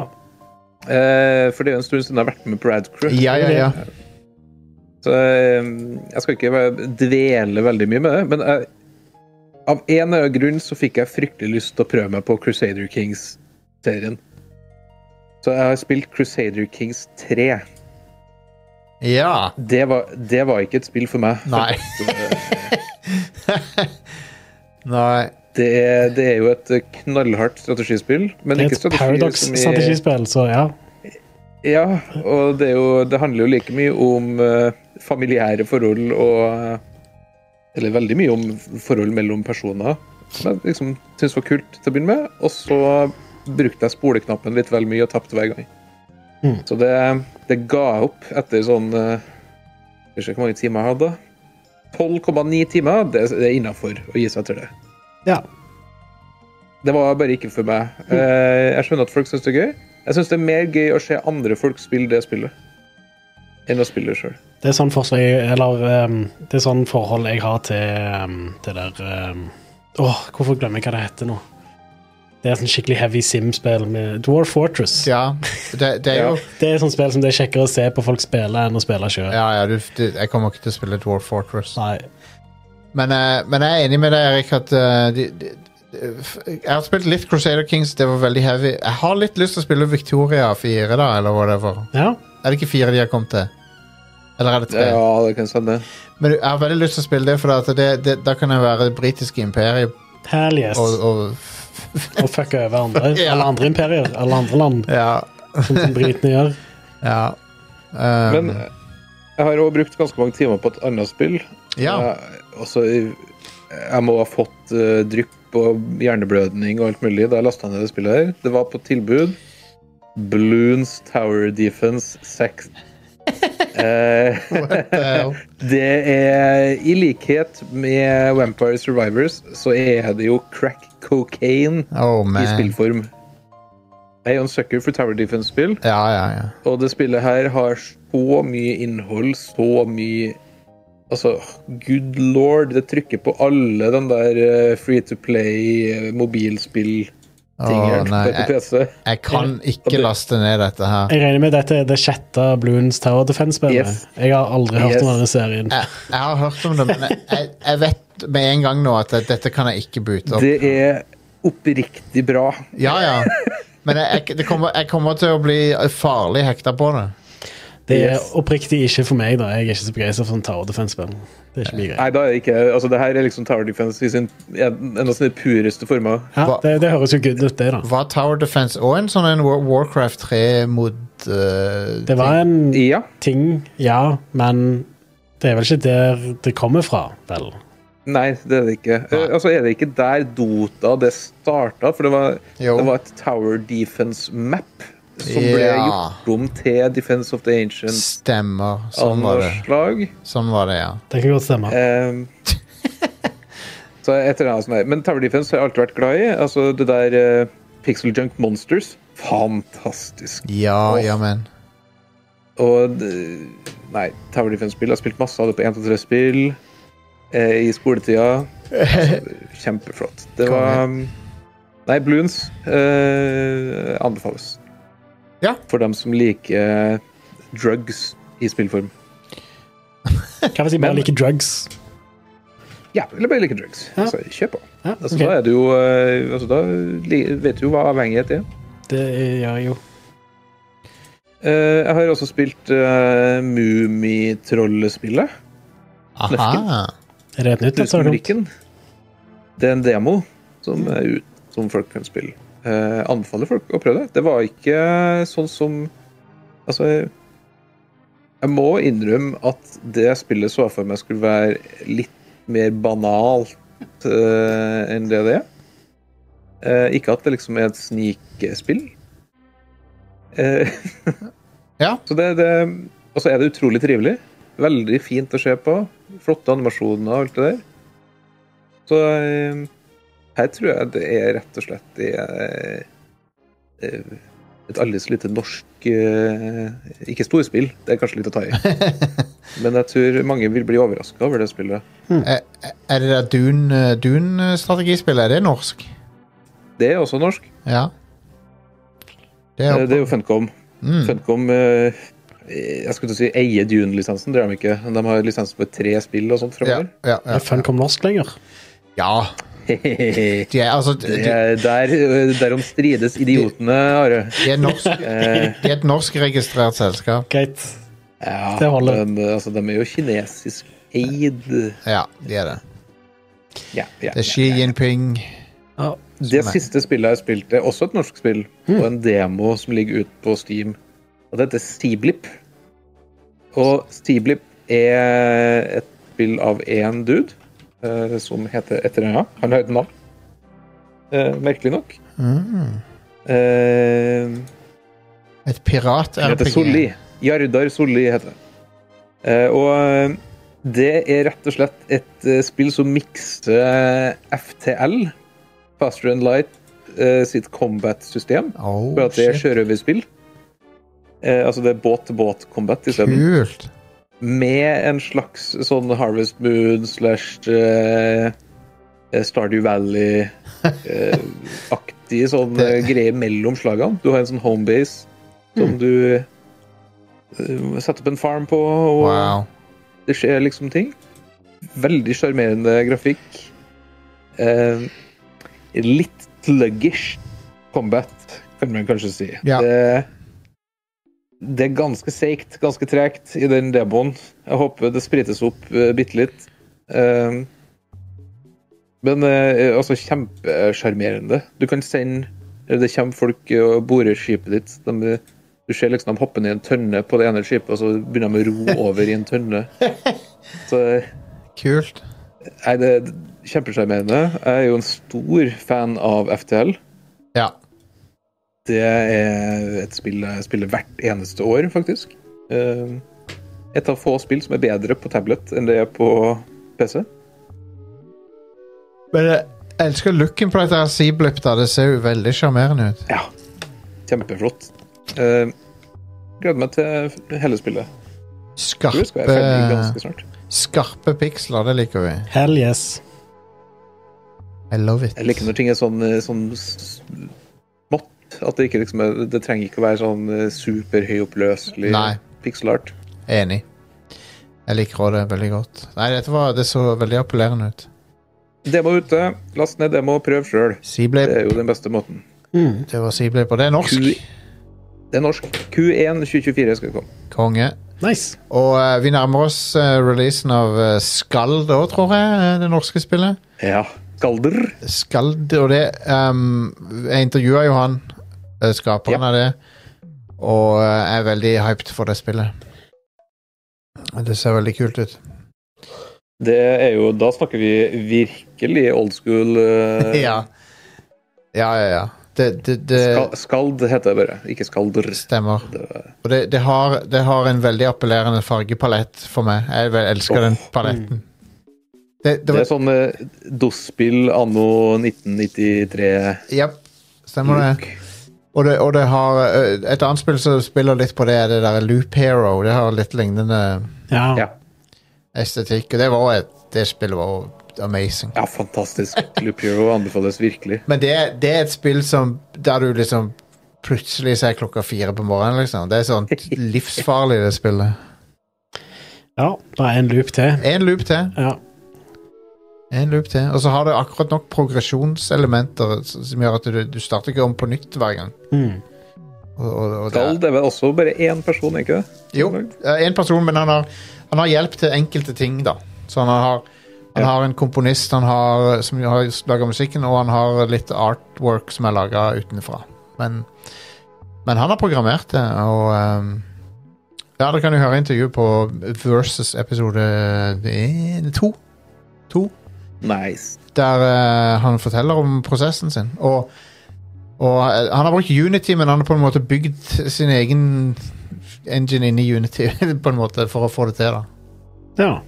Eh, for det er jo en stund siden jeg har vært med på Radcrew. Ja, ja, ja. Så eh, jeg skal ikke være- dvele veldig mye med det. Men jeg, av en eller annen grunn så fikk jeg fryktelig lyst til å prøve meg på Crusader Kings-serien. Så jeg har spilt Crusader Kings 3. Ja. Det var, det var ikke et spill for meg. Nei. Nei. Det er, det er jo et knallhardt strategispill. Men Det er ikke et strategispill Paradox-strategispill, så ja. Ja, og det, er jo, det handler jo like mye om eh, familiære forhold og eh, Eller veldig mye om forhold mellom personer, som jeg liksom syntes var kult til å begynne med. Og så brukte jeg spoleknappen litt vel mye og tapte hver gang. Mm. Så det, det ga jeg opp etter sånn eh, Jeg vet ikke hvor mange timer jeg hadde. 12,9 timer, det, det er innafor å gi seg etter det. ja. Det var bare ikke for meg. Eh, Jeg skjønner at folk syns det er gøy. Jeg syns det er mer gøy å se andre folk spille det spillet enn å spille det sjøl. Det er sånn forslag Eller ehm, det er sånn forhold jeg har til ehm, det der ehm, Åh, hvorfor glemmer jeg hva det heter nå? Det er sånn skikkelig heavy sim-spill med Dwarf Fortress. Ja. Det, det er jo Det er sånn spill som det er kjekkere å se på folk spille enn å spille sjøl. Ja, ja, du, du, jeg kommer ikke til å spille Dwarf Fortress. Nei. Men, eh, men jeg er enig med deg, Erik, at eh, de, de, de, f- Jeg har spilt litt Crusader Kings, det var veldig heavy. Jeg har litt lyst til å spille Victoria 4, da, eller whatever. Ja. Er det ikke 4 de har kommet til? Eller er det 3? Ja, det kan jeg si det. Men jeg har veldig lyst til å spille det, for at det, det, da kan jeg være det britiske imperiet Hell yes. og, Og, og fucke over andre, Ja. alle andre imperier. Alle andre land, Ja. sånn som britene gjør. ja. Um, Men eh, jeg har òg brukt ganske mange timer på et annet spill. ja. Jeg, også, jeg må ha fått eh, drypp og hjerneblødning og alt mulig da jeg lasta ned det spillet her. Det var på tilbud. Bloons Tower Defense 6. Eh, Eh, Det er I likhet med Vampire Survivors, så er det jo crack cocaine oh, i man. spillform. Jeg er jo en sucker for Tower Defense-spill, Ja, ja, ja. og det spillet her har så mye innhold, så mye Altså, good lord, det trykker på alle den der eh, free to play-mobilspill-tingen Å, nei. på Jeg, PC. jeg kan ikke laste ned dette her. Jeg regner med dette er det sjette Bloons Tower Defense-spillet. Yes. Jeg har aldri hørt om Yes. Ah, denne serien. jeg, jeg har hørt om det, men jeg- jeg, jeg vet med en gang nå at jeg- dette kan jeg ikke boote opp. Det er oppriktig bra. Ja, ja. Men jeg, jeg, det kommer, jeg kommer til å bli farlig hekta på det. Det er Yes. oppriktig ikke for meg, da. Jeg er ikke så begeistra for sånn Tower Defense-spill. Det er ikke min greie. Nei, da er det ikke Altså, det her er liksom Tower Defense i sin en en av sine pureste former. Ja, Hva- det, det høres jo good ut, det, da. Var Tower Defense og en sånn en War- Warcraft 3 mot eh, Det var en Ja. ting, ja, men det er vel ikke der det kommer fra, vel? Nei, det er det ikke. Eh, altså, er det ikke der Dota det starta? For det var, Jo. det var et Tower Defense Map som ble Ja. gjort om til Defense of the Ancient Stemmer. av Sånn var noe det. slag. Sånn var det, ja. Det kan godt stemme. Ehm, så et eller annet sånt der. Men Tower Defense har jeg alltid vært glad i. Altså det der eh, Pixel Junk Monsters. Fantastisk. Ja, ja, men Og d- Nei, Tower Defense-spill. Jeg har spilt masse av det på 1-3-spill eh, i skoletida. Altså, kjempeflott. Det var um, Nei, Bloons eh, anbefales. Ja. For dem som liker eh, drugs i spillform. Hva hvis jeg bare men- liker drugs? Ja, eller bare liker drugs. Ja. Så kjør på. Ja, Altså, ok. Da er du jo eh, altså, Da li- vet du jo hva avhengighet er. Det gjør jeg jo. Eh, jeg har også spilt uh, Mummitrollespillet. Aha. Er det et nytt? et sånt? Tusenbrikken. Det er en demo som er ut, som folk kan spille. eh, anbefaler folk å prøve det. Det var ikke sånn som Altså Jeg må innrømme at det spillet så jeg for meg skulle være litt mer banalt eh, enn det det er. Eh, ikke at det liksom er et snikespill. Eh, Ja. Så det, det Og så er det utrolig trivelig. Veldig fint å se på. Flotte animasjoner og alt det der. Så eh, her tror jeg det er rett og slett det er, eh, et aldri så lite norsk eh, Ikke storspill, det er kanskje litt å ta i. Men jeg tror mange vil bli overraska over det spillet. Er, er det der Dune- eh, Dune-strategispillet, er det norsk? Det er også norsk. Ja. Det Eh, er, Det er jo Funcom. Mm. Funcom eh, jeg skulle til å si eier Dune-lisensen, det gjør de ikke. De har lisens på tre spill og sånt ja, framover. ja, ja. Er Funcom norsk lenger? ja. De er, altså, de, Det er der, derom strides idiotene, Are. de er norsk Eh, De er et norskregistrert selskap. Greit. ja, Det holder. Men eh, altså, de er jo kinesisk eid. Ja, de er det. Ja, ja, Det er Xi Jinping. Ja. Det Som er- siste spillet jeg spilte, er også et norsk spill, og en demo som ligger ute på Steam. Og det heter Steblip. Og Steblip er et spill av én dude eh, som heter et eller annet. Han har et navn, eh, merkelig nok. Mm. Eh, Et han heter pirat-RPG. Solli. Jardar Solli heter det. Eh, og eh, det er rett og slett et eh, spill som mikser eh, FTL, Faster and Light, eh, sitt combat-system. Oh, For at det er shit. sjørøverspill. Eh, altså det er båt-til-båt-combat isteden. Kult. Med en slags sånn Harvest Moon slash eh, eh, Stardew Valley-aktig sånn eh, greie mellom slagene. Du har en sånn homebase som du eh, setter opp en farm på, og Wow. det skjer liksom ting. Veldig sjarmerende grafikk. Eh, litt sluggish combat, kan man kanskje si. Ja. Det, det er ganske seigt, ganske tregt, i den demoen. Jeg håper det sprites opp uh, bitte litt. Eh, men eh, altså kjempesjarmerende. Du kan sende eller Det kommer folk eh, og borer skipet ditt. De, du ser liksom de hopper ned i en tønne på det ene skipet, og så begynner de å ro over i en tønne. Så Kult. Nei, det er kjempesjarmerende. Jeg er jo en stor fan av FTL. Ja. Det er et spill jeg spiller hvert eneste år, faktisk. Eh, Et av få spill som er bedre på tablet enn det er på PC. Men jeg elsker looken på dette her Seablip. da. Det ser jo veldig sjarmerende ut. Ja. Kjempeflott. Eh, Gleder meg til hele spillet. Ah, Tror jeg skal være ferdig Skarpe, ganske snart. skarpe piksler, det liker vi. Hell yes. I love it. Jeg liker når ting er sånn, eh, sånn s- smått. At det ikke liksom er, Det trenger ikke å være sånn eh, Nei. superhøyoppløselig pikselart. Enig. Jeg liker også det veldig godt. Nei, dette var, det så veldig appellerende ut. Demo ute. Last ned demo, prøv sjøl. Det Seablip. er jo den beste måten. Mm. Det var Seablip, og det er norsk. Q- Det er norsk. Q1 2024 skal komme. Konge. Nice. Og eh, vi nærmer oss eh, releasen av uh, Skald òg, tror jeg. eh, det norske spillet. Ja. Skalder. Skald og det ehm, Jeg intervjua jo han, eh, skaperen Ja. av det, og eh, jeg er veldig hyped for det spillet. Det ser veldig kult ut. Det er jo Da snakker vi virkelig old school. eh, Ja, ja, ja. ja. Det, det, det Skal, skald heter det bare, ikke skalder. stemmer. Det er- Og det, det, har, det har en veldig appellerende fargepalett for meg. Jeg vel- elsker Åh. den paletten. Det, det Det er var, sånn eh, DOS-spill anno 1993. Japp, stemmer det. Og det, og det har ø, Et annet spill som spiller litt på det, er det der Loop Hero. Det har litt lignende Ja. Ja. estetikk. Og det var et, det spillet var jo amazing. ja, fantastisk. Loop Hero anbefales virkelig. Men det, det er et spill som der du liksom plutselig ser klokka fire på morgenen, liksom. Det er sånn livsfarlig, det spillet. ja. Det er en loop til. Én loop til. Ja. En loop til. Og så har det akkurat nok progresjonselementer s- som gjør at du, du starter ikke om på nytt hver gang. Mm. Og, og, og det er- Skald er vel også bare én person, ikke det? Eh, Jo, én person, men han har, han har hjelp til enkelte ting, da. Så han har Han har en komponist han har, som jo har laga musikken, og han har litt artwork som er laga utenfra. Men, men han har programmert det, og ehm, Ja, dere kan jo høre intervjuet på Versus episode eh, to. To Nice. der eh, han forteller om prosessen sin. Og, og eh, han har brukt Unity, men han har på en måte bygd sin egen engine inni Unity på en måte for å få det til. da. Ja.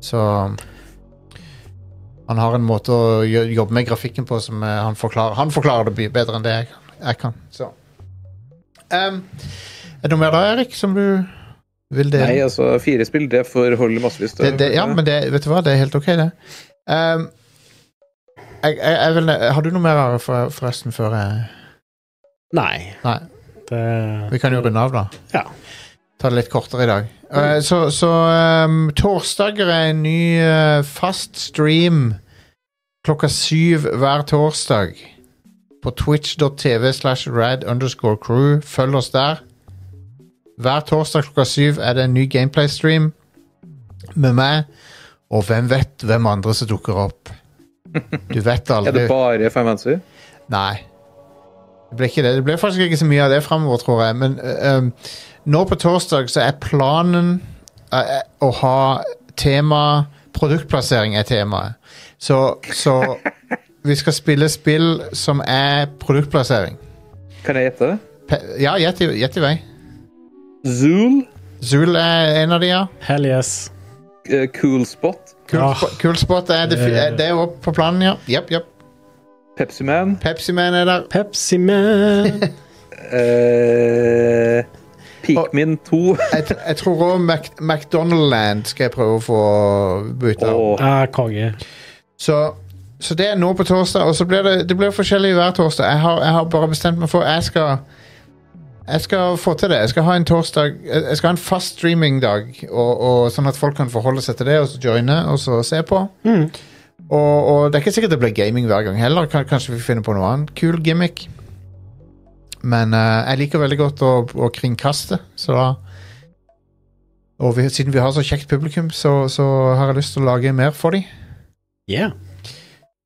Så han har en måte å gjø- jobbe med grafikken på som eh, han forklarer. Han forklarer det by- bedre enn det jeg, kan- jeg kan. Så. Em, er det noe mer da, Erik, som du vil dele? Nei, altså, fire spill, det får holde massevis. det, det, ja, men det, vet du hva, det er helt ok, det. Ehm, jeg, jeg, jeg vil, har du noe mer Are, for, forresten før jeg Nei. Nei, Det vi kan jo runde av, da. Ja. Ta det litt kortere i dag. Mm. Eh, så så ehm, torsdager er en ny eh, fast stream klokka syv hver torsdag på twitch.tv slash rad underscore crew. Følg oss der. Hver torsdag klokka syv er det en ny gameplay-stream med meg, og hvem vet hvem andre som dukker opp. Du vet Er aldri. det bare Five Fancy? Nei. Det blir ikke det. Det blir faktisk ikke så mye av det fremover, tror jeg. Men eh, um, nå på torsdag så er planen eh, å ha tema Produktplassering er temaet. Så, så vi skal spille spill som er produktplassering. Kan jeg gjette det? Pe ja, gjett i gjett i vei. Zool, Zool er en av de, ja. Hell yes. eh, Cool Spot, Kul, Ah. sp kul spot er det, er det er opp på planen, ja. Jepp, jepp. Pepsi Man Pepsi-Man er der. Pepsi Man. eh, Pikmin 2 Jeg, tr- jeg tror òg Mac McDonaldland skal jeg prøve å få bytta. ut. og Ah, konge. Så, så det er nå på torsdag, og så blir det, det blir forskjellig hver torsdag. Jeg har, jeg har bare bestemt meg for Jeg skal jeg skal få til det. Jeg skal ha en torsdag Jeg jeg skal ha en fast streamingdag, og, og, sånn at folk kan forholde seg til det, og så joine og så se på. Mm. Og, og det er ikke sikkert det blir gaming hver gang heller. Kan, kanskje vi finner på noe annet kul gimmick. Men eh, jeg liker veldig godt å, å kringkaste, så da Og vi, siden vi har så kjekt publikum, så, så har jeg lyst til å lage mer for dem. Yeah.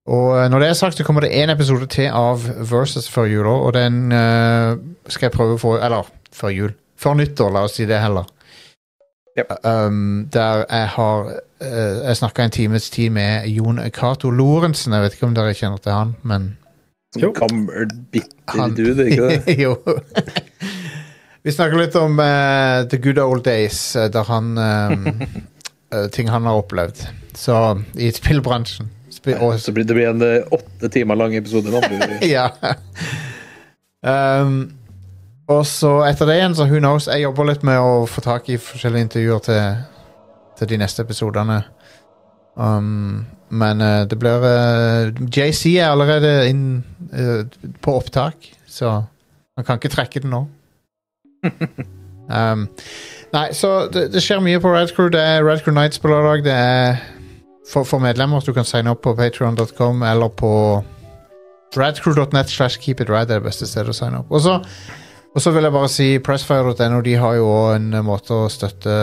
Og eh, når det er sagt, så kommer det én episode til av Versus før jul òg, og den eh, skal jeg prøve å få Eller før jul. Før nyttår, la oss si det heller. Yep. Um, der jeg har eh, Jeg snakka en times tid med Jon Cato Lorentzen. Jeg vet ikke om dere kjenner til han, men Jo. Som gammel, bitter Han- dude, ikke det? jo. Vi snakker litt om eh, the good old days, eh, der han eh, eh, Ting han har opplevd. Så i spillbransjen. Spi og Så blir det blir en eh, åtte timer lang episode. nå. ja. Um, og så etter det igjen, så who knows. Jeg jobber litt med å få tak i forskjellige intervjuer til, til de neste episodene. Um, men eh, det blir eh, JC er allerede inn eh, på opptak, så han kan ikke trekke det nå. um, nei, så det, det skjer mye på Red Crew. Det er Red Crew Nights på lørdag. Det er for, for medlemmer. Du kan signe opp på patreon.com eller på radcrew.net slash keep it rad er det beste stedet å signe opp. Og så, og så vil jeg bare si pressfire.no, de har jo også en eh, måte å støtte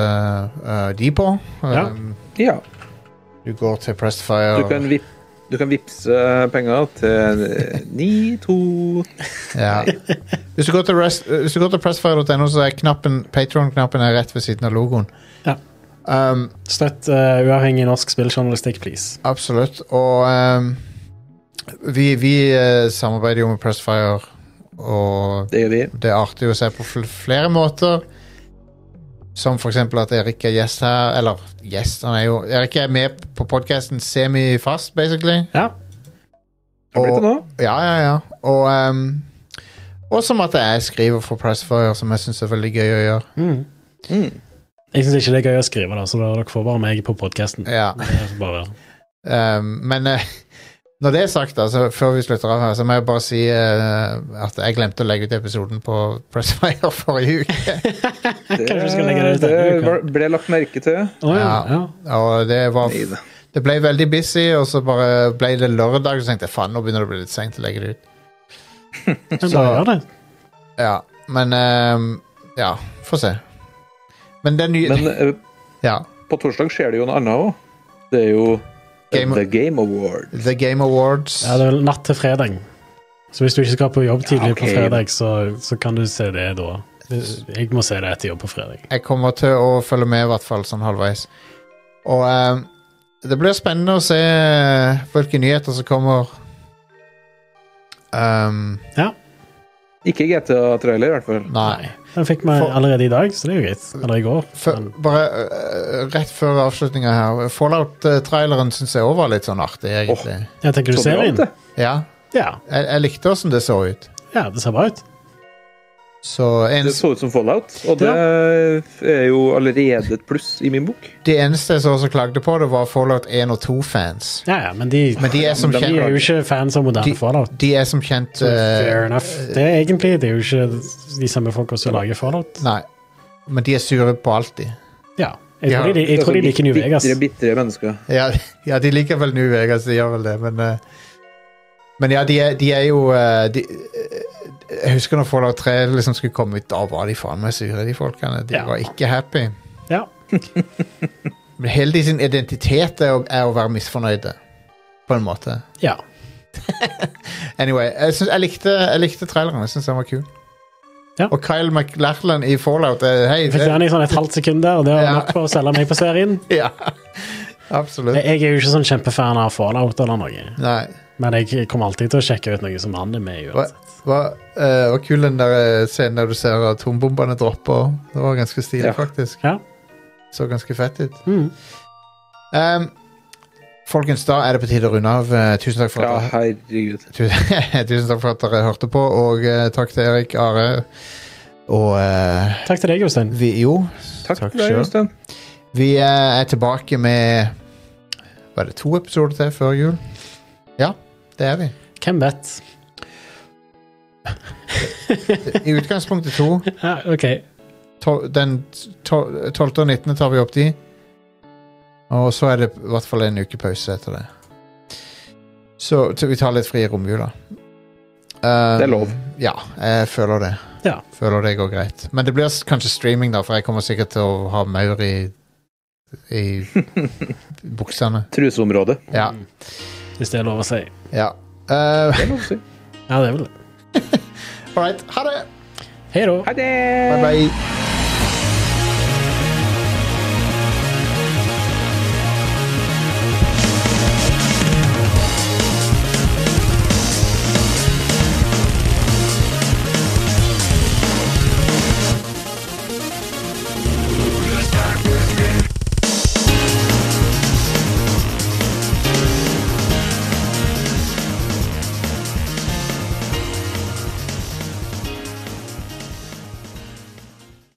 eh, de på. Ja. Um, Ja, Du går til Pressfire. du kan, vip, du kan vipse penger til eh, 92 Ja. Hvis du går til, rest- hvis du går til pressfire.no, så er knappen Patron-knappen er rett ved siden av logoen. Ja. Um, Støtt eh, uavhengig norsk spilljournalistikk, please. absolutt. Og um, vi, vi eh, samarbeider jo med Pressfire, og Det gjør vi. det er artig å se på fl flere måter. Som for eksempel at Erik er gjest her. Eller gjest, han er jo Erik er med på podkasten semi-fast, basically. Ja. Hva blir det nå? Ja, ja, ja. Og, ehm, og som at jeg skriver for Pressfire, som jeg syns er veldig gøy å gjøre. Mm. Mm. Jeg syns ikke det er gøy å skrive, da, så da dere får bare meg på podkasten. Ja. Ehm, men eh, når det er sagt, altså, før vi slutter av her, så må jeg bare si eh, at jeg glemte å legge ut episoden på Pressfire forrige uke. Det, Kanskje vi skal legge det ut denne det uka. var- ble lagt merke til. Å ja. Ja. ja. Og det, var, Neida. det ble veldig busy, og så bare ble det lørdag, og så tenkte jeg faen, nå begynner det å bli litt seint å legge det ut. Men bare gjør det. Ja, men ehm, Ja, få se. Men det er ny... Men eh, ja. på torsdag skjer det jo en annen òg. Det er jo Game, The Game Award. The Game Awards. Ja, det er vel natt til fredag. Så hvis du ikke skal på jobb tidlig ok. på fredag, så, så kan du se det da. Jeg må se det etter jobb på fredag. Jeg kommer til å følge med, i hvert fall sånn halvveis. Og ehm, det blir spennende å se eh, hvilke nyheter som kommer. Ehm, Ikke GTA-trailer, i hvert fall. nei. Den fikk vi For- allerede i dag, så det er jo greit. Eller i går. Før, Men bare eh, rett før avslutninga her. Fallout-traileren syns jeg òg var litt sånn artig, egentlig. jeg tenker du Så bra, serien? det. Ja, Ja, jeg, jeg likte åssen det så ut. ja, det ser bra ut. Så en, Det så ut som Fallout, og det er jo allerede et pluss i min bok. de eneste jeg så som klagde på det, var Fallout 1 og 2-fans. Ja, ja, men de, Men de er som Men de er kjent, jo ikke fans av moderne De- Fallout. de er som kjent Så eh, fair enough. Det er egentlig det er jo ikke de samme folka som lager Fallout. Nei. Men de er sure på alt, de. altså, Ja. Jeg Ja. tror, de, jeg tror de liker New Vegas. Altså, Bitre, bitre mennesker. Ja, ja, de liker vel New Vegas, de gjør vel det, men eh, Men ja, de er, de er jo eh, de, eh, Jeg husker når Fallout 3 liksom skulle komme ut, da var de faen meg sure, de folkene. De Ja. var ikke happy. Ja. Men hele de sin identitet er å, er å være misfornøyde, på en måte. ja. Anyway, jeg, syns- jeg, likte, jeg likte traileren. Jeg syns den var kul. Ja. Og Kyle McLachlan i Fallout er Hei, Jeg fikk den i sånn et halvt sekund der, og det var Ja. nok for å selge meg på serien. Ja, absolutt. Jeg jeg er jo ikke sånn kjempefan av Fallout eller noe, Nei. men jeg kommer alltid til å sjekke ut noe som han er med i. Hva, uansett. hva, eh, var kul den der eh, scenen der du ser atombombene dropper. Det var ganske stilig, Ja. faktisk. Ja. Så ganske fett ut. Mm. Ehm, folkens, da er det på tide å runde av. Eh, tusen takk for Ja, at dere herregud. Tu- Tusen takk for at dere hørte på, og eh, takk til Erik, Are og eh, Takk til deg, Jostein. vi, Jo, Takk, Takk til deg, selv. Jostein. vi eh, er tilbake med Var det to episoder til før jul? Ja, det er vi. Hvem vet? I utgangspunktet to. Ja, OK. to- den to- 12. og 19. tar vi opp de. Og så er det i hvert fall en uke pause etter det. Så, så vi tar litt fri i romjula. Um, Det er lov. Ja, jeg føler det. Ja. Føler det går greit. Men det blir s- kanskje streaming, da, for jeg kommer sikkert til å ha maur i, i buksene. Truseområdet. Ja. Mm. Hvis det er lov å si. Ja. Uh, Det er lov å si. Ja, det er vel det. All right. Ha det! Hei da. Ha det! Bye, bye.